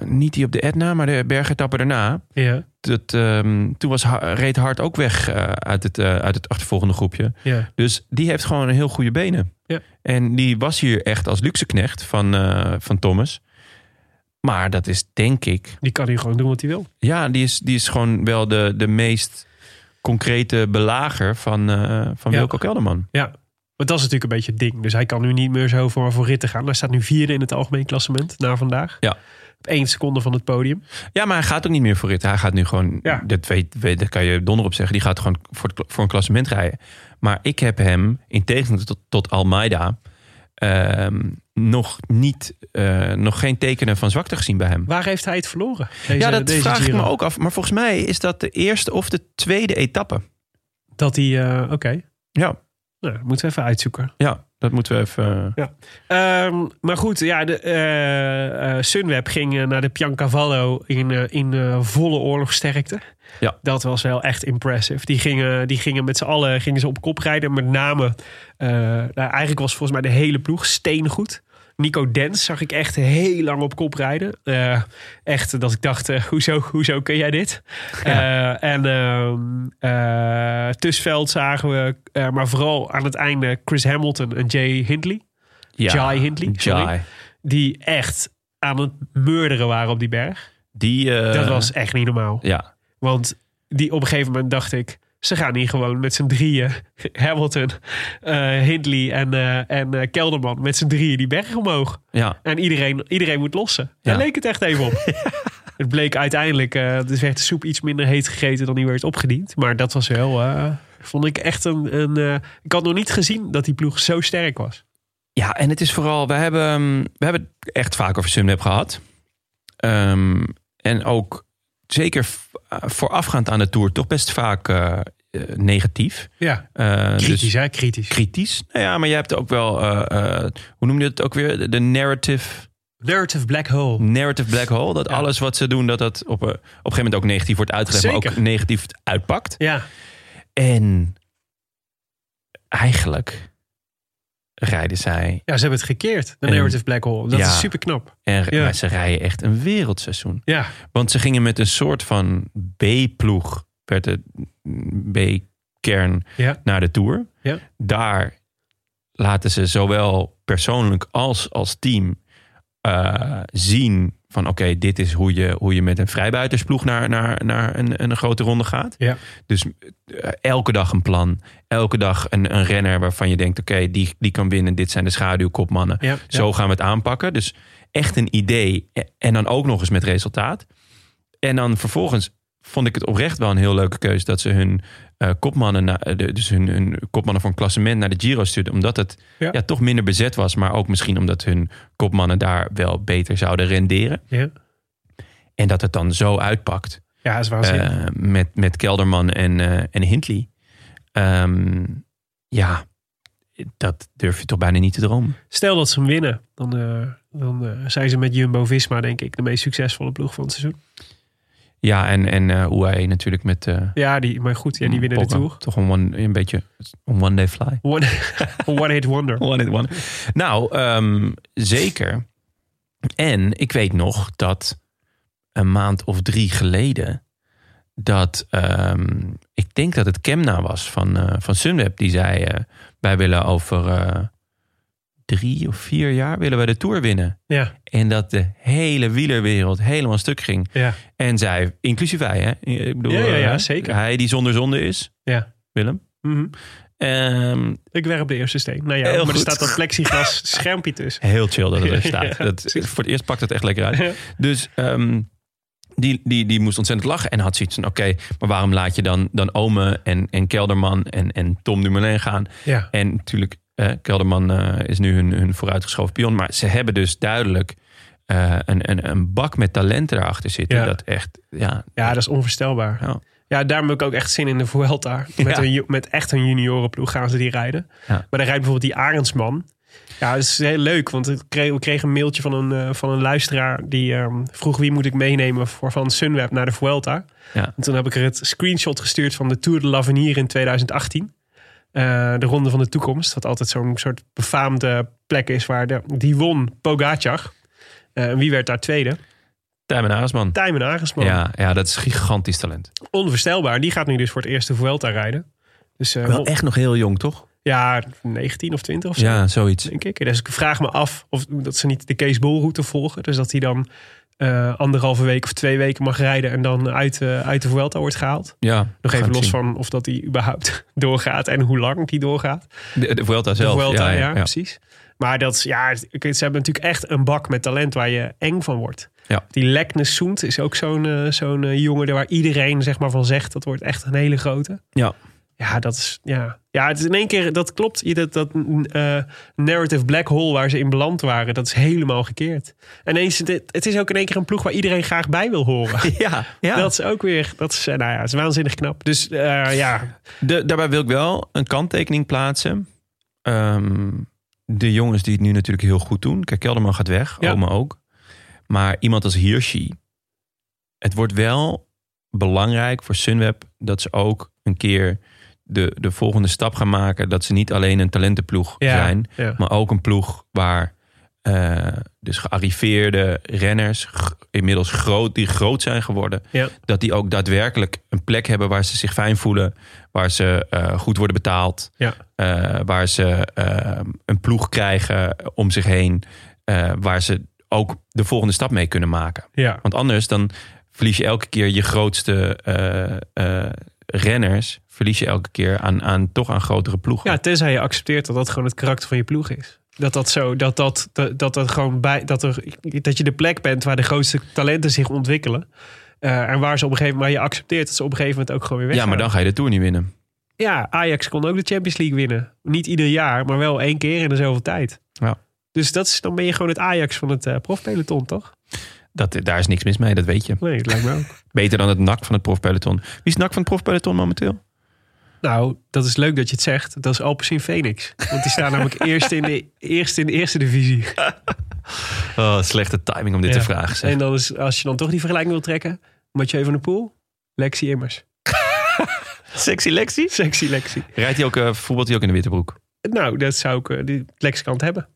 Speaker 1: niet die op de Etna, maar de bergetappe daarna.
Speaker 2: Ja,
Speaker 1: Dat, ehm, toen was, Ha- reed Hart ook weg eh, uit, het, eh, uit het achtervolgende groepje.
Speaker 2: ja.
Speaker 1: Dus die heeft gewoon een heel goede benen.
Speaker 2: Ja.
Speaker 1: En die was hier echt als luxeknecht van, eh, van Thomas. Maar dat is denk ik.
Speaker 2: Die kan hier gewoon doen wat hij wil.
Speaker 1: Ja, die is, die is gewoon wel de, de meest concrete belager van, eh, van
Speaker 2: Ja.
Speaker 1: Wilco Kelderman.
Speaker 2: Ja. Want dat is natuurlijk een beetje het ding. Dus hij kan nu niet meer zo voor, voor ritten gaan. Hij staat nu vierde in het algemeen klassement na vandaag.
Speaker 1: Ja.
Speaker 2: Op één seconde van het podium.
Speaker 1: Ja, maar hij gaat ook niet meer voor rit. Hij gaat nu gewoon,
Speaker 2: Ja.
Speaker 1: dat weet, weet, daar kan je donder op zeggen, die gaat gewoon voor, het, voor een klassement rijden. Maar ik heb hem, in tegenstelling tot, tot Almeida, ehm, nog, niet, eh, nog geen tekenen van zwakte gezien bij hem.
Speaker 2: Waar heeft hij het verloren? Deze,
Speaker 1: ja, dat
Speaker 2: eh, deze
Speaker 1: vraag
Speaker 2: Giro?
Speaker 1: ik me ook af. Maar volgens mij is dat de eerste of de tweede etappe.
Speaker 2: Dat hij, eh, oké,
Speaker 1: Ja,
Speaker 2: nou, dat moeten we even uitzoeken.
Speaker 1: ja dat moeten we even... eh,
Speaker 2: Ehm, maar goed, ja, de, eh, eh, Sunweb ging eh, naar de Piancavallo in, eh, in eh, volle oorlogsterkte.
Speaker 1: Ja.
Speaker 2: Dat was wel echt impressive. Die gingen, die gingen met z'n allen gingen ze op kop rijden. Met name, eh, nou, eigenlijk was volgens mij de hele ploeg steengoed. Nico Dens zag ik echt heel lang op kop rijden. Eh, echt dat ik dacht, eh, hoezo, hoezo kun jij dit? Eh, en ehm, eh, Tussveld zagen we, eh, maar vooral aan het einde Chris Hamilton en Jay Hindley.
Speaker 1: Ja,
Speaker 2: Jai Hindley, sorry.
Speaker 1: Jai.
Speaker 2: die echt aan het murderen waren op die berg.
Speaker 1: Die, eh,
Speaker 2: dat was echt niet normaal.
Speaker 1: Ja,
Speaker 2: Want die, op een gegeven moment dacht ik... ze gaan hier gewoon met z'n drieën... Hamilton, eh, Hindley en, eh, en eh, Kelderman... met z'n drieën die berg omhoog.
Speaker 1: ja.
Speaker 2: En iedereen, iedereen moet lossen. Daar
Speaker 1: Ja.
Speaker 2: leek het echt even op. Het bleek uiteindelijk... eh dus werd de soep iets minder heet gegeten... dan die werd opgediend. Maar dat was wel... eh, vond ik echt een... een eh, ik had nog niet gezien dat die ploeg zo sterk was.
Speaker 1: Ja, en het is vooral, we hebben, ehm, we hebben het echt vaak over Sunweb gehad. Ehm, en ook zeker v- eh, voorafgaand aan de tour, toch best vaak eh, eh, negatief.
Speaker 2: Ja,
Speaker 1: Eh,
Speaker 2: kritisch
Speaker 1: dus
Speaker 2: hè, kritisch.
Speaker 1: kritisch. Nou ja, maar je hebt ook wel, eh, eh, hoe noem je het ook weer? De- De narrative,
Speaker 2: Narrative black hole.
Speaker 1: narrative black hole. Dat
Speaker 2: Ja.
Speaker 1: alles wat ze doen, dat dat op, eh, op een gegeven moment ook negatief wordt uitgelegd, maar ook
Speaker 2: Zeker.
Speaker 1: negatief uitpakt.
Speaker 2: Ja,
Speaker 1: En eigenlijk rijden zij.
Speaker 2: Ja, ze hebben het gekeerd, de
Speaker 1: En-
Speaker 2: Narrative Black Hole. Dat
Speaker 1: Ja.
Speaker 2: is super knap.
Speaker 1: En
Speaker 2: Ja.
Speaker 1: maar ze rijden echt een wereldseizoen.
Speaker 2: Ja,
Speaker 1: Want ze gingen met een soort van B-ploeg, werd de B-kern,
Speaker 2: Ja.
Speaker 1: naar de Tour.
Speaker 2: Ja.
Speaker 1: Daar laten ze zowel persoonlijk als als team eh, zien van oké, dit is hoe je, hoe je met een vrijbuitersploeg naar, naar, naar een, een grote ronde gaat.
Speaker 2: ja.
Speaker 1: Dus eh, elke dag een plan. Elke dag een, een renner waarvan je denkt: oké, die, die kan winnen. Dit zijn de schaduwkopmannen.
Speaker 2: Ja,
Speaker 1: Zo gaan we het aanpakken. Dus echt een idee. E- En dan ook nog eens met resultaat. En dan vervolgens vond ik het oprecht wel een heel leuke keuze dat ze hun eh, kopmannen, na- eh, de- dus hun, hun kopmannen voor een klassement naar de Giro stuurden. Omdat het
Speaker 2: Ja.
Speaker 1: ja. toch minder bezet was. Maar ook misschien omdat hun kopmannen daar wel beter zouden renderen.
Speaker 2: Ja,
Speaker 1: En dat het dan zo uitpakt.
Speaker 2: ja dat is waanzinnig.
Speaker 1: Eh, met, met Kelderman en, eh, en Hindley. Ehm, ja, dat durf je toch bijna niet te dromen.
Speaker 2: Stel dat ze hem winnen, dan, eh, dan eh, zijn ze met Jumbo-Visma denk ik de meest succesvolle ploeg van het seizoen.
Speaker 1: Ja, en, en eh UAE natuurlijk met... eh
Speaker 2: Ja, die, maar goed, ja, die winnen
Speaker 1: Pogba.
Speaker 2: de Tour.
Speaker 1: Toch een, one, een beetje een one day fly.
Speaker 2: One, one hit wonder.
Speaker 1: One in one. Nou, ehm, zeker. En ik weet nog dat een maand of drie geleden... dat ehm, ik denk dat het Kemna was van, eh, van Sunweb. Die zei, eh, wij willen over eh, drie of vier jaar willen wij de Tour winnen.
Speaker 2: Ja,
Speaker 1: En dat de hele wielerwereld helemaal stuk ging.
Speaker 2: ja,
Speaker 1: En zij, inclusief wij, hè? Ik bedoel,
Speaker 2: Ja, ja, ja,
Speaker 1: eh,
Speaker 2: zeker.
Speaker 1: Hij die zonder zonde is,
Speaker 2: ja.
Speaker 1: Willem.
Speaker 2: Mhm.
Speaker 1: Ehm,
Speaker 2: Ik werp de eerste steen. Nou ja,
Speaker 1: Heel
Speaker 2: maar er
Speaker 1: goed.
Speaker 2: staat dat plexiglas schermpje tussen.
Speaker 1: Heel chill dat het er
Speaker 2: Ja,
Speaker 1: staat.
Speaker 2: ja,
Speaker 1: Dat,
Speaker 2: precies.
Speaker 1: voor het eerst pakt het echt lekker uit.
Speaker 2: Ja.
Speaker 1: Dus ehm, die, die, die moest ontzettend lachen en had zoiets van... oké, maar waarom laat je dan, dan Ome en, en Kelderman en, en Tom Dumoulin gaan?
Speaker 2: Ja,
Speaker 1: En natuurlijk, eh, Kelderman eh, is nu hun, hun vooruitgeschoven pion. Maar ze hebben dus duidelijk eh, een, een, een bak met talenten erachter zitten.
Speaker 2: Ja.
Speaker 1: Dat echt, ja, nou,
Speaker 2: ja dat is onvoorstelbaar.
Speaker 1: Ja.
Speaker 2: Ja, daarom heb ik ook echt zin in de Vuelta. Met,
Speaker 1: Ja.
Speaker 2: een, ju- met echt een juniorenploeg gaan ze die rijden.
Speaker 1: Ja.
Speaker 2: Maar dan rijdt bijvoorbeeld die Arendsman. Ja, dat is heel leuk. Want ik kreeg, we kregen een mailtje van een, eh, van een luisteraar. Die ehm, vroeg wie moet ik meenemen voor van Sunweb naar de Vuelta.
Speaker 1: Ja.
Speaker 2: En toen heb ik er het screenshot gestuurd van de Tour de l'Avenir in 2018. Eh, de Ronde van de Toekomst. Wat altijd zo'n soort befaamde plek is waar de, die won Pogacar. Eh, en wie werd daar tweede?
Speaker 1: Tijmen Aresman.
Speaker 2: Tijmen Arendsman
Speaker 1: Ja, ja, dat is gigantisch talent.
Speaker 2: onvoorstelbaar. Die gaat nu dus voor het eerst de Vuelta rijden. Dus eh,
Speaker 1: Wel echt nog heel jong, toch?
Speaker 2: ja, 19 of 20 of zo,
Speaker 1: Ja, zoiets.
Speaker 2: denk ik. Dus ik vraag me af of dat ze niet de Kees Bol route volgen. Dus dat hij dan eh, anderhalve week of twee weken mag rijden en dan uit, eh, uit de Vuelta wordt gehaald.
Speaker 1: Ja,
Speaker 2: Nog even
Speaker 1: gaan we
Speaker 2: los
Speaker 1: zien.
Speaker 2: van of dat hij überhaupt doorgaat en hoe lang die doorgaat.
Speaker 1: De, de Vuelta zelf.
Speaker 2: de Vuelta, ja,
Speaker 1: ja.
Speaker 2: precies. Maar dat is, ja, ik weet, ze hebben natuurlijk echt een bak met talent waar je eng van wordt.
Speaker 1: Ja.
Speaker 2: Die Leknes Soent is ook zo'n eh, zo'n eh, jongen waar iedereen zeg maar, van zegt... dat wordt echt een hele grote.
Speaker 1: ja.
Speaker 2: Ja, dat is. Ja, ja het is in één keer. Dat klopt. Je- Dat, dat eh, narrative black hole waar ze in beland waren, dat is helemaal gekeerd. En eens, dit- het is ook in één keer een ploeg waar iedereen graag bij wil horen.
Speaker 1: Ja, ja.
Speaker 2: Dat is ook weer. Dat is, eh, nou ja, het is waanzinnig knap. Dus eh, ja,
Speaker 1: De- daarbij wil ik wel een kanttekening plaatsen. Ehm, de jongens die het nu natuurlijk heel goed doen. Kijk, Kelderman gaat weg,
Speaker 2: Ja.
Speaker 1: Oma ook. Maar iemand als Hirschi. Het wordt wel belangrijk voor Sunweb dat ze ook een keer de, de volgende stap gaan maken. Dat ze niet alleen een talentenploeg
Speaker 2: ja,
Speaker 1: zijn,
Speaker 2: ja.
Speaker 1: maar ook een ploeg waar eh, dus gearriveerde renners, g- inmiddels groot, die groot zijn geworden,
Speaker 2: Ja.
Speaker 1: dat die ook daadwerkelijk een plek hebben waar ze zich fijn voelen, waar ze eh, goed worden betaald,
Speaker 2: Ja.
Speaker 1: eh, waar ze eh, een ploeg krijgen om zich heen, eh, waar ze ook de volgende stap mee kunnen maken.
Speaker 2: ja.
Speaker 1: Want anders dan verlies je elke keer je grootste eh, eh, renners, verlies je elke keer aan, aan, toch aan grotere ploegen.
Speaker 2: Ja, tenzij je accepteert dat dat gewoon het karakter van je ploeg is. Dat dat zo, dat dat, dat, dat er gewoon bij, dat, er, dat je de plek bent waar de grootste talenten zich ontwikkelen. Eh, en waar ze op een gegeven moment, maar je accepteert dat ze op een gegeven moment ook gewoon weer
Speaker 1: ja,
Speaker 2: weggaan.
Speaker 1: maar dan ga je de Tour niet winnen.
Speaker 2: Ja, Ajax kon ook de Champions League winnen. Niet ieder jaar, maar wel één keer in de zoveel tijd.
Speaker 1: Ja.
Speaker 2: Dus dat is, dan ben je gewoon het Ajax van het eh, profpeloton, toch?
Speaker 1: Dat, daar is niks mis mee, dat weet je.
Speaker 2: Nee, dat lijkt me ook.
Speaker 1: Beter dan het nak van het profpeloton. Wie is nak van het profpeloton momenteel?
Speaker 2: nou, dat is leuk dat je het zegt. Dat is Alpecin Phoenix. Want die staan namelijk eerst in de, eerst in de eerste divisie.
Speaker 1: Oh, slechte timing om dit
Speaker 2: Ja.
Speaker 1: te vragen. zeg.
Speaker 2: En dan is, als je dan toch die vergelijking wil trekken. Mathieu van der Poel, Lexi Immers.
Speaker 1: Sexy Lexi.
Speaker 2: Sexy Lexi.
Speaker 1: Rijdt hij ook, eh voetbalt hij ook in de witte broek?
Speaker 2: Nou, dat zou ik eh, die lexicant hebben.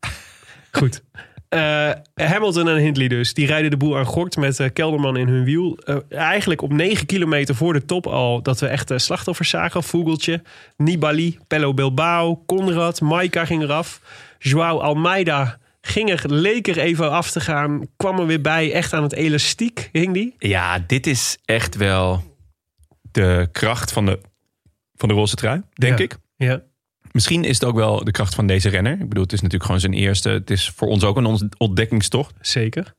Speaker 2: Goed. Eh, Hamilton en Hindley dus. Die rijden de boel aan gort met eh, Kelderman in hun wiel. Eh, eigenlijk op 9 kilometer voor de top al dat we echt eh, slachtoffers zagen. Vogeltje, Nibali, Pello Bilbao, Conrad, Maika ging eraf. Joao Almeida ging er, leek er even af te gaan. Kwam er weer bij, echt aan het elastiek hing die.
Speaker 1: Ja, dit is echt wel de kracht van de, van de roze trui, denk
Speaker 2: Ja.
Speaker 1: ik.
Speaker 2: Ja.
Speaker 1: Misschien is het ook wel de kracht van deze renner. Ik bedoel, het is natuurlijk gewoon zijn eerste. Het is voor ons ook een ont- ontdekkingstocht.
Speaker 2: Zeker.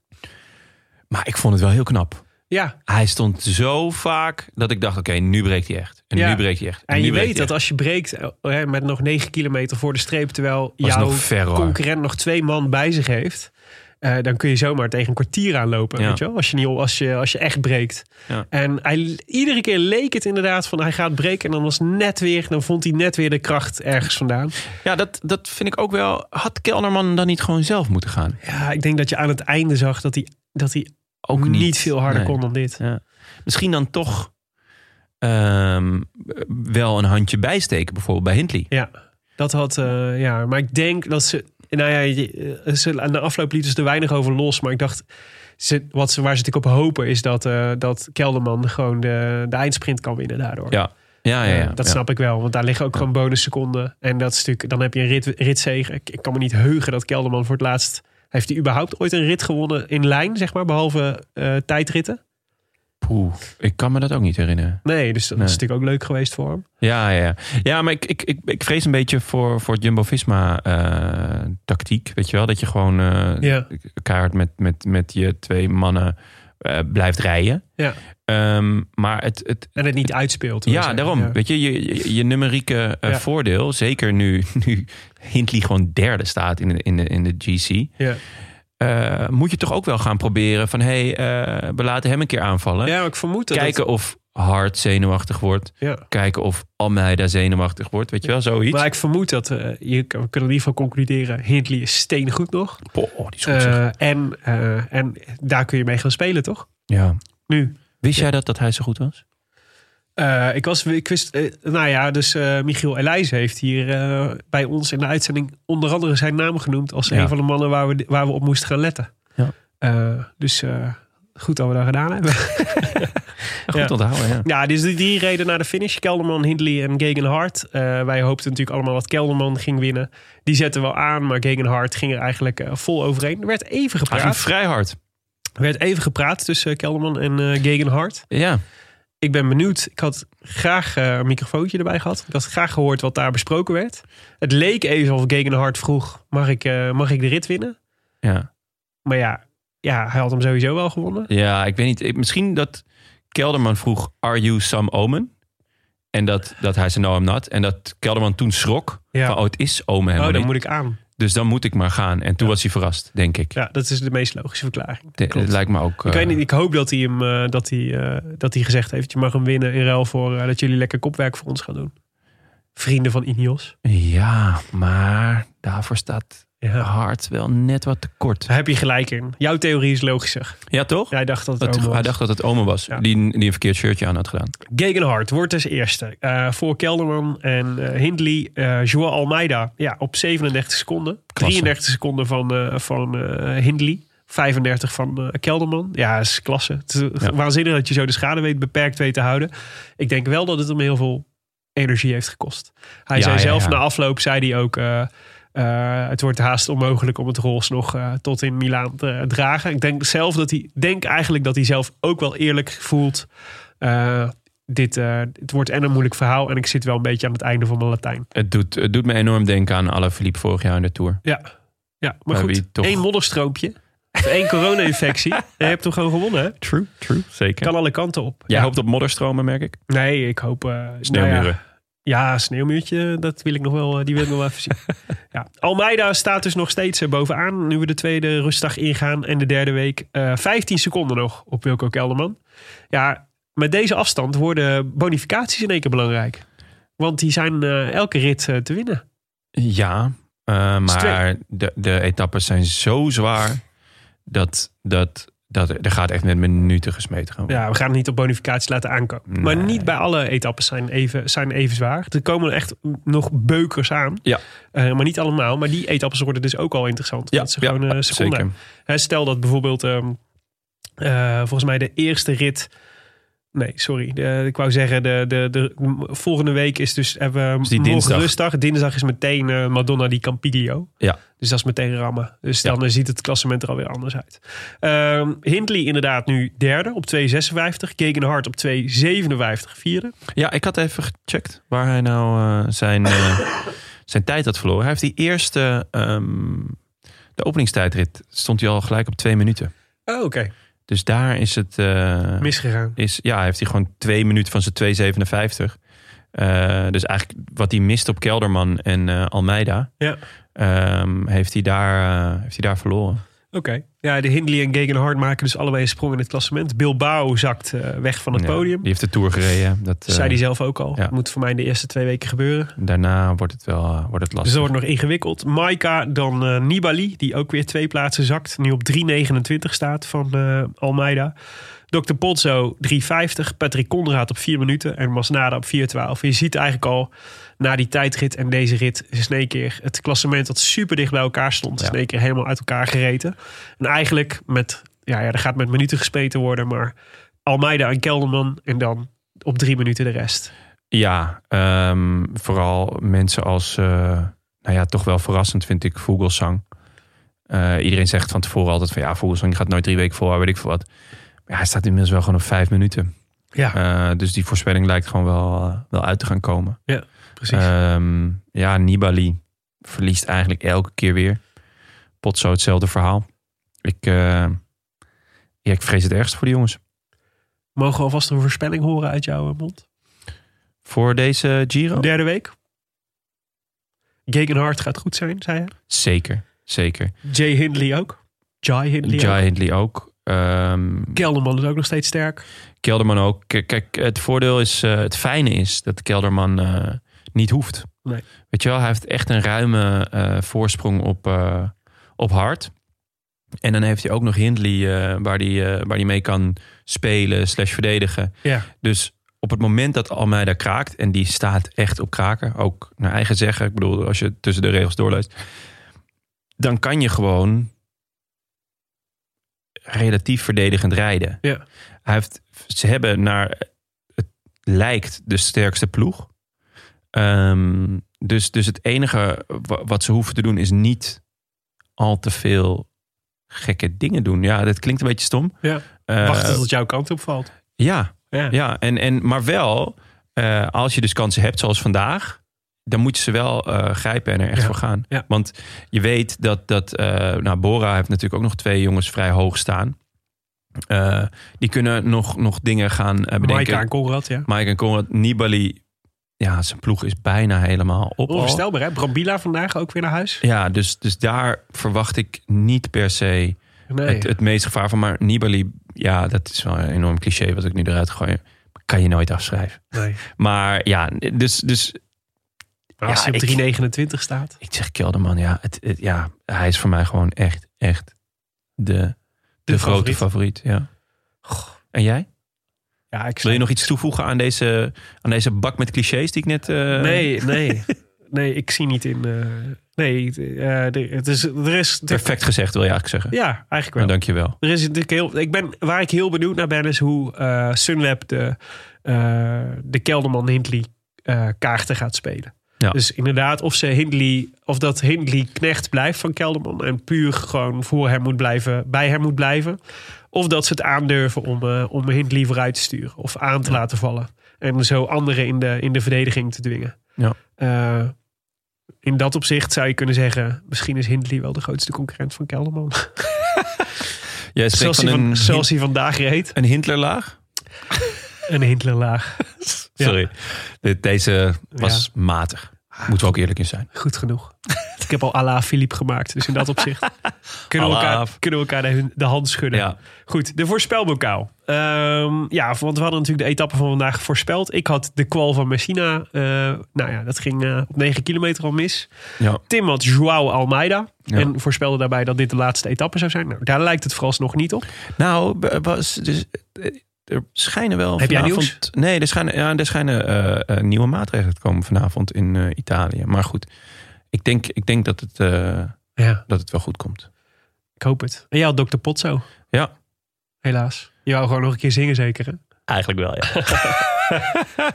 Speaker 1: Maar ik vond het wel heel knap.
Speaker 2: Ja,
Speaker 1: Hij stond zo vaak dat ik dacht, oké, nu breekt hij echt. En
Speaker 2: Ja.
Speaker 1: nu breekt hij echt.
Speaker 2: En je
Speaker 1: nu breekt
Speaker 2: weet
Speaker 1: hij
Speaker 2: dat als je breekt eh, hè, met nog 9 kilometer voor de streep, terwijl
Speaker 1: Was
Speaker 2: jouw
Speaker 1: nog ver, hoor.
Speaker 2: concurrent nog twee man bij zich heeft, eh, dan kun je zomaar tegen een kwartier aanlopen.
Speaker 1: Ja.
Speaker 2: Weet je wel? Als, je niet, als, je, als je echt breekt.
Speaker 1: Ja.
Speaker 2: En hij, iedere keer leek het inderdaad van hij gaat breken. En dan was net weer, dan vond hij net weer de kracht ergens vandaan.
Speaker 1: echt. Ja, dat, dat vind ik ook wel. Had Kelderman dan niet gewoon zelf moeten gaan?
Speaker 2: Ja, ik denk dat je aan het einde zag dat hij, dat hij ook niet, veel harder
Speaker 1: Nee.
Speaker 2: kon dan dit.
Speaker 1: Ja. Misschien dan toch ehm, wel een handje bijsteken, bijvoorbeeld bij Hindley.
Speaker 2: Ja, dat had. eh, ja, maar ik denk dat ze. Nou ja, je- eh, ze, aan de afloop lieten ze er weinig over los. Maar ik dacht. Ze, wat ze, waar ze natuurlijk op hopen is dat, eh, dat Kelderman gewoon de, de eindsprint kan winnen daardoor.
Speaker 1: Ja, ja, ja. ja,
Speaker 2: Eh, dat
Speaker 1: ja.
Speaker 2: snap ik wel, want daar liggen ook gewoon bonusseconden. En dat is natuurlijk, dan heb je een rit, ritzege. Ik, ik kan me niet heugen dat Kelderman voor het laatst... Heeft hij überhaupt ooit een rit gewonnen in lijn, zeg maar, behalve eh, tijdritten?
Speaker 1: Poeh, ik kan me dat ook niet herinneren.
Speaker 2: Nee, dus dat
Speaker 1: Nee.
Speaker 2: is natuurlijk ook leuk geweest voor hem.
Speaker 1: Ja, ja, ja. ja maar ik, ik, ik, ik vrees een beetje voor, voor Jumbo-Visma-tactiek. weet je wel, dat je gewoon eh,
Speaker 2: Ja.
Speaker 1: kaart met, met, met je twee mannen eh, blijft rijden.
Speaker 2: Ja.
Speaker 1: Ehm, maar het, het,
Speaker 2: En het niet uitspeelt. wil ik
Speaker 1: Ja,
Speaker 2: zeggen.
Speaker 1: daarom.
Speaker 2: Ja.
Speaker 1: Weet je, je, je, je numerieke eh,
Speaker 2: Ja.
Speaker 1: voordeel, zeker nu, nu Hindley gewoon derde staat in de, in de, in de GC,
Speaker 2: Ja.
Speaker 1: eh, moet je toch ook wel gaan proberen van hé, hey, eh, we laten hem een keer aanvallen.
Speaker 2: ja, maar ik vermoed dat...
Speaker 1: Kijken of Hart zenuwachtig wordt.
Speaker 2: Ja.
Speaker 1: Kijken of Almeida zenuwachtig wordt. Weet je wel, zoiets.
Speaker 2: Maar ik vermoed dat, eh, je, kan- we kunnen in ieder geval concluderen, Hindley is steengoed nog.
Speaker 1: Poh, die is goed, zeg.
Speaker 2: Eh, en, eh, en daar kun je mee gaan spelen, toch?
Speaker 1: ja.
Speaker 2: Nu.
Speaker 1: Wist jij dat, dat hij zo goed was?
Speaker 2: Eh, ik, was, ik wist, eh, nou ja, dus eh, Michiel Elijs heeft hier eh, bij ons in de uitzending onder andere zijn naam genoemd als
Speaker 1: Ja.
Speaker 2: een van de mannen waar we, waar we op moesten gaan letten.
Speaker 1: Ja.
Speaker 2: Eh, dus eh, goed dat we dat gedaan hebben.
Speaker 1: Ja, goed
Speaker 2: Ja.
Speaker 1: onthouden, ja.
Speaker 2: Ja, dus die drie reden naar de finish. Kelderman, Hindley en Gegenhard. Eh, wij hoopten natuurlijk allemaal dat Kelderman ging winnen. Die zetten wel aan, maar Gegenhard ging er eigenlijk eh, vol overheen. Er werd even
Speaker 1: Hij ging
Speaker 2: gepraat.
Speaker 1: vrij hard.
Speaker 2: Er werd even gepraat tussen Kelderman en eh Gegenhard.
Speaker 1: Ja.
Speaker 2: Ik ben benieuwd. Ik had graag eh, een microfoontje erbij gehad. Ik had graag gehoord wat daar besproken werd. Het leek even of Gegenhard vroeg, mag ik, eh, mag ik de rit winnen?
Speaker 1: ja.
Speaker 2: Maar ja, ja, hij had hem sowieso wel gewonnen.
Speaker 1: Ja, ik weet niet. Ik- Misschien dat Kelderman vroeg, are you some omen? En dat, dat hij zei, no I'm not. En dat Kelderman toen schrok.
Speaker 2: Ja.
Speaker 1: Van, oh, het is omen
Speaker 2: Oh,
Speaker 1: helemaal
Speaker 2: dan
Speaker 1: niet.
Speaker 2: moet ik aan.
Speaker 1: Dus dan moet ik maar gaan. En toen was hij verrast, denk ik.
Speaker 2: Ja, dat is de meest logische verklaring.
Speaker 1: De-
Speaker 2: Klopt.
Speaker 1: het lijkt me ook...
Speaker 2: Ik,
Speaker 1: eh,
Speaker 2: weet niet, ik hoop dat hij, hem, eh, dat, hij, eh, dat hij gezegd heeft: je mag hem winnen in ruil voor eh, dat jullie lekker kopwerk voor ons gaan doen. Vrienden van Ineos.
Speaker 1: Ja, maar daarvoor staat Hart wel net wat tekort.
Speaker 2: Daar heb je gelijk in. Jouw theorie is logischer.
Speaker 1: Ja, toch?
Speaker 2: Jij dacht dat het
Speaker 1: Dat-
Speaker 2: Omo was.
Speaker 1: hij dacht dat het omen was.
Speaker 2: Ja.
Speaker 1: Die, die een verkeerd shirtje aan had gedaan.
Speaker 2: Gegenhard wordt als eerste. Eh, voor Kelderman en eh, Hindley. eh Joao Almeida ja, op 37 seconden. 33 seconden van, eh, van eh, Hindley. 35 van eh, Kelderman. Ja, is klasse. Het is
Speaker 1: Ja.
Speaker 2: waanzinnig dat je zo de schade weet, beperkt weet te houden. Ik denk wel dat het hem heel veel energie heeft gekost. Hij
Speaker 1: Ja,
Speaker 2: zei
Speaker 1: ja,
Speaker 2: zelf
Speaker 1: ja.
Speaker 2: na afloop, zei hij ook... eh, eh, het wordt haast onmogelijk om het roze nog eh, tot in Milaan te eh, dragen. Ik denk zelf dat hij, denk eigenlijk dat hij zelf ook wel eerlijk voelt. eh, dit, eh, het wordt en een moeilijk verhaal en ik zit wel een beetje aan het einde van mijn Latijn.
Speaker 1: Het doet, het doet me enorm denken aan Alaphilippe vorig jaar in de Tour.
Speaker 2: Ja, ja maar
Speaker 1: Maar
Speaker 2: goed.
Speaker 1: wie toch-
Speaker 2: Eén modderstroompje. Of één corona-infectie. en je hebt hem gewoon gewonnen, hè?
Speaker 1: True, true. Zeker.
Speaker 2: Kan alle kanten op.
Speaker 1: Jij
Speaker 2: Ja.
Speaker 1: hoopt op modderstromen, merk ik.
Speaker 2: Nee, ik hoop... eh, nou ja.
Speaker 1: Sneeuwmuren.
Speaker 2: Ja, sneeuwmuurtje, dat wil ik nog wel, eh, die wil ik nog wel even zien. Ja. Almeida staat dus nog steeds eh, bovenaan. Nu we de tweede rustdag ingaan en de derde week. eh 15 seconden nog op Wilco Kelderman. Ja, met deze afstand worden bonificaties in één keer belangrijk. Want die zijn eh, elke rit eh, te winnen.
Speaker 1: Ja, eh,
Speaker 2: is
Speaker 1: maar de, de etappes zijn zo zwaar dat, dat Dat, er gaat echt met minuten gesmeten gaan worden.
Speaker 2: Ja, we gaan het niet op bonificatie laten aankomen. Maar niet bij alle etappes zijn even, zijn even zwaar. Er komen echt nog beukers aan.
Speaker 1: Ja.
Speaker 2: Eh, maar niet allemaal. Maar die etappes worden dus ook al interessant.
Speaker 1: Ja,
Speaker 2: dat ze
Speaker 1: ja,
Speaker 2: gewoon eh, seconden.
Speaker 1: zeker.
Speaker 2: Hè, stel dat bijvoorbeeld ehm, eh, volgens mij de eerste rit. Nee, sorry. De, ik wou zeggen, de, de, de, volgende week is dus hebben
Speaker 1: die
Speaker 2: we morgen
Speaker 1: dinsdag.
Speaker 2: rustdag. Dinsdag is meteen eh, Madonna di Campiglio.
Speaker 1: Ja.
Speaker 2: Dus dat is meteen rammen. Dus
Speaker 1: Ja.
Speaker 2: dan eh, ziet het klassement er alweer anders uit. Ehm Hindley inderdaad nu derde op 2,56. Gegenhard op 2,57 vierde.
Speaker 1: Ja, ik had even gecheckt waar hij nou eh, zijn, eh, zijn tijd had verloren. Hij heeft die eerste, ehm, de openingstijdrit, stond hij al gelijk op twee minuten.
Speaker 2: Oh, oké.
Speaker 1: Dus daar is het... eh,
Speaker 2: Misgegaan.
Speaker 1: is, ja, heeft hij gewoon twee minuten van zijn 2,57. Eh, dus eigenlijk wat hij mist op Kelderman en eh, Almeida,
Speaker 2: Ja, oké.
Speaker 1: ehm, heeft, hij daar, eh, heeft hij daar verloren.
Speaker 2: Ja, de Hindley en Gegenhard maken dus allebei een sprong in het klassement. Bilbao zakt eh, weg van het
Speaker 1: Ja,
Speaker 2: podium.
Speaker 1: Die heeft de Tour gereden. Dat,
Speaker 2: Dat zei
Speaker 1: eh,
Speaker 2: hij zelf ook al.
Speaker 1: ja.
Speaker 2: Dat moet voor mij in de eerste twee weken gebeuren.
Speaker 1: daarna wordt het wel eh, wordt het
Speaker 2: Dus
Speaker 1: lastig.
Speaker 2: dat wordt nog ingewikkeld. Maika, dan eh, Nibali, die ook weer twee plaatsen zakt. Nu op 3,29 staat van eh, Almeida. Dr. Pozzo 3,50. Patrick Conrad op 4 minuten. En Masnada op 4,12. Je ziet eigenlijk al na die tijdrit en deze rit is in één keer het klassement dat super dicht bij elkaar stond. Is
Speaker 1: Ja.
Speaker 2: in één keer helemaal uit elkaar gereten. En eigenlijk met, ja, ja er gaat met minuten gespeten worden. Maar Almeida en Kelderman en dan op drie minuten de rest.
Speaker 1: Ja, ehm, vooral mensen als, eh, nou ja, toch wel verrassend vind ik Vogelsang. Eh, iedereen zegt van tevoren altijd van ja, Vogelsang gaat nooit drie weken vol, weet ik veel wat. Maar ja, hij staat inmiddels wel gewoon op vijf minuten.
Speaker 2: Ja,
Speaker 1: Eh, dus die voorspelling lijkt gewoon wel, eh, wel uit te gaan komen.
Speaker 2: precies.
Speaker 1: Ehm, ja, Nibali verliest eigenlijk elke keer weer. Potso hetzelfde verhaal. Ik, eh, ja, ik vrees het ergst voor die jongens.
Speaker 2: Mogen we alvast een voorspelling horen uit jouw eh, mond?
Speaker 1: Voor deze Giro?
Speaker 2: Derde week. Gegenhard gaat goed zijn, zei hij.
Speaker 1: Zeker, zeker.
Speaker 2: Jay Hindley ook. Jai Hindley
Speaker 1: Jai
Speaker 2: ook.
Speaker 1: Hindley ook. Ehm,
Speaker 2: Kelderman is ook nog steeds sterk.
Speaker 1: Kelderman ook. K- Kijk, het voordeel is, eh, het fijne is dat Kelderman eh, niet hoeft.
Speaker 2: Nee.
Speaker 1: Weet je wel, hij heeft echt een ruime eh, voorsprong op, eh op hard. En dan heeft hij ook nog Hindley eh, waar hij eh, waar die mee kan spelen slash verdedigen.
Speaker 2: Ja.
Speaker 1: Dus op het moment dat Almeida kraakt, en die staat echt op kraken, ook naar eigen zeggen, ik bedoel, als je tussen de regels doorleest, dan kan je gewoon relatief verdedigend rijden.
Speaker 2: Ja.
Speaker 1: Hij heeft, ze hebben naar het lijkt de sterkste ploeg. Ehm, dus, dus het enige wa- wat ze hoeven te doen is niet al te veel gekke dingen doen. Ja, dat klinkt een beetje stom.
Speaker 2: Ja.
Speaker 1: Eh,
Speaker 2: Wachten tot jouw kant opvalt.
Speaker 1: ja,
Speaker 2: Ja.
Speaker 1: ja, en, en, maar wel, eh, als je dus kansen hebt zoals vandaag, dan moet je ze wel eh, grijpen en er echt
Speaker 2: Ja,
Speaker 1: voor gaan.
Speaker 2: ja.
Speaker 1: Want je weet dat, dat eh, nou, Bora heeft natuurlijk ook nog twee jongens vrij hoog staan. Eh, die kunnen nog, nog dingen gaan eh, bedenken.
Speaker 2: Maika en Conrad, ja.
Speaker 1: Mike en Conrad, Nibali, ja, zijn ploeg is bijna helemaal op. al.
Speaker 2: Onvoorstelbaar, hè? Brambila vandaag ook weer naar huis.
Speaker 1: Ja, dus, dus daar verwacht ik niet per se
Speaker 2: Nee.
Speaker 1: het, het meest gevaar van. Maar Nibali, ja, dat is wel een enorm cliché wat ik nu eruit gooi. Kan je nooit afschrijven.
Speaker 2: nee.
Speaker 1: Maar ja, dus, dus
Speaker 2: Maar als
Speaker 1: Ja,
Speaker 2: hij op
Speaker 1: ik-
Speaker 2: 3,29 staat.
Speaker 1: ik zeg Kelderman, ja, het, het- ja, hij is voor mij gewoon echt, echt de, de, grote
Speaker 2: favoriet.
Speaker 1: favoriet. Ja. En jij?
Speaker 2: Ja, ik
Speaker 1: Wil je nog iets toevoegen aan deze, aan deze bak met clichés die ik net... eh,
Speaker 2: Nee, nee. nee, ik zie niet in... eh, nee, eh, er- het is, er is...
Speaker 1: Perfect gezegd wil je eigenlijk zeggen.
Speaker 2: Ja, eigenlijk wel.
Speaker 1: Nou, dankjewel.
Speaker 2: Er is natuurlijk heel, ik ben, waar ik heel benieuwd naar ben, is hoe eh, Sunweb de, eh, de Kelderman Hindley eh, kaarten gaat spelen.
Speaker 1: Ja.
Speaker 2: Dus inderdaad, of, ze Hindley, of dat Hindley knecht blijft van Kelderman en puur gewoon voor hem moet blijven, bij hem moet blijven. Of dat ze het aandurven om, eh, om Hindley vooruit te sturen of aan te laten vallen. En zo anderen in de, in de verdediging te dwingen.
Speaker 1: Ja.
Speaker 2: Eh, in dat opzicht zou je kunnen zeggen, misschien is Hindley wel de grootste concurrent van Kelderman.
Speaker 1: Jij spreekt
Speaker 2: Zoals hij,
Speaker 1: van
Speaker 2: van,
Speaker 1: een,
Speaker 2: zoals hij vandaag reed.
Speaker 1: een Hintlerlaag?
Speaker 2: Een Hintlerlaag.
Speaker 1: Sorry. Dit- Deze was matig. Moeten we ook eerlijk in zijn.
Speaker 2: Goed genoeg. ik heb al Ala Philippe gemaakt. Dus in dat opzicht kunnen, we
Speaker 1: Ala.
Speaker 2: elkaar, kunnen we elkaar de, hun- de hand schudden.
Speaker 1: Ja.
Speaker 2: Goed, de voorspelbokaal. Ehm, ja, want we hadden natuurlijk de etappe van vandaag voorspeld. Ik had de kwal van Messina. eh, nou ja, dat ging eh, op 9 kilometer al mis.
Speaker 1: Ja.
Speaker 2: Tim had Joao Almeida.
Speaker 1: Ja.
Speaker 2: En voorspelde daarbij dat dit de laatste etappe zou zijn. Nou, daar lijkt het vooralsnog niet op.
Speaker 1: Nou, b- was dus, eh, er schijnen wel.
Speaker 2: Heb jij
Speaker 1: vanavond- Nee, er schijnen, ja, er schijnen eh, eh, nieuwe maatregelen te komen vanavond in eh, Italië. Maar goed, ik denk, ik denk dat, het, eh,
Speaker 2: Ja,
Speaker 1: dat het wel goed komt.
Speaker 2: ik hoop het. En jij had Dr. Potso.
Speaker 1: Ja.
Speaker 2: Helaas. Je wou gewoon nog een keer zingen zeker, hè?
Speaker 1: Eigenlijk wel, ja.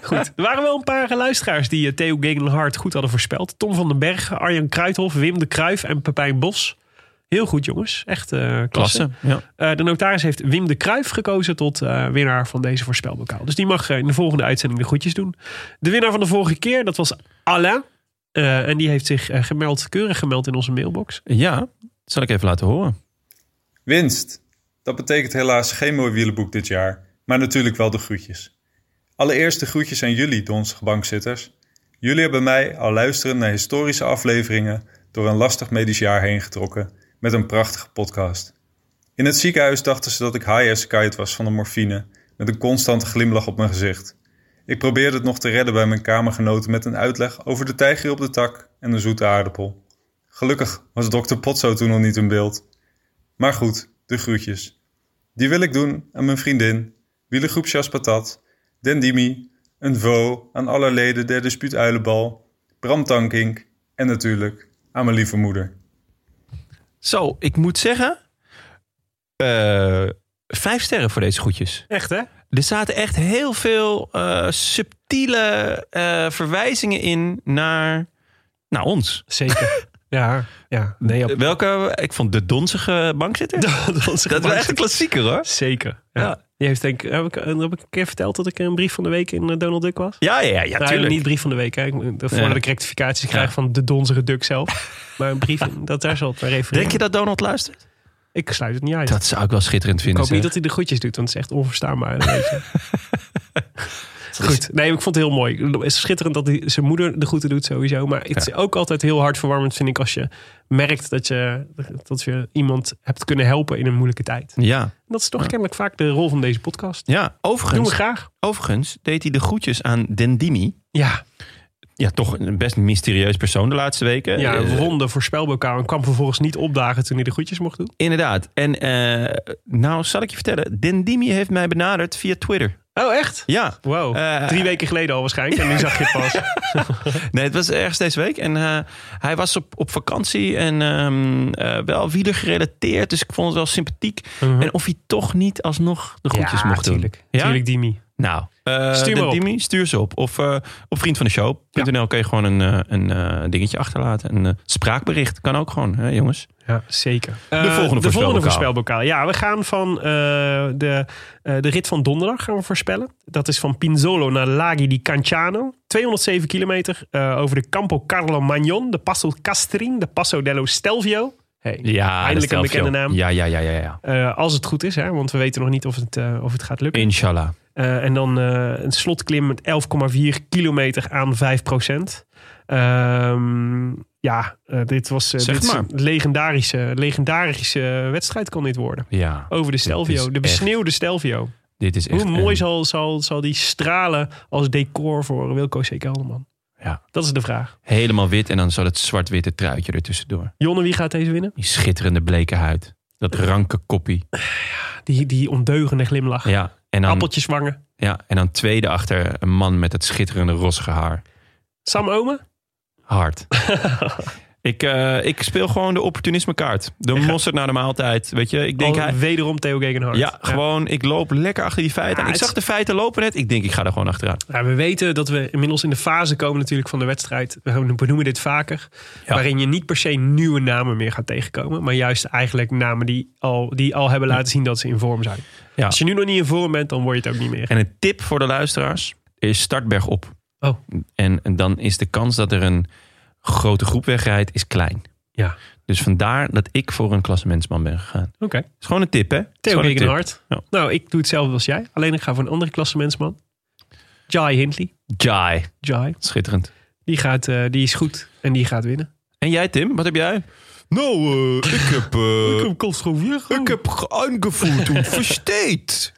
Speaker 2: Goed. Er waren wel een paar eh, luisteraars die eh, Theo Gegenhardt goed hadden voorspeld. Tom van den Berg, Arjan Kruithof, Wim de Kruif en Pepijn Bos. Heel goed, jongens. Echt eh, klasse.
Speaker 1: Klasse. Ja.
Speaker 2: Eh, de notaris heeft Wim de Kruif gekozen tot eh, winnaar van deze voorspelbokaal. Dus die mag eh, in de volgende uitzending de groetjes doen. De winnaar van de vorige keer, dat was Alain. Eh, en die heeft zich eh, gemeld, keurig gemeld in onze mailbox.
Speaker 1: ja, dat zal ik even laten horen.
Speaker 6: Winst. Dat betekent helaas geen mooi wielenboek dit jaar, maar natuurlijk wel de groetjes. Allereerst de groetjes aan jullie, donstige bankzitters. Jullie hebben mij al luisterend naar historische afleveringen door een lastig medisch jaar heen getrokken met een prachtige podcast. In het ziekenhuis dachten ze dat ik high as kite was van de morfine, met een constante glimlach op mijn gezicht. Ik probeerde het nog te redden bij mijn kamergenoten met een uitleg over de tijger op de tak en de zoete aardappel. Gelukkig was dokter Potso toen nog niet in beeld. Maar goed, de groetjes. Die wil ik doen aan mijn vriendin, wielengroep Jas Patat, Dendimi, een Vo, aan alle leden der Dispuut Uilenbal, Bram Tankink en natuurlijk aan mijn lieve moeder.
Speaker 1: Zo, ik moet zeggen. eh, vijf sterren voor deze groetjes.
Speaker 2: Echt, hè?
Speaker 1: Er zaten echt heel veel eh, subtiele eh, verwijzingen in naar, naar ons.
Speaker 2: Zeker. ja, ja. Nee, op...
Speaker 1: Welke? Ik vond de donzige bankzitter. dat was echt een klassieker hoor.
Speaker 2: Zeker. Ja.
Speaker 1: Ja.
Speaker 2: Die heeft denk ik, heb ik, heb ik een keer verteld dat ik een brief van de week in eh, Donald Duck was?
Speaker 1: Ja, ja, ja, ja
Speaker 2: Nou,
Speaker 1: tuurlijk.
Speaker 2: niet brief van de week. Hè. Ik moet- Voordat
Speaker 1: Ja.
Speaker 2: ik rectificaties krijg
Speaker 1: Ja.
Speaker 2: van de donzige Duck zelf. Maar een brief, dat daar zal het maar even
Speaker 1: Denk je dat Donald luistert?
Speaker 2: Ik sluit het niet uit.
Speaker 1: Dat zou ik wel schitterend
Speaker 2: ik
Speaker 1: vinden.
Speaker 2: hoop niet dat
Speaker 1: zeg.
Speaker 2: hij de groetjes doet, want het is echt onverstaanbaar. een beetje. Goed. Nee, ik vond het heel mooi. Het is schitterend dat hij zijn moeder de groeten doet sowieso. Maar het is ook altijd heel hartverwarmend, vind ik, als je merkt dat je, dat je iemand hebt kunnen helpen in een moeilijke tijd.
Speaker 1: Ja,
Speaker 2: Dat is toch kennelijk vaak de rol van deze podcast.
Speaker 1: ja.
Speaker 2: Doen we
Speaker 1: Overigens,
Speaker 2: graag.
Speaker 1: overigens deed hij de groetjes aan Dendimi.
Speaker 2: Ja,
Speaker 1: Ja, toch een best mysterieus persoon de laatste weken.
Speaker 2: ja
Speaker 1: Eh,
Speaker 2: een ronde voorspelbokaal en kwam vervolgens niet opdagen toen hij de groetjes mocht doen.
Speaker 1: Inderdaad. En eh, nou, zal ik je vertellen. Dendimi heeft mij benaderd via Twitter.
Speaker 2: Oh, echt?
Speaker 1: Ja.
Speaker 2: Wow,
Speaker 1: Eh,
Speaker 2: drie weken geleden al waarschijnlijk. En nu zag je het pas.
Speaker 1: Nee, het was ergens deze week. En eh, hij was op, op vakantie en ehm, eh, wel wieler gerelateerd. Dus ik vond het wel sympathiek.
Speaker 2: Mhm.
Speaker 1: En of hij toch niet alsnog de groetjes mocht doen.
Speaker 2: tuurlijk. Tuurlijk, Dimi.
Speaker 1: Nou, eh,
Speaker 2: Stuur
Speaker 1: de
Speaker 2: maar op.
Speaker 1: Dimi, stuur ze op. Of eh, op vriendvandeshow.nl kun je gewoon een, eh, een eh, dingetje achterlaten. Een eh, spraakbericht kan ook gewoon, hè, jongens.
Speaker 2: Ja, zeker. Eh,
Speaker 1: volgende
Speaker 2: de volgende
Speaker 1: voorspelbokaal.
Speaker 2: voorspelbokaal. Ja, we gaan van eh, de, eh, de rit van donderdag gaan we voorspellen. Dat is van Pinzolo naar Laghi di Canciano. 207 kilometer eh, over de Campo Carlo Magnon, de Passo Castrin, de Passo dello Stelvio. Hey,
Speaker 1: Ja,
Speaker 2: eindelijk een bekende naam.
Speaker 1: Ja, ja, ja, ja, ja.
Speaker 2: Eh, als het goed is, hè, want we weten nog niet of het, eh, of het gaat lukken.
Speaker 1: Inshallah.
Speaker 2: Eh, en dan eh, een slotklim met 11,4 kilometer aan 5 procent. ja, eh, dit was eh,
Speaker 1: Zeg
Speaker 2: dit is
Speaker 1: maar.
Speaker 2: een legendarische, legendarische wedstrijd kon dit worden.
Speaker 1: Ja,
Speaker 2: Over de Stelvio,
Speaker 1: is
Speaker 2: de besneeuwde Stelvio.
Speaker 1: dit is echt...
Speaker 2: Oh, Hoe mooi
Speaker 1: een-
Speaker 2: zal, zal, zal die stralen als decor voor Wilco C. Kelderman?
Speaker 1: Ja.
Speaker 2: Dat is de vraag.
Speaker 1: Helemaal wit en dan zo dat zwart-witte truitje ertussendoor.
Speaker 2: Jonne, wie gaat deze winnen?
Speaker 1: Die schitterende bleke huid. Dat ranke koppie.
Speaker 2: Die, die ondeugende glimlach.
Speaker 1: Ja, nou, en dan,
Speaker 2: Appeltjes wangen.
Speaker 1: ja, en dan tweede achter een man met het schitterende rossige haar.
Speaker 2: Sam Omen?
Speaker 1: Hard. ik, eh, ik speel gewoon de opportunisme kaart. De mosterd naar de maaltijd. Weet je, ik denk
Speaker 2: Al-
Speaker 1: hij...
Speaker 2: Wederom Theo Gegenhardt.
Speaker 1: Ja, gewoon, ik loop lekker achter die feiten.
Speaker 2: Ja,
Speaker 1: aan. ik
Speaker 2: het-
Speaker 1: zag de feiten lopen net. Ik denk, ik ga er gewoon achteraan.
Speaker 2: Ja, Nou, we weten dat we inmiddels in de fase komen natuurlijk van de wedstrijd. We benoemen dit vaker.
Speaker 1: Ja.
Speaker 2: Waarin je niet per se nieuwe namen meer gaat tegenkomen. Maar juist eigenlijk namen die al, die al hebben laten zien dat ze in vorm zijn.
Speaker 1: Ja.
Speaker 2: Als je nu nog niet in vorm bent, dan word je het ook niet meer.
Speaker 1: En een tip voor de luisteraars is start bergop.
Speaker 2: Oh.
Speaker 1: En, en dan is de kans dat er een grote groep wegrijdt, is klein.
Speaker 2: Ja.
Speaker 1: Dus vandaar dat ik voor een klassementsman ben gegaan.
Speaker 2: Oké.
Speaker 1: is gewoon een tip, hè? Is
Speaker 2: Theo
Speaker 1: gewoon een tip.
Speaker 2: Regenhard.
Speaker 1: Ja.
Speaker 2: Nou, ik doe hetzelfde als jij. Alleen ik ga voor een andere klassementsman. Jai Hindley.
Speaker 1: Jai.
Speaker 2: Jai.
Speaker 1: Schitterend.
Speaker 2: Die, gaat, eh, die is goed en die gaat winnen.
Speaker 1: En jij, Tim, wat heb jij?
Speaker 7: Nou, eh, ik heb, eh,
Speaker 2: Castro Viejo.
Speaker 7: ik heb geangevoerd en versteed.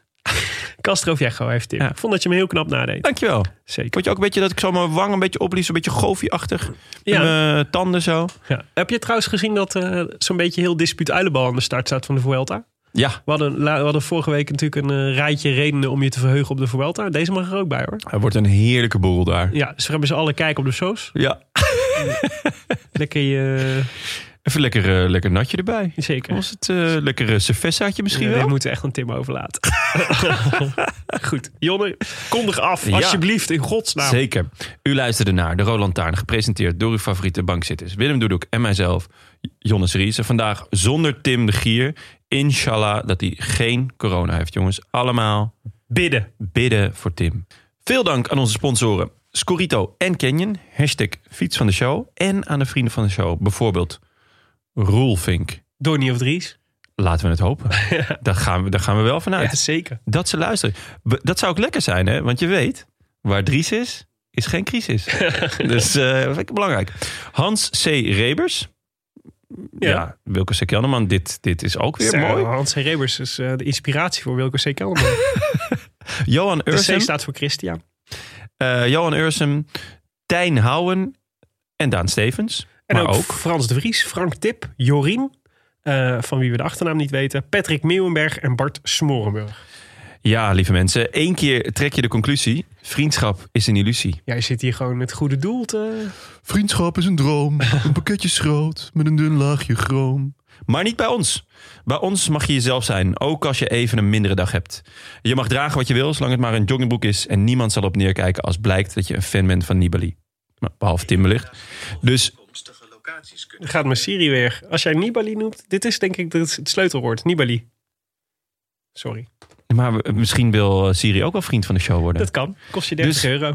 Speaker 2: Castro Viejo heeft Tim.
Speaker 1: Ja.
Speaker 2: Ik vond dat je hem heel knap nadeed.
Speaker 1: Dankjewel.
Speaker 2: Zeker.
Speaker 1: Vond je ook een beetje dat ik zo mijn wang een beetje oplies, een beetje goofy-achtig?
Speaker 2: Ja.
Speaker 1: Ja. Mijn tanden zo.
Speaker 2: Ja. Heb je trouwens gezien dat eh, zo'n beetje heel dispuut uilenbal aan de start staat van de Vuelta?
Speaker 1: Ja,
Speaker 2: We hadden, la- we hadden vorige week natuurlijk een eh, rijtje redenen om je te verheugen op de Vuelta. Deze mag er ook bij hoor.
Speaker 1: het wordt een heerlijke boel daar.
Speaker 2: Ja, ze hebben ze alle kijk op de shows.
Speaker 1: Ja.
Speaker 2: Lekker je...
Speaker 1: Even lekker, eh, lekker natje erbij.
Speaker 2: Zeker.
Speaker 1: Was het eh lekker cervessaatje misschien
Speaker 2: Ja,
Speaker 1: wel?
Speaker 2: dit moeten we echt aan Tim overlaten. Goed. Jonne, kondig af.
Speaker 1: Ja.
Speaker 2: Alsjeblieft, in godsnaam.
Speaker 1: Zeker. U luisterde naar De Roland Taarn, gepresenteerd door uw favoriete bankzitters. Willem Doedoek en mijzelf, Jonnes Ries. En vandaag zonder Tim de Gier. Inshallah dat hij geen corona heeft, jongens. Allemaal
Speaker 2: Bidden.
Speaker 1: bidden voor Tim. Veel dank aan onze sponsoren Scorito en Canyon. Hashtag fiets van de show. En aan de vrienden van de show. Bijvoorbeeld Roelvink.
Speaker 2: Donnie of Dries.
Speaker 1: Laten we het hopen. Daar, gaan we, daar gaan we wel vanuit.
Speaker 2: zeker.
Speaker 1: Dat ze luisteren. We- Dat zou ook lekker zijn, hè? Want je weet, waar Dries is, is geen crisis. dus eh vind ik belangrijk. Hans C. Rebers. Ja, Wilke C. Kelderman, dit, dit is ook weer
Speaker 2: Zo,
Speaker 1: mooi.
Speaker 2: Hans C. Rebers is eh, de inspiratie voor Wilco C. Kelderman.
Speaker 1: Johan
Speaker 2: De C
Speaker 1: Ursum.
Speaker 2: staat voor Christian.
Speaker 1: eh, Johan Ursum. Tijn Houwen. En Daan Stevens.
Speaker 2: En
Speaker 1: maar
Speaker 2: ook,
Speaker 1: ook,
Speaker 2: Frans de Vries, Frank Tip, Jorien, eh, van wie we de achternaam niet weten, Patrick Meeuwenberg en Bart Smorenburg.
Speaker 1: Ja, lieve mensen. één keer trek je de conclusie. Vriendschap is een illusie.
Speaker 2: Jij zit hier gewoon het goede doel te...
Speaker 7: Vriendschap is een droom. Een pakketje schroot met een dun laagje groom.
Speaker 1: Maar niet bij ons. Bij ons mag je jezelf zijn, ook als je even een mindere dag hebt. Je mag dragen wat je wil, zolang het maar een joggingbroek is. En niemand zal op neerkijken als blijkt dat je een fan bent van Nibali. Nou, Behalve Tim wellicht. Dus
Speaker 2: Dan gaat mijn Siri weer. Als jij Nibali noemt, dit is denk ik het het sleutelwoord. Nibali. Sorry.
Speaker 1: maar we- misschien wil eh, Siri ook wel vriend van de show worden.
Speaker 2: Dat kan. Kost je 30
Speaker 1: Dus-
Speaker 2: euro.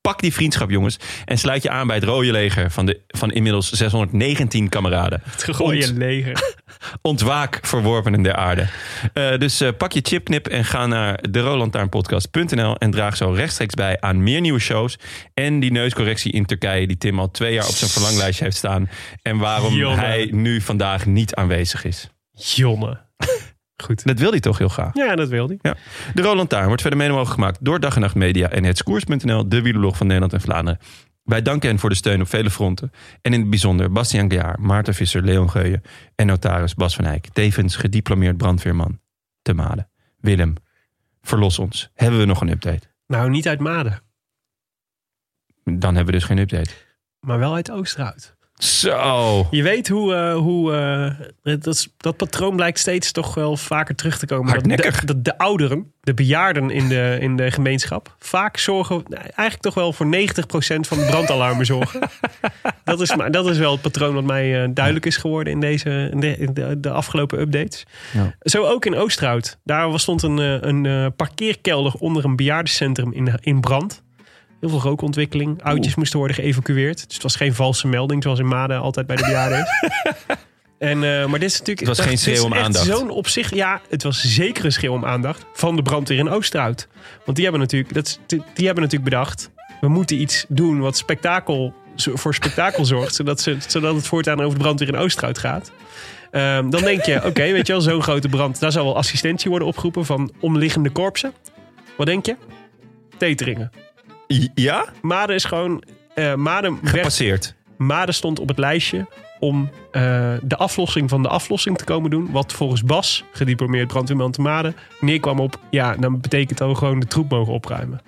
Speaker 1: Pak die vriendschap, jongens. En sluit je aan bij het rode leger van, de, van inmiddels 619 kameraden.
Speaker 2: Gooi je leger.
Speaker 1: Ontwaak verworpenen der aarde. Eh, dus eh, pak je chipknip en ga naar derolantaarnpodcast.nl en draag zo rechtstreeks bij aan meer nieuwe shows. En die neuscorrectie in Turkije die Tim al twee jaar op zijn verlanglijstje heeft staan. En waarom
Speaker 2: Jonne.
Speaker 1: hij nu vandaag niet aanwezig is.
Speaker 2: Jonne. Goed.
Speaker 1: Dat wil hij toch heel graag.
Speaker 2: Ja, dat wil hij.
Speaker 1: Ja. De Roland Taarn wordt verder mede mogelijk gemaakt door Dag en Nacht Media en hetskoers.nl, de wielerlog van Nederland en Vlaanderen. Wij danken hen voor de steun op vele fronten. En in het bijzonder Bastiaan Gejaar, Maarten Visser, Leon Geuyen en notaris Bas van Eyck. Tevens gediplomeerd brandweerman te Malen. Willem, verlos ons. Hebben we nog een update?
Speaker 2: Nou, niet uit Maden,
Speaker 1: Dan hebben we dus geen update.
Speaker 2: maar wel uit Oosterhout.
Speaker 1: Zo.
Speaker 2: Je weet hoe, eh, hoe eh, dat, is- dat patroon blijkt steeds toch wel vaker terug te komen. Dat
Speaker 1: Hardnekkig.
Speaker 2: de, dat de ouderen, de bejaarden in de, in de gemeenschap, vaak zorgen, nou, eigenlijk toch wel voor 90% van de brandalarmen zorgen. dat, is, maar- dat is wel het patroon wat mij eh, duidelijk is geworden in, deze, in de, in de, de afgelopen updates.
Speaker 1: Ja.
Speaker 2: Zo ook in Oosterhout. Daar was- stond een, eh, een eh, parkeerkelder onder een bejaardencentrum in, eh, in brand. Heel veel rookontwikkeling. Oudjes moesten worden geëvacueerd. Dus het was geen valse melding zoals in Maden altijd bij de bejaarden is. En, eh, maar dit is natuurlijk.
Speaker 1: Het was geen
Speaker 2: dit is
Speaker 1: schreeuw om
Speaker 2: echt
Speaker 1: aandacht.
Speaker 2: Zo'n opzicht. Ja, het was zeker een schreeuw om aandacht. Van de brandweer in Oosterhout. Want die hebben natuurlijk, dat, is- die, die hebben natuurlijk bedacht. We moeten iets doen wat spektakel, zo- voor spektakel zorgt. Zodat, ze, zodat het voortaan over de brandweer in Oosterhout gaat. Ehm, dan denk je, oké, weet je wel, zo'n grote brand. Daar zal wel assistentie worden opgeroepen van omliggende korpsen. Wat denk je? Teteringen.
Speaker 1: Ja?
Speaker 2: Maden is gewoon. eh Maden, werd,
Speaker 1: Passeert.
Speaker 2: Maden stond op het lijstje om eh, de aflossing van de aflossing te komen doen. Wat volgens Bas, gediplomeerd brandweerman te Maden, neerkwam op. Ja, dan betekent dat we gewoon de troep mogen opruimen.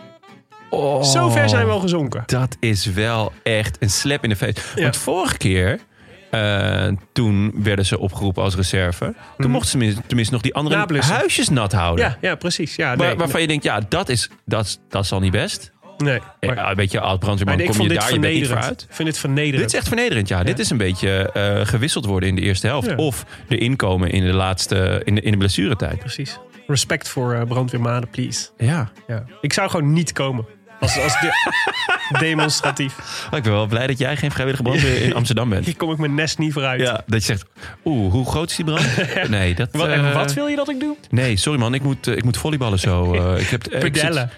Speaker 1: Oh.
Speaker 2: Zo ver zijn we al gezonken.
Speaker 1: Dat is wel echt een slap in de face.
Speaker 2: Ja.
Speaker 1: Want vorige keer, eh, toen werden ze opgeroepen als reserve. Toen mochten ze mis- tenminste nog die andere
Speaker 2: Mhm. Nablussen.
Speaker 1: huisjes nat houden.
Speaker 2: Ja, ja precies. Ja,
Speaker 1: Waar-
Speaker 2: nee,
Speaker 1: waarvan je denkt, ja, dat is, dat, is- dat is al niet best.
Speaker 2: nee,
Speaker 1: Eh,
Speaker 2: maar-
Speaker 1: een beetje oud
Speaker 2: maar
Speaker 1: brandweerman,
Speaker 2: ik
Speaker 1: kom
Speaker 2: vond
Speaker 1: je
Speaker 2: dit
Speaker 1: daar, je bent niet
Speaker 2: vernederend.
Speaker 1: vooruit.
Speaker 2: Ik vind dit vernederend.
Speaker 1: Dit is echt vernederend, ja. Dit is een beetje eh, gewisseld worden in de eerste helft.
Speaker 2: Ja.
Speaker 1: Of de inkomen in de laatste, in de, in de blessuretijd.
Speaker 2: Precies. Respect voor eh, brandweer Maden, please.
Speaker 1: Ja.
Speaker 2: Ja. Ik zou gewoon niet komen. Als, als de- demonstratief.
Speaker 1: Maar Oh, ik ben wel blij dat jij geen vrijwillige brandweer in Amsterdam bent.
Speaker 2: Hier kom ik mijn nest niet vooruit.
Speaker 1: Ja, dat je zegt, oeh, hoe groot is die brand? Nee, dat...
Speaker 2: Wat, en
Speaker 1: eh,
Speaker 2: wat wil je dat ik doe?
Speaker 1: Nee, sorry man, ik moet, eh, ik moet volleyballen zo. eh, ik heb, eh, ik zit-
Speaker 2: Pedellen.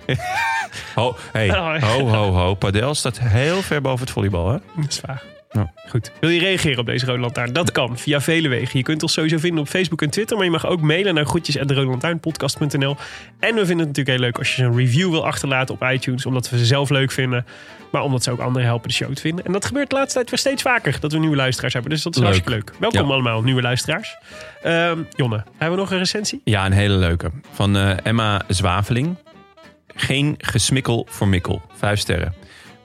Speaker 1: ho, hey,
Speaker 2: Oh, ja.
Speaker 1: ho, ho, ho. Padel staat heel ver boven het volleybal, hè?
Speaker 2: Dat is waar. Goed. Wil je reageren op deze Rode Lantaarn? Dat kan via vele wegen. Je kunt ons sowieso vinden op Facebook en Twitter. Maar je mag ook mailen naar groetjes.roodlantaarnpodcast.nl. En we vinden het natuurlijk heel leuk als je een review wil achterlaten op iTunes. Omdat we ze zelf leuk vinden. Maar omdat ze ook anderen helpen de show te vinden. En dat gebeurt de laatste tijd weer steeds vaker. Dat we nieuwe luisteraars hebben. Dus dat is
Speaker 1: Leuk.
Speaker 2: hartstikke leuk. Welkom
Speaker 1: Ja.
Speaker 2: allemaal, nieuwe luisteraars. Ehm, Jonne, hebben we nog een recensie?
Speaker 1: Ja, een hele leuke. Van eh, Emma Zwaveling. Geen gesmikkel voor mikkel. Vijf sterren.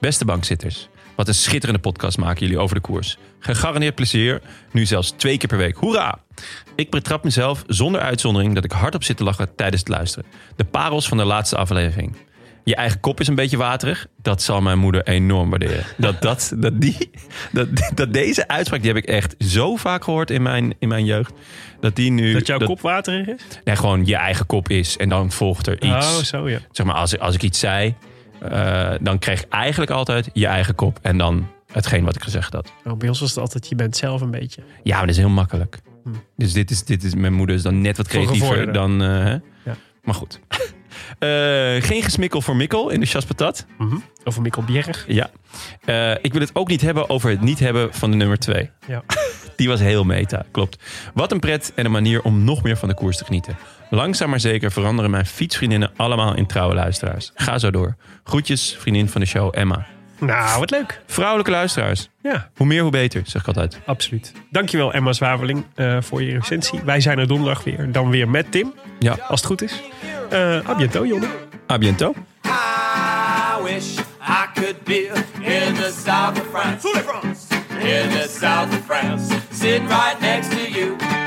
Speaker 1: Beste bankzitters. Wat een schitterende podcast maken jullie over de koers. Gegarandeerd plezier. Nu zelfs twee keer per week. Hoera! Ik betrap mezelf zonder uitzondering dat ik hardop zit te lachen tijdens het luisteren. De parels van de laatste aflevering. Je eigen kop is een beetje waterig. Dat zal mijn moeder enorm waarderen. Dat, dat, dat, die, dat, dat deze uitspraak, die heb ik echt zo vaak gehoord in mijn, in mijn jeugd. Dat die nu...
Speaker 2: Dat jouw kop waterig is?
Speaker 1: Nee, gewoon je eigen kop is en dan volgt er iets.
Speaker 2: Oh, zo ja.
Speaker 1: Zeg maar, als, als ik iets zei, eh, dan kreeg ik eigenlijk altijd je eigen kop en dan hetgeen wat ik gezegd had.
Speaker 2: Nou, bij ons was het altijd, je bent zelf een beetje.
Speaker 1: Ja, maar dat is heel makkelijk.
Speaker 2: Hm.
Speaker 1: Dus dit is, dit is, mijn moeder is dan net wat creatiever
Speaker 2: gevorderden.
Speaker 1: dan... eh, hè?
Speaker 2: Ja.
Speaker 1: Maar goed. Eh, geen gesmikkel voor mikkel in de chas patat.
Speaker 2: Over Mikkel Bjerg.
Speaker 1: Ja. Eh, ik wil het ook niet hebben over het niet hebben van de nummer 2.
Speaker 2: Ja.
Speaker 1: Die was heel meta, klopt. Wat een pret en een manier om nog meer van de koers te genieten. Langzaam maar zeker veranderen mijn fietsvriendinnen allemaal in trouwe luisteraars. Ga zo door. Groetjes, vriendin van de show Emma.
Speaker 2: Nou, wat leuk.
Speaker 1: Vrouwelijke luisteraars.
Speaker 2: Ja,
Speaker 1: Hoe meer, hoe beter, zeg ik altijd.
Speaker 2: absoluut. Dankjewel Emma Zwaveling eh, voor je recensie. Wij zijn er donderdag weer. Dan weer met Tim,
Speaker 1: Ja, oh,
Speaker 2: als het goed is. Eh à bientôt, Jonne.
Speaker 1: à bientôt.
Speaker 5: I wish I could be in the south of France. In the south of France. Sitting right next to you.